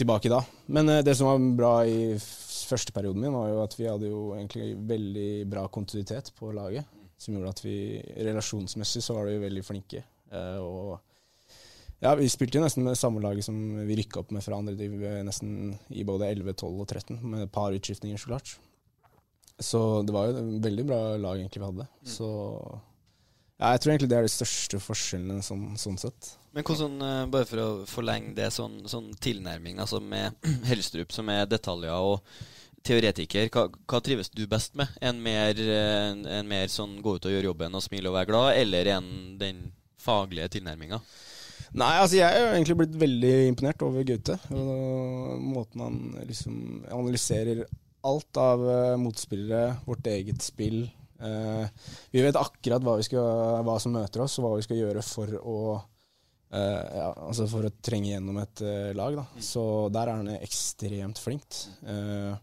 [SPEAKER 6] tilbake da. Men eh, det som var bra i f- første perioden min, var jo at vi hadde jo egentlig veldig bra kontinuitet på laget. Som gjorde at vi relasjonsmessig så var vi veldig flinke. Eh, og ja, vi spilte jo nesten med det samme laget som vi rykka opp med fra andre div, eh, nesten i både 11, 12 og 13, med et par utskiftninger, så klart. Så det var jo et veldig bra lag egentlig vi hadde. Så ja, jeg tror egentlig det er de største forskjellene sånn, sånn sett.
[SPEAKER 5] Men hvordan, eh, bare for å forlenge det, sånn, sånn tilnærming altså med Helstrup, som er detaljer og teoretiker, hva, hva trives du best med? En mer, eh, en, en mer sånn gå ut og gjøre jobben og smile og være glad, eller en den faglige tilnærminga?
[SPEAKER 6] Nei, altså jeg er jo egentlig blitt veldig imponert over Gaute. og Måten han liksom analyserer alt av eh, motspillere, vårt eget spill. Eh, vi vet akkurat hva, vi skal, hva som møter oss, og hva vi skal gjøre for å eh, ja, altså for å trenge gjennom et eh, lag. Da. Så der er han ekstremt flinkt. Eh,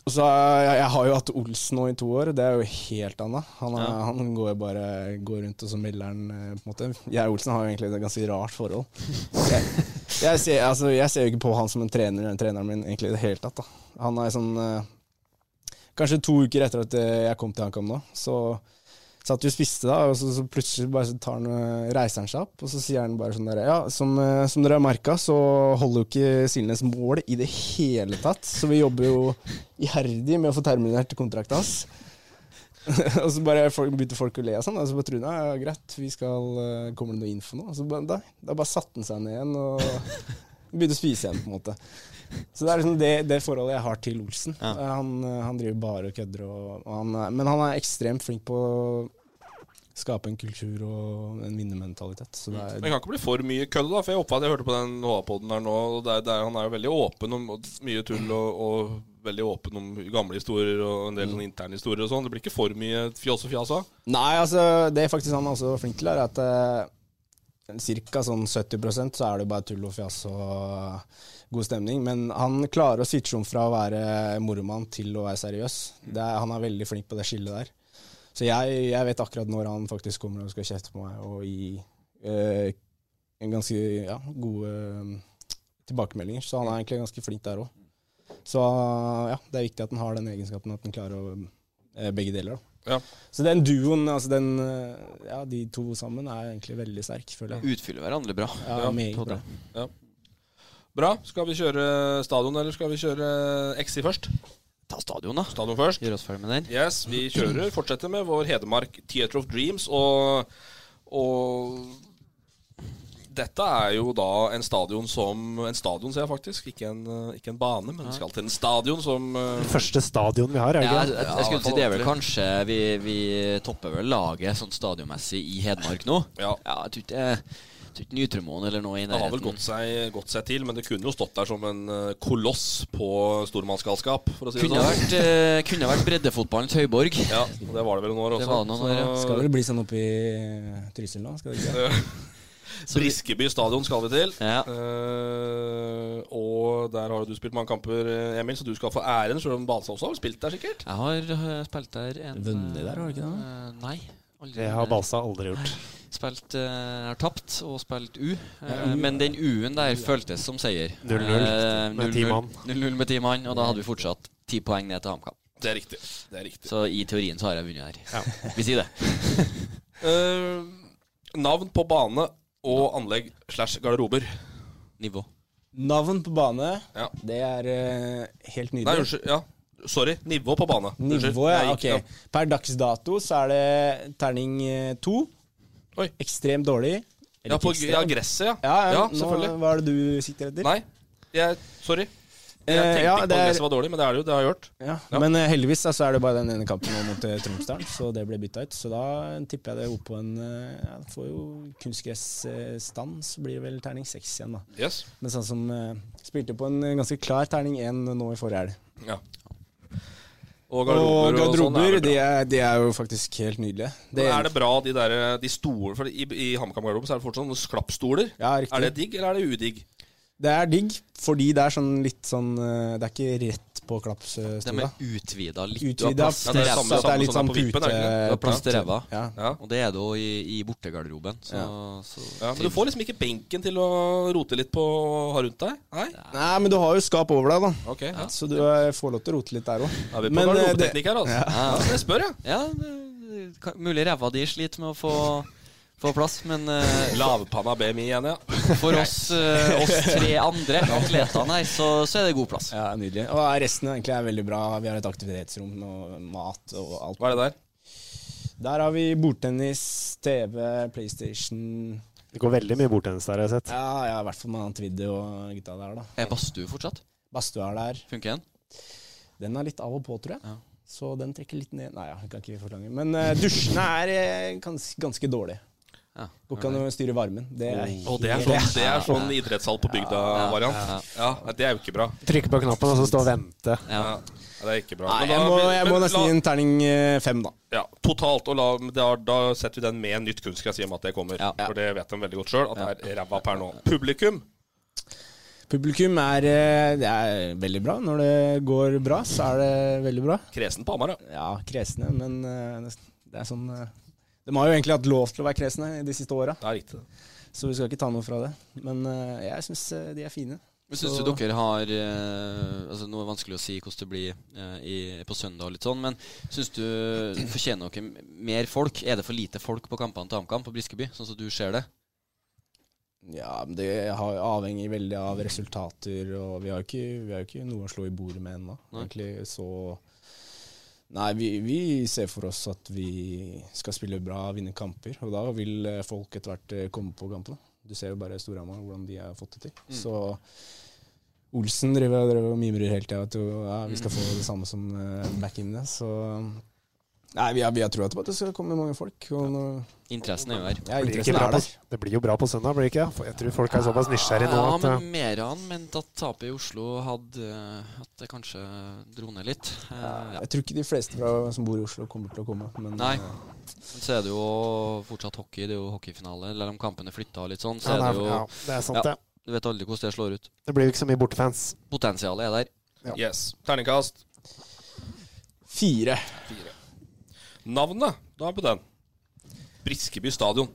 [SPEAKER 6] og så eh, jeg, jeg har jo hatt Olsen nå i to år, det er jo helt annet. Han, er,
[SPEAKER 5] Ja.
[SPEAKER 6] han går jo bare går rundt og så melder han, eh, på en måte. Jeg og Olsen har jo egentlig et ganske rart forhold. Jeg, jeg, ser, altså, jeg ser jo ikke på han som en trener eller treneren min egentlig i det hele tatt. Da. Han er sånn eh, Kanskje to uker etter at eh, jeg kom til HamKam da, så satt vi og spiste, da, og så, så plutselig bare så tar han, eh, reiser han seg opp, og så sier han bare sånn der Ja, som, eh, som dere har merka, så holder jo ikke Silnes mål i det hele tatt, så vi jobber jo iherdig med å få terminert kontrakten hans. og så bare folk, begynte folk å le og sånn, og så bare trodde jeg ja, greit, vi skal, eh, kommer det noe info nå? Og så bare, da, da bare satte han seg ned igjen og begynte å spise igjen, på en måte. Så det er liksom det, det forholdet jeg har til Olsen.
[SPEAKER 5] Ja.
[SPEAKER 6] Eh, Han, eh, han driver bare og kødder, og, og han, er- men han er ekstremt flink på å skape en kultur og en vinnermentalitet. Så det
[SPEAKER 3] Men
[SPEAKER 6] er
[SPEAKER 3] det kan ikke bli for mye kødd, da. For jeg oppfatter, jeg hørte på den HA-poden der nå, og det er- det er- han er jo veldig åpen om og mye tull og, og veldig åpen om gamle historier og en del
[SPEAKER 6] Mm.
[SPEAKER 3] sånne interne historier og sånn. Det blir ikke for mye fjas og fjas av.
[SPEAKER 6] Nei, altså, det er faktisk han er også flink til, er at eh, cirka sånn 70 så er det bare tull og fjas og god stemning. Men han klarer å switche om fra å være moromann til å være seriøs. Det er, han er veldig flink på det skillet der. Så jeg, jeg vet akkurat når han faktisk kommer og skal kjefte på meg og gi eh, en ganske ja, gode eh, tilbakemeldinger. Så han er egentlig ganske flink der òg. Så ja, det er viktig at han har den egenskapen at han klarer å, eh, begge deler. da.
[SPEAKER 3] Ja.
[SPEAKER 6] Så den duoen, altså den, eh, ja, de to sammen, er egentlig veldig sterk, føler jeg.
[SPEAKER 5] Utfyller hverandre bra.
[SPEAKER 6] Ja, meget bra.
[SPEAKER 3] Bra. Skal vi kjøre stadion, eller skal vi kjøre XI først?
[SPEAKER 5] Ta stadion, da.
[SPEAKER 3] Stadion først.
[SPEAKER 5] Gjør oss ferdig med den.
[SPEAKER 3] Yes, vi kjører. Fortsetter med vår Hedmark Theater of Dreams. Og, og dette er jo da en stadion som En stadion, ser jeg faktisk. Ikke en, eh, ikke en bane, men vi skal til en stadion som eh,
[SPEAKER 4] Første stadion vi har, er det
[SPEAKER 5] Ja,
[SPEAKER 4] ikke
[SPEAKER 5] jeg,
[SPEAKER 4] det?
[SPEAKER 5] jeg, jeg skulle si det er vel kanskje vi, vi topper vel laget sånn stadionmessig i Hedmark nå.
[SPEAKER 3] Ja.
[SPEAKER 5] jeg tror ikke, jeg tror ikke Nytremoen eller noe i
[SPEAKER 3] Det har vel
[SPEAKER 5] nærheten
[SPEAKER 3] gått seg, gått seg til, men det kunne jo stått der som en eh, koloss på stormannsgalskap, for å si det
[SPEAKER 5] Kunne ha
[SPEAKER 3] sånn.
[SPEAKER 5] vært, eh, kunne ha vært breddefotballens høyborg.
[SPEAKER 3] Ja, og det var det vel noen år også.
[SPEAKER 5] Det var noen år, ja.
[SPEAKER 3] Så-
[SPEAKER 6] Skal vel bli sånn oppe i Trysil nå, skal det ikke?
[SPEAKER 3] Briskeby stadion skal vi til.
[SPEAKER 5] Ja.
[SPEAKER 3] Eh, og der har jo du spilt mange kamper, eh, Emil, så du skal få æren, selv om Balstad også har spilt der, sikkert.
[SPEAKER 5] Jeg har eh, spilt der en
[SPEAKER 6] Vunnet der, har du ikke det?
[SPEAKER 5] eh, Nei. Aldri.
[SPEAKER 4] Det har Balsa aldri gjort.
[SPEAKER 5] Spilt, eh, jeg har tapt og spilt U. eh, men den U-en der føltes som seier.
[SPEAKER 4] 0-0
[SPEAKER 5] Eh,
[SPEAKER 4] med ti
[SPEAKER 5] 0-0
[SPEAKER 4] mann.
[SPEAKER 5] 0-0 med ti mann, og da hadde vi fortsatt ti poeng ned til HamKam.
[SPEAKER 3] Det er riktig. Det er riktig.
[SPEAKER 5] Så i teorien så har jeg vunnet her. Vi sier det.
[SPEAKER 3] Eh, navn på bane og anlegg slash garderober.
[SPEAKER 5] Nivå.
[SPEAKER 6] Navn på bane,
[SPEAKER 3] Ja.
[SPEAKER 6] det er eh, helt
[SPEAKER 3] Nei,
[SPEAKER 6] nydelig.
[SPEAKER 3] unnskyld. Ja. Sorry. Nivå på bane. Unnskyld.
[SPEAKER 6] Nivå,
[SPEAKER 3] Jeg
[SPEAKER 6] ja. Ok.
[SPEAKER 3] gikk-
[SPEAKER 6] Per dags dato så er det terning eh, to.
[SPEAKER 3] Oi.
[SPEAKER 6] Ekstremt dårlig. Eller
[SPEAKER 3] Ja,
[SPEAKER 6] ikke
[SPEAKER 3] på
[SPEAKER 6] ekstremt.
[SPEAKER 3] ja, gresset, ja.
[SPEAKER 6] Ja, ja, nå,
[SPEAKER 3] selvfølgelig.
[SPEAKER 6] Hva er det du sikter etter?
[SPEAKER 3] Nei, jeg, sorry. Jeg
[SPEAKER 6] Eh,
[SPEAKER 3] tenkte
[SPEAKER 6] ja,
[SPEAKER 3] ikke på at
[SPEAKER 6] det er-
[SPEAKER 3] gresset var dårlig, men det er det jo. Det har jeg gjort.
[SPEAKER 6] Ja.
[SPEAKER 3] Ja.
[SPEAKER 6] Men eh, heldigvis da, så er det bare den ene kampen nå mot eh, Tromsdalen, så det ble bytta ut. Så da tipper jeg det opp på en eh, ja, det Får jo kunstgressstand, så blir det vel terning seks igjen, da.
[SPEAKER 3] Yes.
[SPEAKER 6] Men sånn som eh, spilte på en eh, ganske klar terning én nå i forrige helg.
[SPEAKER 3] Ja. Og
[SPEAKER 6] Og
[SPEAKER 3] garderober og, sånn
[SPEAKER 6] garderober,
[SPEAKER 3] er,
[SPEAKER 6] de,
[SPEAKER 3] det bra.
[SPEAKER 6] er, de er jo faktisk helt nydelige.
[SPEAKER 3] Men er det bra, de der de store For i, i HamKam-garderoben så er det fortsatt noen sklappstoler.
[SPEAKER 6] Ja, riktig.
[SPEAKER 3] er det digg, eller er det udigg?
[SPEAKER 6] Det er digg, fordi det er sånn litt sånn eh, Det er ikke rett på
[SPEAKER 5] De
[SPEAKER 6] klappstola.
[SPEAKER 5] er utvida litt.
[SPEAKER 6] Utvida,
[SPEAKER 5] Du har plass til
[SPEAKER 6] pluss
[SPEAKER 5] ræva.
[SPEAKER 6] at det er litt
[SPEAKER 3] som
[SPEAKER 6] sånn
[SPEAKER 3] på vippen, er det ikke det?
[SPEAKER 6] pute-
[SPEAKER 5] Du har plass til ræva.
[SPEAKER 6] Ja.
[SPEAKER 5] Og det er det jo i, i bortegarderoben. Så, så
[SPEAKER 3] Ja, men du får liksom ikke benken til å rote litt på å ha rundt deg? Nei?
[SPEAKER 6] Nei, men du har jo skap over deg, da.
[SPEAKER 3] Ok, ja.
[SPEAKER 6] Så du eh, får lov til å rote litt der eh, òg.
[SPEAKER 3] Er vi på garderobeteknikk her, altså? Ja. men jeg spør, jeg.
[SPEAKER 5] Ja, det, det kan- mulig ræva di sliter med å få, få plass, men eh,
[SPEAKER 3] Lavpanna BMI igjen, ja.
[SPEAKER 5] for oss, eh, oss tre andre atletene her, så, så er det god plass.
[SPEAKER 6] Ja, nydelig. Og eh, resten egentlig er veldig bra. Vi har et aktivitetsrom og mat og alt.
[SPEAKER 3] Hva er det der?
[SPEAKER 6] Der har vi bordtennis, TV, PlayStation
[SPEAKER 4] Det går veldig mye bordtennis der, har jeg sett.
[SPEAKER 6] Ja, ja, i hvert fall med han Tvidde og gutta der, da.
[SPEAKER 5] Er badstue fortsatt?
[SPEAKER 6] Badstua er der.
[SPEAKER 5] Funker den?
[SPEAKER 6] Den er litt av og på, tror jeg.
[SPEAKER 5] Ja.
[SPEAKER 6] Så den trekker litt ned Nei, ja, jeg kan ikke forklange. Men eh, dusjene er eh, gans, ganske dårlige.
[SPEAKER 5] Ja.
[SPEAKER 6] Går ikke an å styre varmen. Det er helt
[SPEAKER 3] Å, det er sånn, det er sånn idrettshall på bygda-variant. Ja, nei, Det er jo ikke bra.
[SPEAKER 4] Trykke på knappen og så stå og vente.
[SPEAKER 5] Ja.
[SPEAKER 3] Ja, det er ikke bra.
[SPEAKER 6] Nei,
[SPEAKER 3] Men
[SPEAKER 6] jeg
[SPEAKER 3] da-
[SPEAKER 6] må, jeg
[SPEAKER 3] men
[SPEAKER 6] må
[SPEAKER 3] la-
[SPEAKER 6] nesten gi en terning eh, fem, da.
[SPEAKER 3] Ja, totalt. Og la, men da, da setter vi den med nytt kunstgress i og med at det kommer.
[SPEAKER 5] Ja.
[SPEAKER 3] For det vet de veldig godt sjøl, at det er ræva per nå. Publikum
[SPEAKER 6] Publikum er, eh, det er veldig bra. Når det går bra, så er det veldig bra.
[SPEAKER 3] kresen på Hamar, ja.
[SPEAKER 6] Ja, kresne, men eh, nesten- det er sånn eh, De har jo egentlig hatt lov til å være kresne de siste åra,
[SPEAKER 3] Det er riktig.
[SPEAKER 6] så vi skal ikke ta noe fra det. Men eh, jeg syns de er fine.
[SPEAKER 5] Men Syns du
[SPEAKER 6] Så-
[SPEAKER 5] dere har eh, altså Nå er det vanskelig å si hvordan det blir eh, i, på søndag, og litt sånn, men syns du fortjener dere mer folk? Er det for lite folk på kampene til HamKam på Briskeby, sånn som du ser det?
[SPEAKER 6] Ja, men det har- avhenger veldig av resultater, og vi har jo ikke, vi har jo ikke noe å slå i bordet med ennå.
[SPEAKER 5] Nei.
[SPEAKER 6] Egentlig så Nei, vi, vi ser for oss at vi skal spille bra, vinne kamper, og da vil eh, folk etter hvert eh, komme på kampene. Du ser jo bare Storhamar, hvordan de har fått det til. Så Olsen driver og driver og mimrer hele tida at jo, ja, vi skal få det samme som eh, back in det. Så Nei, vi har, vi har trua på at det skal komme mange folk. Og nå,
[SPEAKER 5] Interessen er jo her.
[SPEAKER 6] ja,
[SPEAKER 4] Det blir, ikke
[SPEAKER 6] interessen
[SPEAKER 4] bra
[SPEAKER 6] er
[SPEAKER 4] på,
[SPEAKER 6] der.
[SPEAKER 4] det blir jo bra på søndag, blir det ikke? For Jeg tror folk er såpass nysgjerrige nå
[SPEAKER 5] Ja,
[SPEAKER 4] at eh,
[SPEAKER 5] men Meran mente at tapet i Oslo hadde eh, At det kanskje dro ned litt. Eh, ja.
[SPEAKER 6] Jeg tror ikke de fleste fra, som bor i Oslo kommer til å komme. Men
[SPEAKER 5] Nei.
[SPEAKER 6] eh,
[SPEAKER 5] Men så er det jo fortsatt hockey. Det er jo hockeyfinale. Eller om kampene flytta og litt sånn,
[SPEAKER 4] ja,
[SPEAKER 5] så er
[SPEAKER 4] nei,
[SPEAKER 5] det jo
[SPEAKER 4] ja, det er sant,
[SPEAKER 5] Ja.
[SPEAKER 4] det.
[SPEAKER 5] Du vet aldri hvordan det slår ut.
[SPEAKER 4] Det blir jo ikke så mye bortefans.
[SPEAKER 5] Potensialet er der.
[SPEAKER 3] Yes. Terningkast.
[SPEAKER 6] fire.
[SPEAKER 3] Navnet, da er vi på den. Briskeby stadion.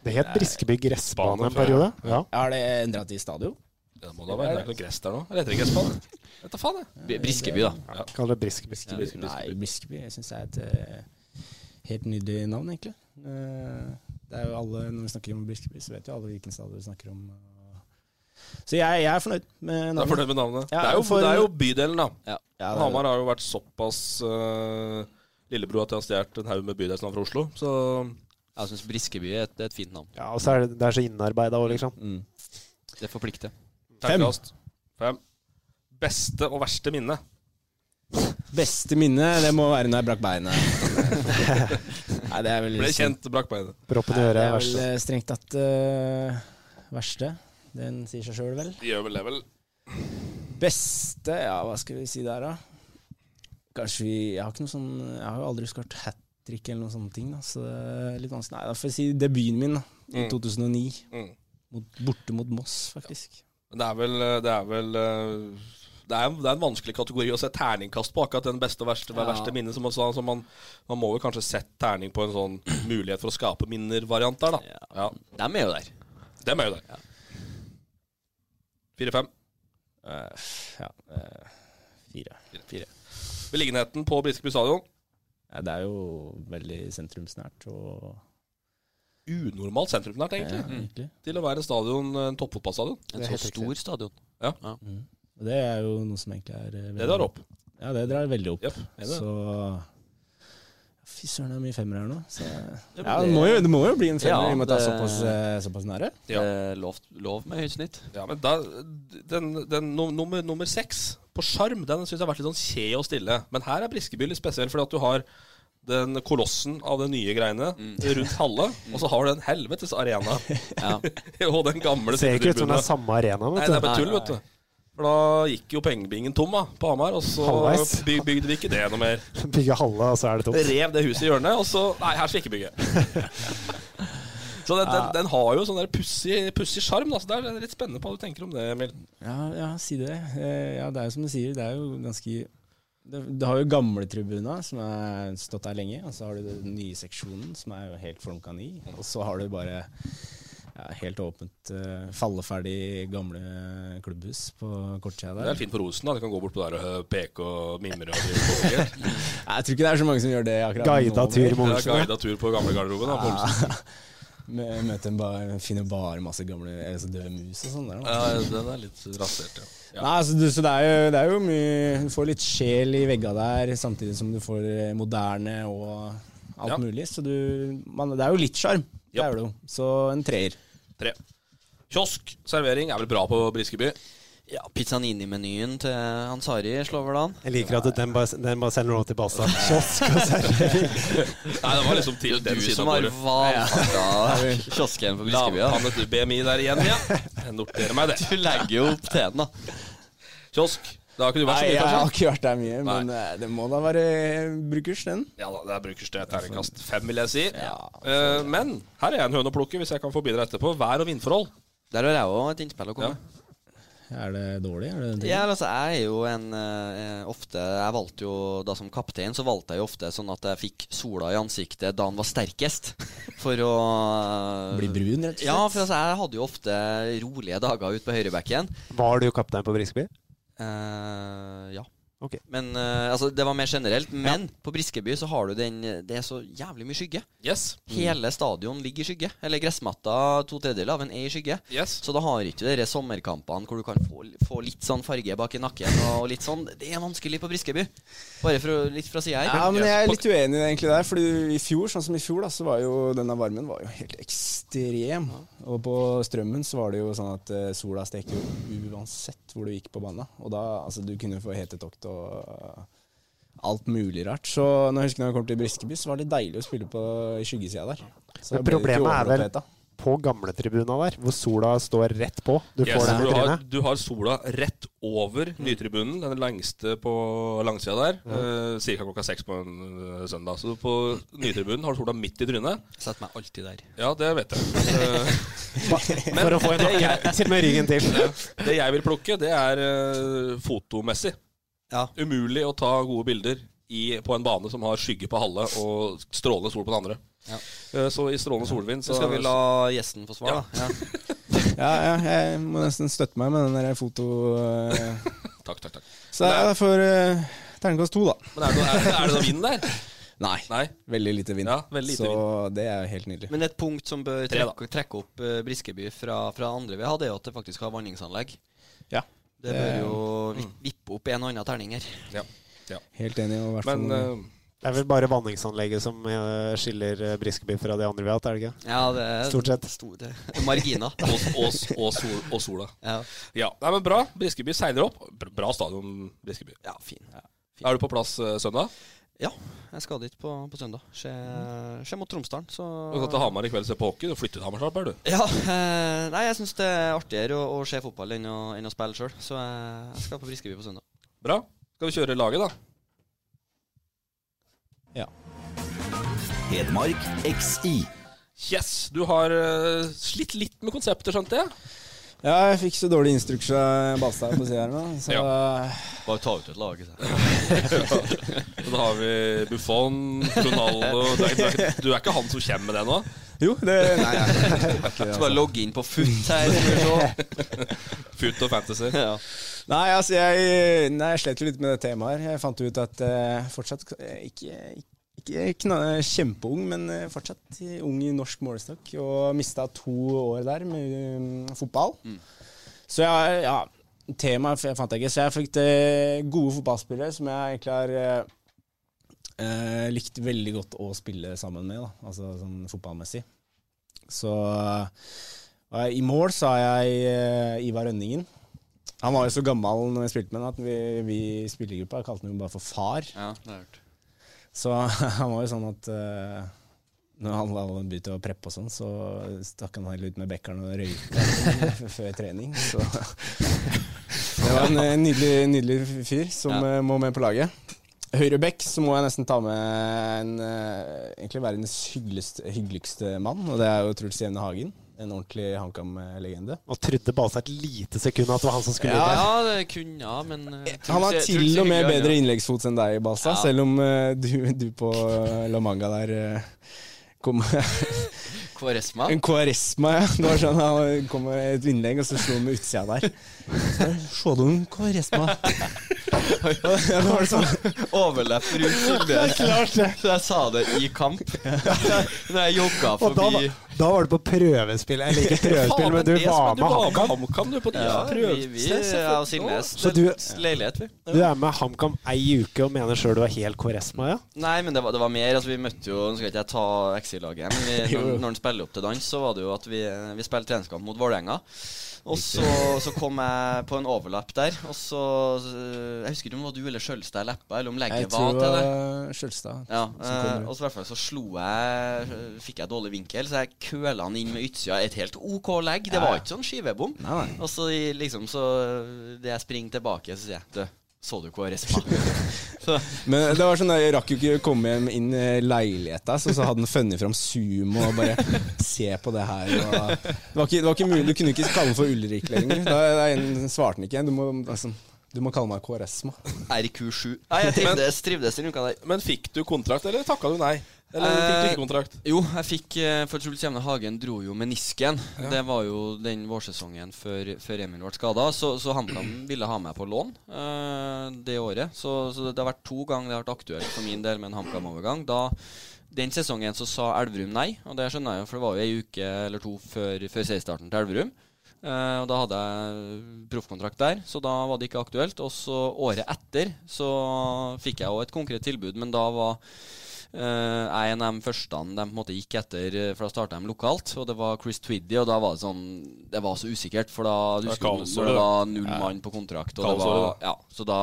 [SPEAKER 4] Det het Briskeby
[SPEAKER 3] Bane
[SPEAKER 4] gressbane en
[SPEAKER 3] før,
[SPEAKER 4] periode. Ja.
[SPEAKER 6] Er det endra til stadion?
[SPEAKER 3] Det må da være det er ikke noe gress der nå? Eller heter det gressbane? Vet da faen, jeg.
[SPEAKER 5] B- Briskeby, da.
[SPEAKER 4] Kaller det Briskeby.
[SPEAKER 3] Briskeby,
[SPEAKER 6] Nei, Briskeby jeg syns er et eh, helt nydelig navn, egentlig. Eh, det er jo alle, Når vi snakker om Briskeby, så vet jo alle hvilken stadion vi snakker om. eh. Så jeg, jeg er fornøyd med
[SPEAKER 3] Jeg er
[SPEAKER 6] navnet.
[SPEAKER 3] fornøyd med navnet.
[SPEAKER 6] Ja,
[SPEAKER 3] det, er jo,
[SPEAKER 6] for-
[SPEAKER 3] det er jo bydelen, da.
[SPEAKER 6] Ja, det er
[SPEAKER 3] Hamar har jo vært såpass uh, lillebror at de har stjålet en haug med bydelsnavn fra Oslo. Så
[SPEAKER 5] Jeg syns Briskeby er et, det er et fint navn.
[SPEAKER 4] Ja, og så er det, det er så innarbeida òg, liksom.
[SPEAKER 6] Mm.
[SPEAKER 5] Det forplikter.
[SPEAKER 3] terningkast fem. Beste og verste minne.
[SPEAKER 6] Beste minne, det må være når jeg brakk beinet. Nei, det er vel
[SPEAKER 3] Ble kjent, brakk beinet.
[SPEAKER 4] Proppen i
[SPEAKER 6] Nei, Det
[SPEAKER 4] øret.
[SPEAKER 6] er
[SPEAKER 4] verst.
[SPEAKER 6] vel eh, strengt tatt eh, verste. Den sier seg sjøl, vel.
[SPEAKER 3] De gjør vel det, vel.
[SPEAKER 6] Beste Ja, hva skal vi si der, da? Kanskje vi Jeg har ikke noe sånn Jeg har jo aldri skåret hat trick eller noen sånne ting, da, så det er litt vanskelig. Nei, da får jeg si debuten min, da. I 2009.
[SPEAKER 3] Mm.
[SPEAKER 6] Mot, borte mot Moss, faktisk.
[SPEAKER 3] Men det er vel Det er vel eh, det er, det er en vanskelig kategori å se terningkast på. Akkurat den beste og verste,
[SPEAKER 6] Ja.
[SPEAKER 3] verste minnet. Som man, sa, så man, man må jo kanskje sette terning på en sånn mulighet for å skape minner-variant der, da. Ja.
[SPEAKER 5] Dem er jo der.
[SPEAKER 3] Dem er jo der. Fire-fem.
[SPEAKER 6] Eh, ja. eh, fire.
[SPEAKER 3] Beliggenheten på Briskeby stadion.
[SPEAKER 6] Ja, det er jo veldig sentrumsnært og Mm.
[SPEAKER 3] Unormalt sentrumsnært, egentlig.
[SPEAKER 6] ja, egentlig.
[SPEAKER 3] Til å være en stadion, eh, en toppfotballstadion.
[SPEAKER 5] En så stor stadion.
[SPEAKER 6] Og det er jo noe som egentlig er eh, veldig,
[SPEAKER 3] Det drar opp.
[SPEAKER 6] Ja, det drar veldig opp.
[SPEAKER 3] Jepp. er det det?
[SPEAKER 6] Så Fy søren, det er mye femmere her nå. Så, ja, det, må jo, det må jo bli en femmer
[SPEAKER 5] Ja,
[SPEAKER 6] i og med at det er
[SPEAKER 5] det-
[SPEAKER 6] såpass, eh, såpass nære.
[SPEAKER 3] Ja.
[SPEAKER 5] Det er Eh, lov, lov med høyt snitt.
[SPEAKER 3] Ja, men da, den, den no- nummer, nummer seks på sjarm, den syns jeg har vært litt sånn kje og stille. Men her er Briskeby litt spesiell, fordi at du har den kolossen av de nye greiene rundt halve, og så har du en helvetes arena.
[SPEAKER 5] Ja.
[SPEAKER 3] og den gamle
[SPEAKER 4] Det ser ikke ut som det er
[SPEAKER 3] sittetribunen.
[SPEAKER 4] samme arena,
[SPEAKER 3] Nei,
[SPEAKER 4] vet
[SPEAKER 3] det
[SPEAKER 4] du.
[SPEAKER 3] er bare tull, vet du. For da gikk jo pengebingen tom da, på Hamar, og så
[SPEAKER 4] Halvveis.
[SPEAKER 3] byg, bygde vi ikke det noe mer.
[SPEAKER 4] Bygge halve, og så er det tomt.
[SPEAKER 3] Rev det huset i hjørnet, og så Nei, her skal vi ikke bygge. Så den, den,
[SPEAKER 6] Ja.
[SPEAKER 3] den har jo sånn der pussig pussig sjarm. da, så Det er litt spennende på hva du tenker om det, Emil.
[SPEAKER 6] Ja, ja, si det. Eh, Ja, det er jo som du sier, det er jo ganske det, det har jo gamletribuna, som har stått der lenge. Og så har du den nye seksjonen, som er jo helt flunka ny. Og så har du bare ja, helt åpent eh, falleferdig gamle klubbhus på kortsida
[SPEAKER 3] Det
[SPEAKER 6] der.
[SPEAKER 3] er fint på Rosen. da, Du kan gå bort på der og øh, peke og mimre. og drive på folk.
[SPEAKER 6] Nei, Jeg tror ikke det er så mange som gjør det akkurat
[SPEAKER 4] Guidet
[SPEAKER 6] nå.
[SPEAKER 4] tur med
[SPEAKER 3] Det er
[SPEAKER 4] Olsen, da.
[SPEAKER 3] guidet tur på gamlegarderoben. da, på Olsen.
[SPEAKER 6] Ah. Mø- Møte en bar, finner bare masse gamle altså døde mus og sånn der. Da.
[SPEAKER 3] Ja, den er litt rasert, ja.
[SPEAKER 6] Nei, altså, du, så det er, jo, det er jo mye Du får litt sjel i vegga der, samtidig som du får eh, moderne og alt
[SPEAKER 3] Ja.
[SPEAKER 6] mulig. Så du man, Det er jo litt sjarm. Det
[SPEAKER 3] Japp.
[SPEAKER 6] er det jo. Så en treer.
[SPEAKER 3] Tre. Kiosk, servering er vel bra på Briskeby?
[SPEAKER 5] Ja, Pizzanini-menyen til Ansari slår vel an.
[SPEAKER 4] Jeg liker at den bare, den bare sender noe til Basa. Kiosk og servering.
[SPEAKER 3] Nei, det var liksom til
[SPEAKER 5] Det er
[SPEAKER 3] den
[SPEAKER 5] du
[SPEAKER 3] siden
[SPEAKER 5] som
[SPEAKER 3] av
[SPEAKER 5] har
[SPEAKER 3] bordet.
[SPEAKER 5] valfarta kiosken på Briskeby.
[SPEAKER 3] Lavpannet
[SPEAKER 5] da.
[SPEAKER 3] til BMI der igjen, ja. Jeg noterer meg det.
[SPEAKER 5] Du legger jo opp til den, da.
[SPEAKER 3] Kiosk. Det har ikke du vært
[SPEAKER 6] Nei,
[SPEAKER 3] så mye,
[SPEAKER 6] jeg har
[SPEAKER 3] kanskje?
[SPEAKER 6] ikke vært der mye,
[SPEAKER 3] Nei.
[SPEAKER 6] men eh, det må da være brukers, den.
[SPEAKER 3] Ja da, der brukes det terningkast fem, vil jeg si. Eh, men her er jeg en høne å plukke, hvis jeg kan få bidra etterpå. Vær og vindforhold.
[SPEAKER 5] Der har jeg òg et innspill å komme
[SPEAKER 3] Ja.
[SPEAKER 5] med.
[SPEAKER 6] Er det dårlig? Er det en treer?
[SPEAKER 5] Ja, altså, jeg er jo en eh, ofte Jeg valgte jo da som kaptein, så valgte jeg jo ofte sånn at jeg fikk sola i ansiktet da han var sterkest, for å
[SPEAKER 6] Bli brun, rett og slett?
[SPEAKER 5] Ja, for altså, jeg hadde jo ofte rolige dager ute på høyrebekken.
[SPEAKER 4] Var du kaptein på Briskeby?
[SPEAKER 5] Eh, ja.
[SPEAKER 4] Ok.
[SPEAKER 5] Men eh, altså, det var mer generelt. Men på Briskeby så har du den Det er så jævlig mye skygge.
[SPEAKER 3] Yes.
[SPEAKER 5] Hele stadion ligger i skygge. Eller gressmatta, to tredjedeler av en er i skygge.
[SPEAKER 3] Mm. Yes.
[SPEAKER 5] Så da har ikke du de sommerkampene hvor du kan få, få litt sånn farge bak i nakken og litt sånn. Det er vanskelig på Briskeby. Bare for, å- litt fra sida her.
[SPEAKER 6] Ja, men jeg er litt uenig i det egentlig der. Fordi i fjor, sånn som i fjor, da, så var jo denne varmen var jo helt ekstrem. Og på strømmen så var det jo sånn at eh, sola steker jo uansett hvor du gikk på banen. Og da, altså, du kunne få hetetokt og eh, alt mulig rart. Så når jeg husker når jeg kom til Briskeby, så var det deilig å spille på i skyggesida der. Så
[SPEAKER 4] Men
[SPEAKER 6] da ble det ikke
[SPEAKER 4] problemet er vel-
[SPEAKER 6] overopphetet.
[SPEAKER 4] På gamletribuna der, hvor sola står rett på. Du
[SPEAKER 3] Yes.
[SPEAKER 4] får den i
[SPEAKER 3] Du, har,
[SPEAKER 4] trynet.
[SPEAKER 3] du har sola rett over nytribunen, den lengste på langsida der. eh, cirka klokka seks på en eh, søndag. Så på nytribunen har du sola midt i trynet.
[SPEAKER 5] Setter meg alltid der.
[SPEAKER 3] Ja, det vet jeg. Eh,
[SPEAKER 4] For å få en knockout med ryggen til.
[SPEAKER 3] Det jeg vil plukke, det er eh, fotomessig.
[SPEAKER 5] Ja.
[SPEAKER 3] Umulig å ta gode bilder i, på en bane som har skygge på halve og strålende sol på den andre.
[SPEAKER 5] Ja.
[SPEAKER 3] Eh, så i strålende solvind
[SPEAKER 5] Så
[SPEAKER 3] så
[SPEAKER 5] skal vi la gjesten få svar, da. Ja.
[SPEAKER 6] Ja, ja, jeg må nesten støtte meg med den der foto... eh.
[SPEAKER 3] Takk, takk, takk.
[SPEAKER 6] Så jeg får uh, terningkast to, da.
[SPEAKER 3] Men er det, noe- er, det- er det noe vind der?
[SPEAKER 6] Nei.
[SPEAKER 3] Nei.
[SPEAKER 6] Veldig lite vind.
[SPEAKER 3] Ja, veldig lite
[SPEAKER 6] så det er jo helt nydelig.
[SPEAKER 5] Men et punkt som bør
[SPEAKER 3] Tre, da.
[SPEAKER 5] trekke, trekke opp eh, Briskeby fra, fra andre vi har, det er jo at det faktisk har vanningsanlegg.
[SPEAKER 6] Ja.
[SPEAKER 5] Det bør jo vi- vippe opp en og annen terning her.
[SPEAKER 6] Helt enig. Og i hvert fall-
[SPEAKER 3] Men eh,
[SPEAKER 4] Det er vel bare vanningsanlegget som eh, skiller eh, Briskeby fra de andre vi har hatt, er det ikke?
[SPEAKER 5] Ja, det er
[SPEAKER 4] Stort sett.
[SPEAKER 5] store marginer.
[SPEAKER 3] og, og, og, sol, og sola.
[SPEAKER 5] Ja.
[SPEAKER 3] Ja, Nei, men Bra. Briskeby seiler opp. Br- Bra stadion, Briskeby.
[SPEAKER 5] ja, fin.
[SPEAKER 3] Er du på plass eh, søndag?
[SPEAKER 5] Ja, jeg skal dit på, på søndag. Skje, skje mot Tromsdalen, så
[SPEAKER 3] Du skal til Hamar i kveld og se på hockey. Du flytter til Hamar snart, er du?
[SPEAKER 5] Ja. Eh, nei, jeg syns det er artigere å, å se fotball enn å, enn å spille sjøl, så jeg, jeg skal på Briskeby på søndag.
[SPEAKER 3] Bra. Skal vi kjøre laget, da?
[SPEAKER 2] Hedmark XI.
[SPEAKER 3] Yes! Du har eh, slitt litt med konseptet, skjønte jeg?
[SPEAKER 6] Ja, jeg fikk så dårlig instruks av Balstad på sida her nå. Så
[SPEAKER 5] Bare ta ut et lag.
[SPEAKER 3] Så da har vi Buffon, Ronaldo Du er, du er, ikke- du er ikke han som kommer med det nå?
[SPEAKER 6] Jo, det Nei, nei, nei, det er ikke det,
[SPEAKER 5] Skal
[SPEAKER 6] altså.
[SPEAKER 5] bare logge inn på FUT her. skal vi se.
[SPEAKER 3] Foot og fantasy.
[SPEAKER 5] Ja.
[SPEAKER 6] nei, altså, jeg, nei, jeg slet jo litt med det temaet her. Jeg fant ut at eh, fortsatt eh, ikke, ikke kna, kjempeung, men eh, fortsatt ung i norsk målestokk. Og mista to år der med mm, fotball. Så jeg, ja, temaet f- jeg fant jeg ikke. Så jeg fikk eh, gode fotballspillere som jeg egentlig har eh, eh, likt veldig godt å spille sammen med, da. altså sånn fotballmessig. Så eh, i mål så har jeg eh, Ivar Rønningen. Han var jo så gammel når jeg spilte med han at vi, vi i spillergruppa kalte han jo bare for far.
[SPEAKER 5] ja, det har jeg hørt.
[SPEAKER 6] Så han var jo sånn at eh, når han var begynte å preppe og sånn, så stakk han helt ut med bekkeren og røyka f- før trening. Så det var en eh, nydelig, nydelig fyr som
[SPEAKER 5] Ja.
[SPEAKER 6] eh, må med på laget. Høyrebekk så må jeg nesten ta med en, eh, egentlig verdens hyggeligste, hyggeligste mann, og det er jo Truls Jevne Hagen. En ordentlig HamKam-legende.
[SPEAKER 4] Og trodde bare seg et lite sekund at det var han som skulle
[SPEAKER 5] Ja,
[SPEAKER 4] inn der.
[SPEAKER 5] ja, det kunne ja, men eh,
[SPEAKER 6] Han har
[SPEAKER 5] Truls-
[SPEAKER 6] til
[SPEAKER 5] Truls er
[SPEAKER 6] og med
[SPEAKER 5] hyggelig, han,
[SPEAKER 6] bedre
[SPEAKER 5] ja.
[SPEAKER 6] innleggsfot enn deg, Balsa,
[SPEAKER 5] Ja.
[SPEAKER 6] selv om eh, du, du på eh, La Manga der eh, kom
[SPEAKER 5] Kvaresma.
[SPEAKER 6] En kvaresma, ja. Det var sånn, han kom med et innlegg, og så slo han med utsida der. Så du en kvaresma? Og det var sånn,
[SPEAKER 5] Overlepp rundt
[SPEAKER 4] Det er klart det.
[SPEAKER 5] Så jeg sa det i kamp. Når jeg jogga
[SPEAKER 4] Og da,
[SPEAKER 5] forbi
[SPEAKER 4] da var du på prøvespill. Jeg liker prøvespill,
[SPEAKER 3] Faen,
[SPEAKER 4] men du
[SPEAKER 3] det som er-
[SPEAKER 4] var
[SPEAKER 3] du
[SPEAKER 4] med ham.
[SPEAKER 3] med HamKam, du, på de
[SPEAKER 5] ja, vi, vi,
[SPEAKER 3] prøvestedene.
[SPEAKER 5] jeg og Silnes
[SPEAKER 4] Så du-
[SPEAKER 5] delt leilighet, vi.
[SPEAKER 4] Du er med HamKam ei uke og mener sjøl du er helt Kvaresma, ja?
[SPEAKER 5] Nei, men det var, det var mer. Altså, vi møtte jo Nå skal ikke jeg ta XI-laget, men vi, når, når han spiller opp til dans, så var det jo at vi, vi spilte treningskamp mot Vålerenga. Og så, så kom jeg på en overlapp der, og så Jeg husker ikke om det var du eller Skjølstad jeg leppa, eller om
[SPEAKER 6] jeg
[SPEAKER 5] legget var
[SPEAKER 6] tror
[SPEAKER 5] til
[SPEAKER 6] det
[SPEAKER 5] det.
[SPEAKER 6] var Skjølstad.
[SPEAKER 5] Ja,
[SPEAKER 6] som kom
[SPEAKER 5] eh, og så i hvert fall så slo jeg Fikk jeg dårlig vinkel, så jeg køla han inn med utsida. Et helt OK legg. Det
[SPEAKER 6] Ja,
[SPEAKER 5] var
[SPEAKER 6] ja.
[SPEAKER 5] ikke sånn skivebom.
[SPEAKER 6] Nei, nei.
[SPEAKER 5] Og så i- liksom så Det jeg springer tilbake, så sier jeg Du, så du hva Respa?
[SPEAKER 6] Men det var sånn, jeg rakk jo ikke å komme hjem inn i leiligheta, så, så hadde han funnet fram Sumo og bare Se på det her. Og, det, var ikke, det var ikke mulig, du kunne ikke kalle han for Ulrik lenger. Da, da en- svarte han ikke. Du må, altså, du må kalle meg Kvaresma.
[SPEAKER 5] RQ7. Nei, jeg trivdes, trivdes den uka der.
[SPEAKER 3] Men fikk du kontrakt, eller takka du nei? Eller fikk du ikke kontrakt?
[SPEAKER 5] Jo, jeg fikk eh, For Truls Jevne Hagen dro jo menisken. Det var jo den vårsesongen før, før Emil ble skada. Så, så HamKam ville ha meg på lån eh, det året. Så, så det har vært to ganger det har vært aktuelt for min del med en HamKam-overgang. Da den sesongen så sa Elverum nei, og det skjønner jeg jo, for det var jo ei uke eller to før, før seriestarten til Elverum. Eh, og da hadde jeg proffkontrakt der, så da var det ikke aktuelt. Og så året etter så fikk jeg òg et konkret tilbud, men da var Eh, jeg er en av de første han de på en måte gikk etter, eh, for da starta de lokalt. Og det var Chris Twiddy, og da var det sånn Det var så usikkert, for da du
[SPEAKER 3] Det er
[SPEAKER 5] husker
[SPEAKER 3] kaos,
[SPEAKER 5] når
[SPEAKER 3] det.
[SPEAKER 5] det var null mann på kontrakt. Og det
[SPEAKER 3] Kaos,
[SPEAKER 5] var,
[SPEAKER 3] det.
[SPEAKER 5] ja, så da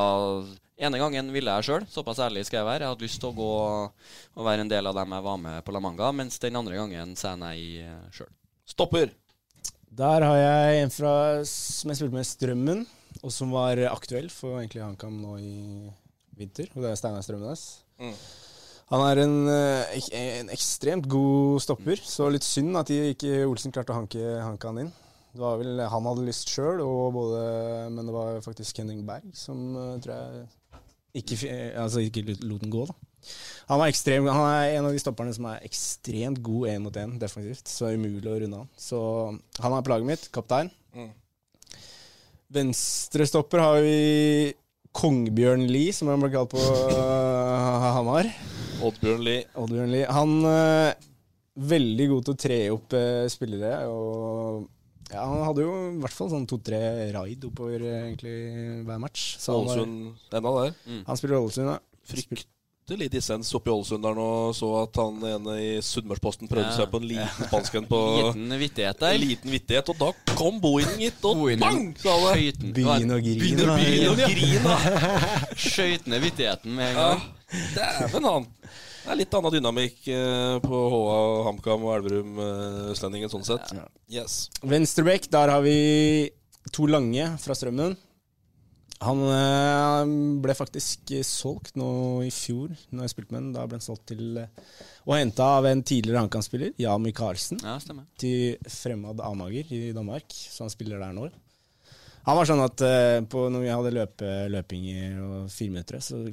[SPEAKER 5] Ene gangen ville jeg sjøl, såpass ærlig skal jeg være. Jeg hadde lyst til å gå og være en del av dem jeg var med på La Manga, mens den andre gangen sa jeg nei eh, sjøl.
[SPEAKER 3] Stopper.
[SPEAKER 6] Der har jeg en fra, som jeg spilte med i Strømmen, og som var aktuell for egentlig HamKam nå i vinter. Og det er Steinar Strømnes.
[SPEAKER 3] Mm.
[SPEAKER 6] Han er en, eh, ek- en ekstremt god stopper, så litt synd at de ikke Olsen klarte å hanke, hanke han inn. Det var vel han hadde lyst sjøl, men det var faktisk Henning Berg som eh, tror jeg ikke, fi- eh, altså ikke lot- lot den gå, da. Han er, ekstrem, han er en av de stopperne som er ekstremt god én mot én defensivt. Så det er umulig å runde han. Så han er plaget mitt. Kaptein.
[SPEAKER 3] Mm.
[SPEAKER 6] Venstrestopper har vi Kongbjørn Lie, som han ble kalt på øh, Hamar.
[SPEAKER 3] Oddbjørn Lie.
[SPEAKER 6] Oddbjørn Lie. Han er veldig god til å tre opp eh, spillere. Og ja, han hadde jo i hvert fall sånn to-tre raid oppover eh, egentlig hver match. Så han, var-
[SPEAKER 3] Ålesund ennå der.
[SPEAKER 6] han spiller Ålesund, ja.
[SPEAKER 3] Fryktelig dissens oppe i Ålesund der nå, så at han ene i Sunnmørsposten prøvde
[SPEAKER 5] Ja.
[SPEAKER 3] seg på en liten spansk en på
[SPEAKER 5] Liten vittighet
[SPEAKER 3] en
[SPEAKER 5] der.
[SPEAKER 3] liten vittighet, og da kom Bohinen, gitt, og bang! sa det.
[SPEAKER 5] Skøyten-
[SPEAKER 6] Begynn å grine.
[SPEAKER 5] Begynn å- begynn å
[SPEAKER 3] Begynn å grine, da.
[SPEAKER 5] Skøyt ned vittigheten med en
[SPEAKER 3] Ja,
[SPEAKER 5] gang.
[SPEAKER 3] Dæven, han. Det er litt annen dynamikk eh, på HA, HamKam og Elverum eh, Østlendingen, sånn sett. Yes.
[SPEAKER 6] Venstrebekk, der har vi to lange fra Strømmen. Han eh, ble faktisk eh, solgt nå i fjor, når jeg spilte med han. Da ble han solgt til eh, og henta av en tidligere HamKam-spiller, Jami Karlsen,
[SPEAKER 5] Ja, stemmer.
[SPEAKER 6] til Fremad Amager i Danmark, så han spiller der nå. Han var sånn at eh, på, når vi hadde løpe, løpinger og fireminuttere, så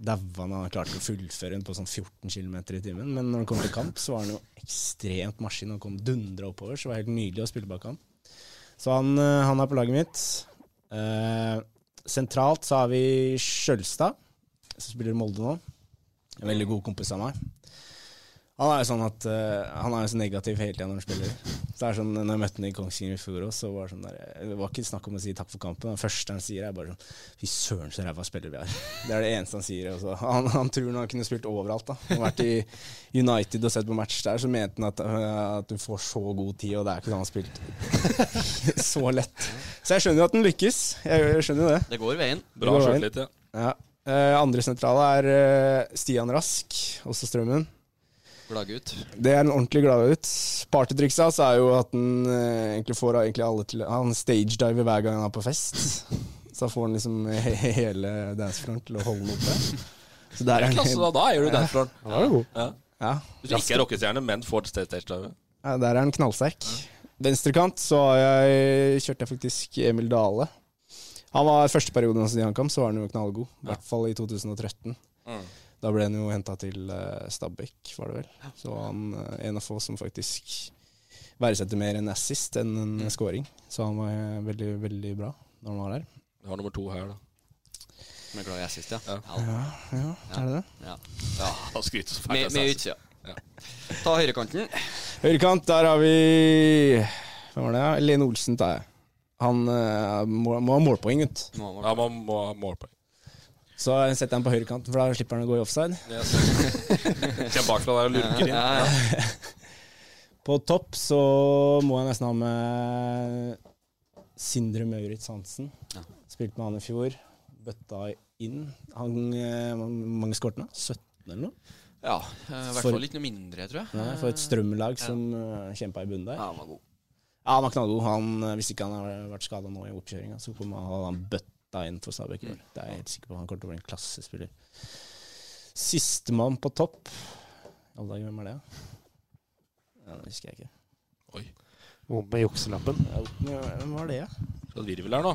[SPEAKER 6] daua han. Han klarte å fullføre den på sånn 14 km i timen. Men når han kom til kamp, så var han jo ekstremt maskin og kom dundra oppover. Så det var helt nydelig å spille bak han. Så han, eh, han er på laget mitt. Eh, sentralt så har vi Skjølstad, som spiller i Molde nå. En veldig god kompis av meg. Han er jo sånn at eh, Han er jo så negativ hele tida når han spiller. Så det er sånn, når jeg møtte han i Kongsvinger i fjor også, så var det sånn der, det var ikke snakk om å si takk for kampen. Det første han sier, er bare sånn Fy søren, så ræva spiller vi er. Det er det eneste han sier. Også. Han, han tror han kunne spilt overalt. da Han har vært i United og sett på match der, så mente han at, eh, at du får så god tid, og det er ikke sånn han har spilt så lett. Så jeg skjønner jo at han lykkes. Jeg, jeg skjønner jo det.
[SPEAKER 5] Det går veien.
[SPEAKER 3] Bra
[SPEAKER 6] Det går veien.
[SPEAKER 3] sjøltillit, ja.
[SPEAKER 6] Ja. Eh, andre sentrale er eh, Stian Rask, også Strømmen.
[SPEAKER 5] Gladgutt.
[SPEAKER 6] Det er en ordentlig gladgutt. Partytrikset hans er jo at han eh, egentlig får egentlig alle til Han stagediver hver gang han er på fest. Så da får han liksom he- he- hele dancefloren til å holde den oppe. Så der
[SPEAKER 3] Det er
[SPEAKER 6] han-
[SPEAKER 3] klasse, da. Da eier du den fløren.
[SPEAKER 4] Da var du god.
[SPEAKER 3] Ja.
[SPEAKER 6] Ja.
[SPEAKER 3] Hvis du ikke er rockestjerne, men får stage dive.
[SPEAKER 6] Ja, der er han knallsterk. Venstrekant så har jeg, kjørte jeg faktisk Emil Dale. Han var Første perioden hans i Ankamp så var han jo knallgod, i hvert fall i 2013. Da ble han jo henta til eh, Stabæk, var det vel. Så han eh, en av få som faktisk verdsetter mer en assist enn en scoring. Så han var eh, veldig, veldig bra når han var der.
[SPEAKER 3] Du har nummer to her, da.
[SPEAKER 5] Med glad i assist, ja.
[SPEAKER 3] Ja.
[SPEAKER 5] ja.
[SPEAKER 6] Ja, er det det?
[SPEAKER 5] ja.
[SPEAKER 3] Da skrytes det
[SPEAKER 5] Med, med utsida. Ta høyrekanten.
[SPEAKER 6] Høyrekant, der har vi Hvem var det? ja? Lene Olsen, tar jeg. Han eh, må, må ha målpoeng, gutt.
[SPEAKER 5] Må- må-
[SPEAKER 3] Ja, man må ha målpoeng.
[SPEAKER 6] Så setter jeg ham på høyrekanten, for da slipper han å gå i offside.
[SPEAKER 3] Yes. Kjem bakfra der og lurker inn.
[SPEAKER 5] Ja, ja.
[SPEAKER 6] På topp så må jeg nesten ha med Sindre Maurits Hansen.
[SPEAKER 5] Ja.
[SPEAKER 6] Spilte med han i fjor. Bøtta inn. Han eh, Hvor mange skåret han? da? 17 eller noe?
[SPEAKER 5] ja. I hvert
[SPEAKER 6] For-
[SPEAKER 5] fall ikke noe mindre, tror jeg.
[SPEAKER 6] Nei, for et strømmelag som kjempa i bunnen der.
[SPEAKER 5] Ja,
[SPEAKER 6] Ja.
[SPEAKER 5] han var god.
[SPEAKER 6] Han var knallgod. Han, eh, hvis ikke han har vært skada nå i oppkjøringa, så kommer han hadde han bøtta inn for Stabæk. i år. Det er jeg helt sikker på. Han kommer til å bli en klassespiller. Sistemann på topp I alle dager, hvem er det? da? Ja, det husker jeg ikke.
[SPEAKER 4] Vondt med jukselappen.
[SPEAKER 6] Ja, Hvem var det, da?
[SPEAKER 3] Skal vi virvel her nå?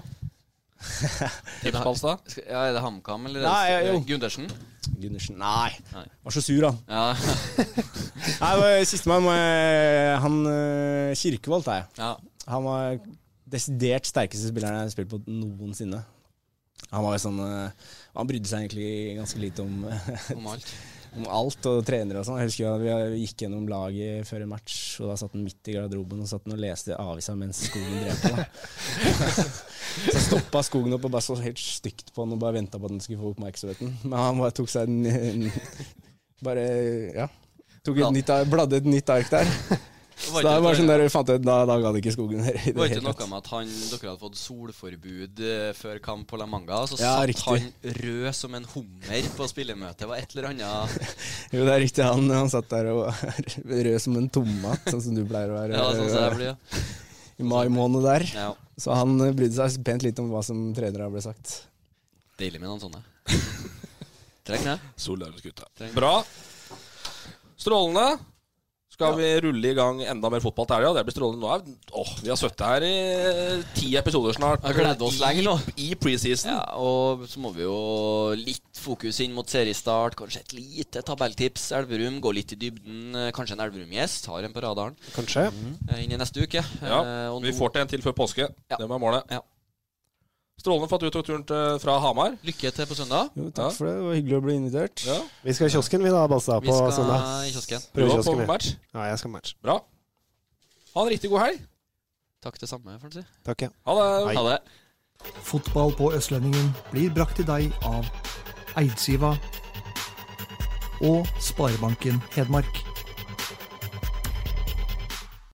[SPEAKER 3] Tips, Balstad?
[SPEAKER 5] Skal- Ja, er det HamKam eller
[SPEAKER 6] Nei, ja, jo.
[SPEAKER 5] Gundersen?
[SPEAKER 6] Gundersen. Nei.
[SPEAKER 5] Nei.
[SPEAKER 6] Var så sur, han.
[SPEAKER 5] Ja.
[SPEAKER 6] Nei, det var Sistemann må jeg Han eh, Kirkevold tar jeg.
[SPEAKER 5] ja.
[SPEAKER 6] Han var desidert sterkeste spilleren jeg har spilt på noensinne. Han var jo sånn eh, Han brydde seg egentlig ganske lite om,
[SPEAKER 5] Om alt.
[SPEAKER 6] om alt, og trenere og sånn. Jeg husker at vi gikk gjennom laget før en match, og da satt han midt i garderoben og satt han og leste avisa mens skogen drev på. Da. Så stoppa skogen opp og bare så helt stygt på han og bare venta på at han skulle få oppmerksomheten. Men han bare tok seg en, en Bare, ja. Tok et
[SPEAKER 5] Blad.
[SPEAKER 6] nytt, ar- bladde et nytt ark der. Så da var det sånn der, fant jeg, ut, da, da gadd ikke skogen her. i det
[SPEAKER 5] var ikke
[SPEAKER 6] hele tatt.
[SPEAKER 5] noe med at han, dere hadde fått solforbud eh, før kamp på La Manga, så
[SPEAKER 6] Ja,
[SPEAKER 5] satt
[SPEAKER 6] riktig.
[SPEAKER 5] han rød som en hummer på spillemøtet. Det var et eller annet
[SPEAKER 6] Jo, det er riktig. Han, han satt der og var rød som en tomat, sånn som du pleier å være
[SPEAKER 5] ja, sånn som jeg blir. ja.
[SPEAKER 6] i mai måned der.
[SPEAKER 5] Ja.
[SPEAKER 6] Så han eh, brydde seg pent litt om hva som trenere ble sagt.
[SPEAKER 5] Deilig med noen sånne. Trekk ned.
[SPEAKER 3] Solidarisk-gutta. Bra. Strålende. Skal vi rulle i gang enda mer fotball til helga? Det blir strålende nå. er- Åh, vi har sittet her i eh, ti episoder snart.
[SPEAKER 5] Jeg gleder oss lenge nå.
[SPEAKER 3] I preseason.
[SPEAKER 5] Ja, og så må vi jo litt fokus inn mot seriestart. Kanskje et lite tabelltips. Elverum gå litt i dybden. eh, Kanskje en Elverum-gjest har en på radaren
[SPEAKER 4] Kanskje.
[SPEAKER 5] eh, inn i neste uke. Eh,
[SPEAKER 3] Ja,
[SPEAKER 5] og
[SPEAKER 3] vi
[SPEAKER 5] nå-
[SPEAKER 3] får til en til før påske.
[SPEAKER 5] Ja.
[SPEAKER 3] Det må være målet.
[SPEAKER 5] Ja.
[SPEAKER 3] Strålende for at du tok turen til, fra Hamar.
[SPEAKER 5] Lykke til på søndag.
[SPEAKER 6] Jo,
[SPEAKER 3] Ja.
[SPEAKER 6] takk for det. Det var hyggelig å bli invitert.
[SPEAKER 3] Ja.
[SPEAKER 4] Vi skal i kiosken, vi da, Balstad,
[SPEAKER 5] Vi
[SPEAKER 4] på
[SPEAKER 5] skal
[SPEAKER 4] søndag.
[SPEAKER 5] i kiosken.
[SPEAKER 3] Du var på
[SPEAKER 4] Prøvekiosken, vi.
[SPEAKER 3] match.
[SPEAKER 4] Ja, jeg skal matche.
[SPEAKER 3] Bra. Ha en riktig god helg.
[SPEAKER 5] Takk det samme, får en si.
[SPEAKER 4] Takk, ja.
[SPEAKER 3] Ha det.
[SPEAKER 4] Hei.
[SPEAKER 5] Ha det.
[SPEAKER 1] Fotball på Østlendingen blir brakt til deg av Eidsiva og Sparebanken Hedmark.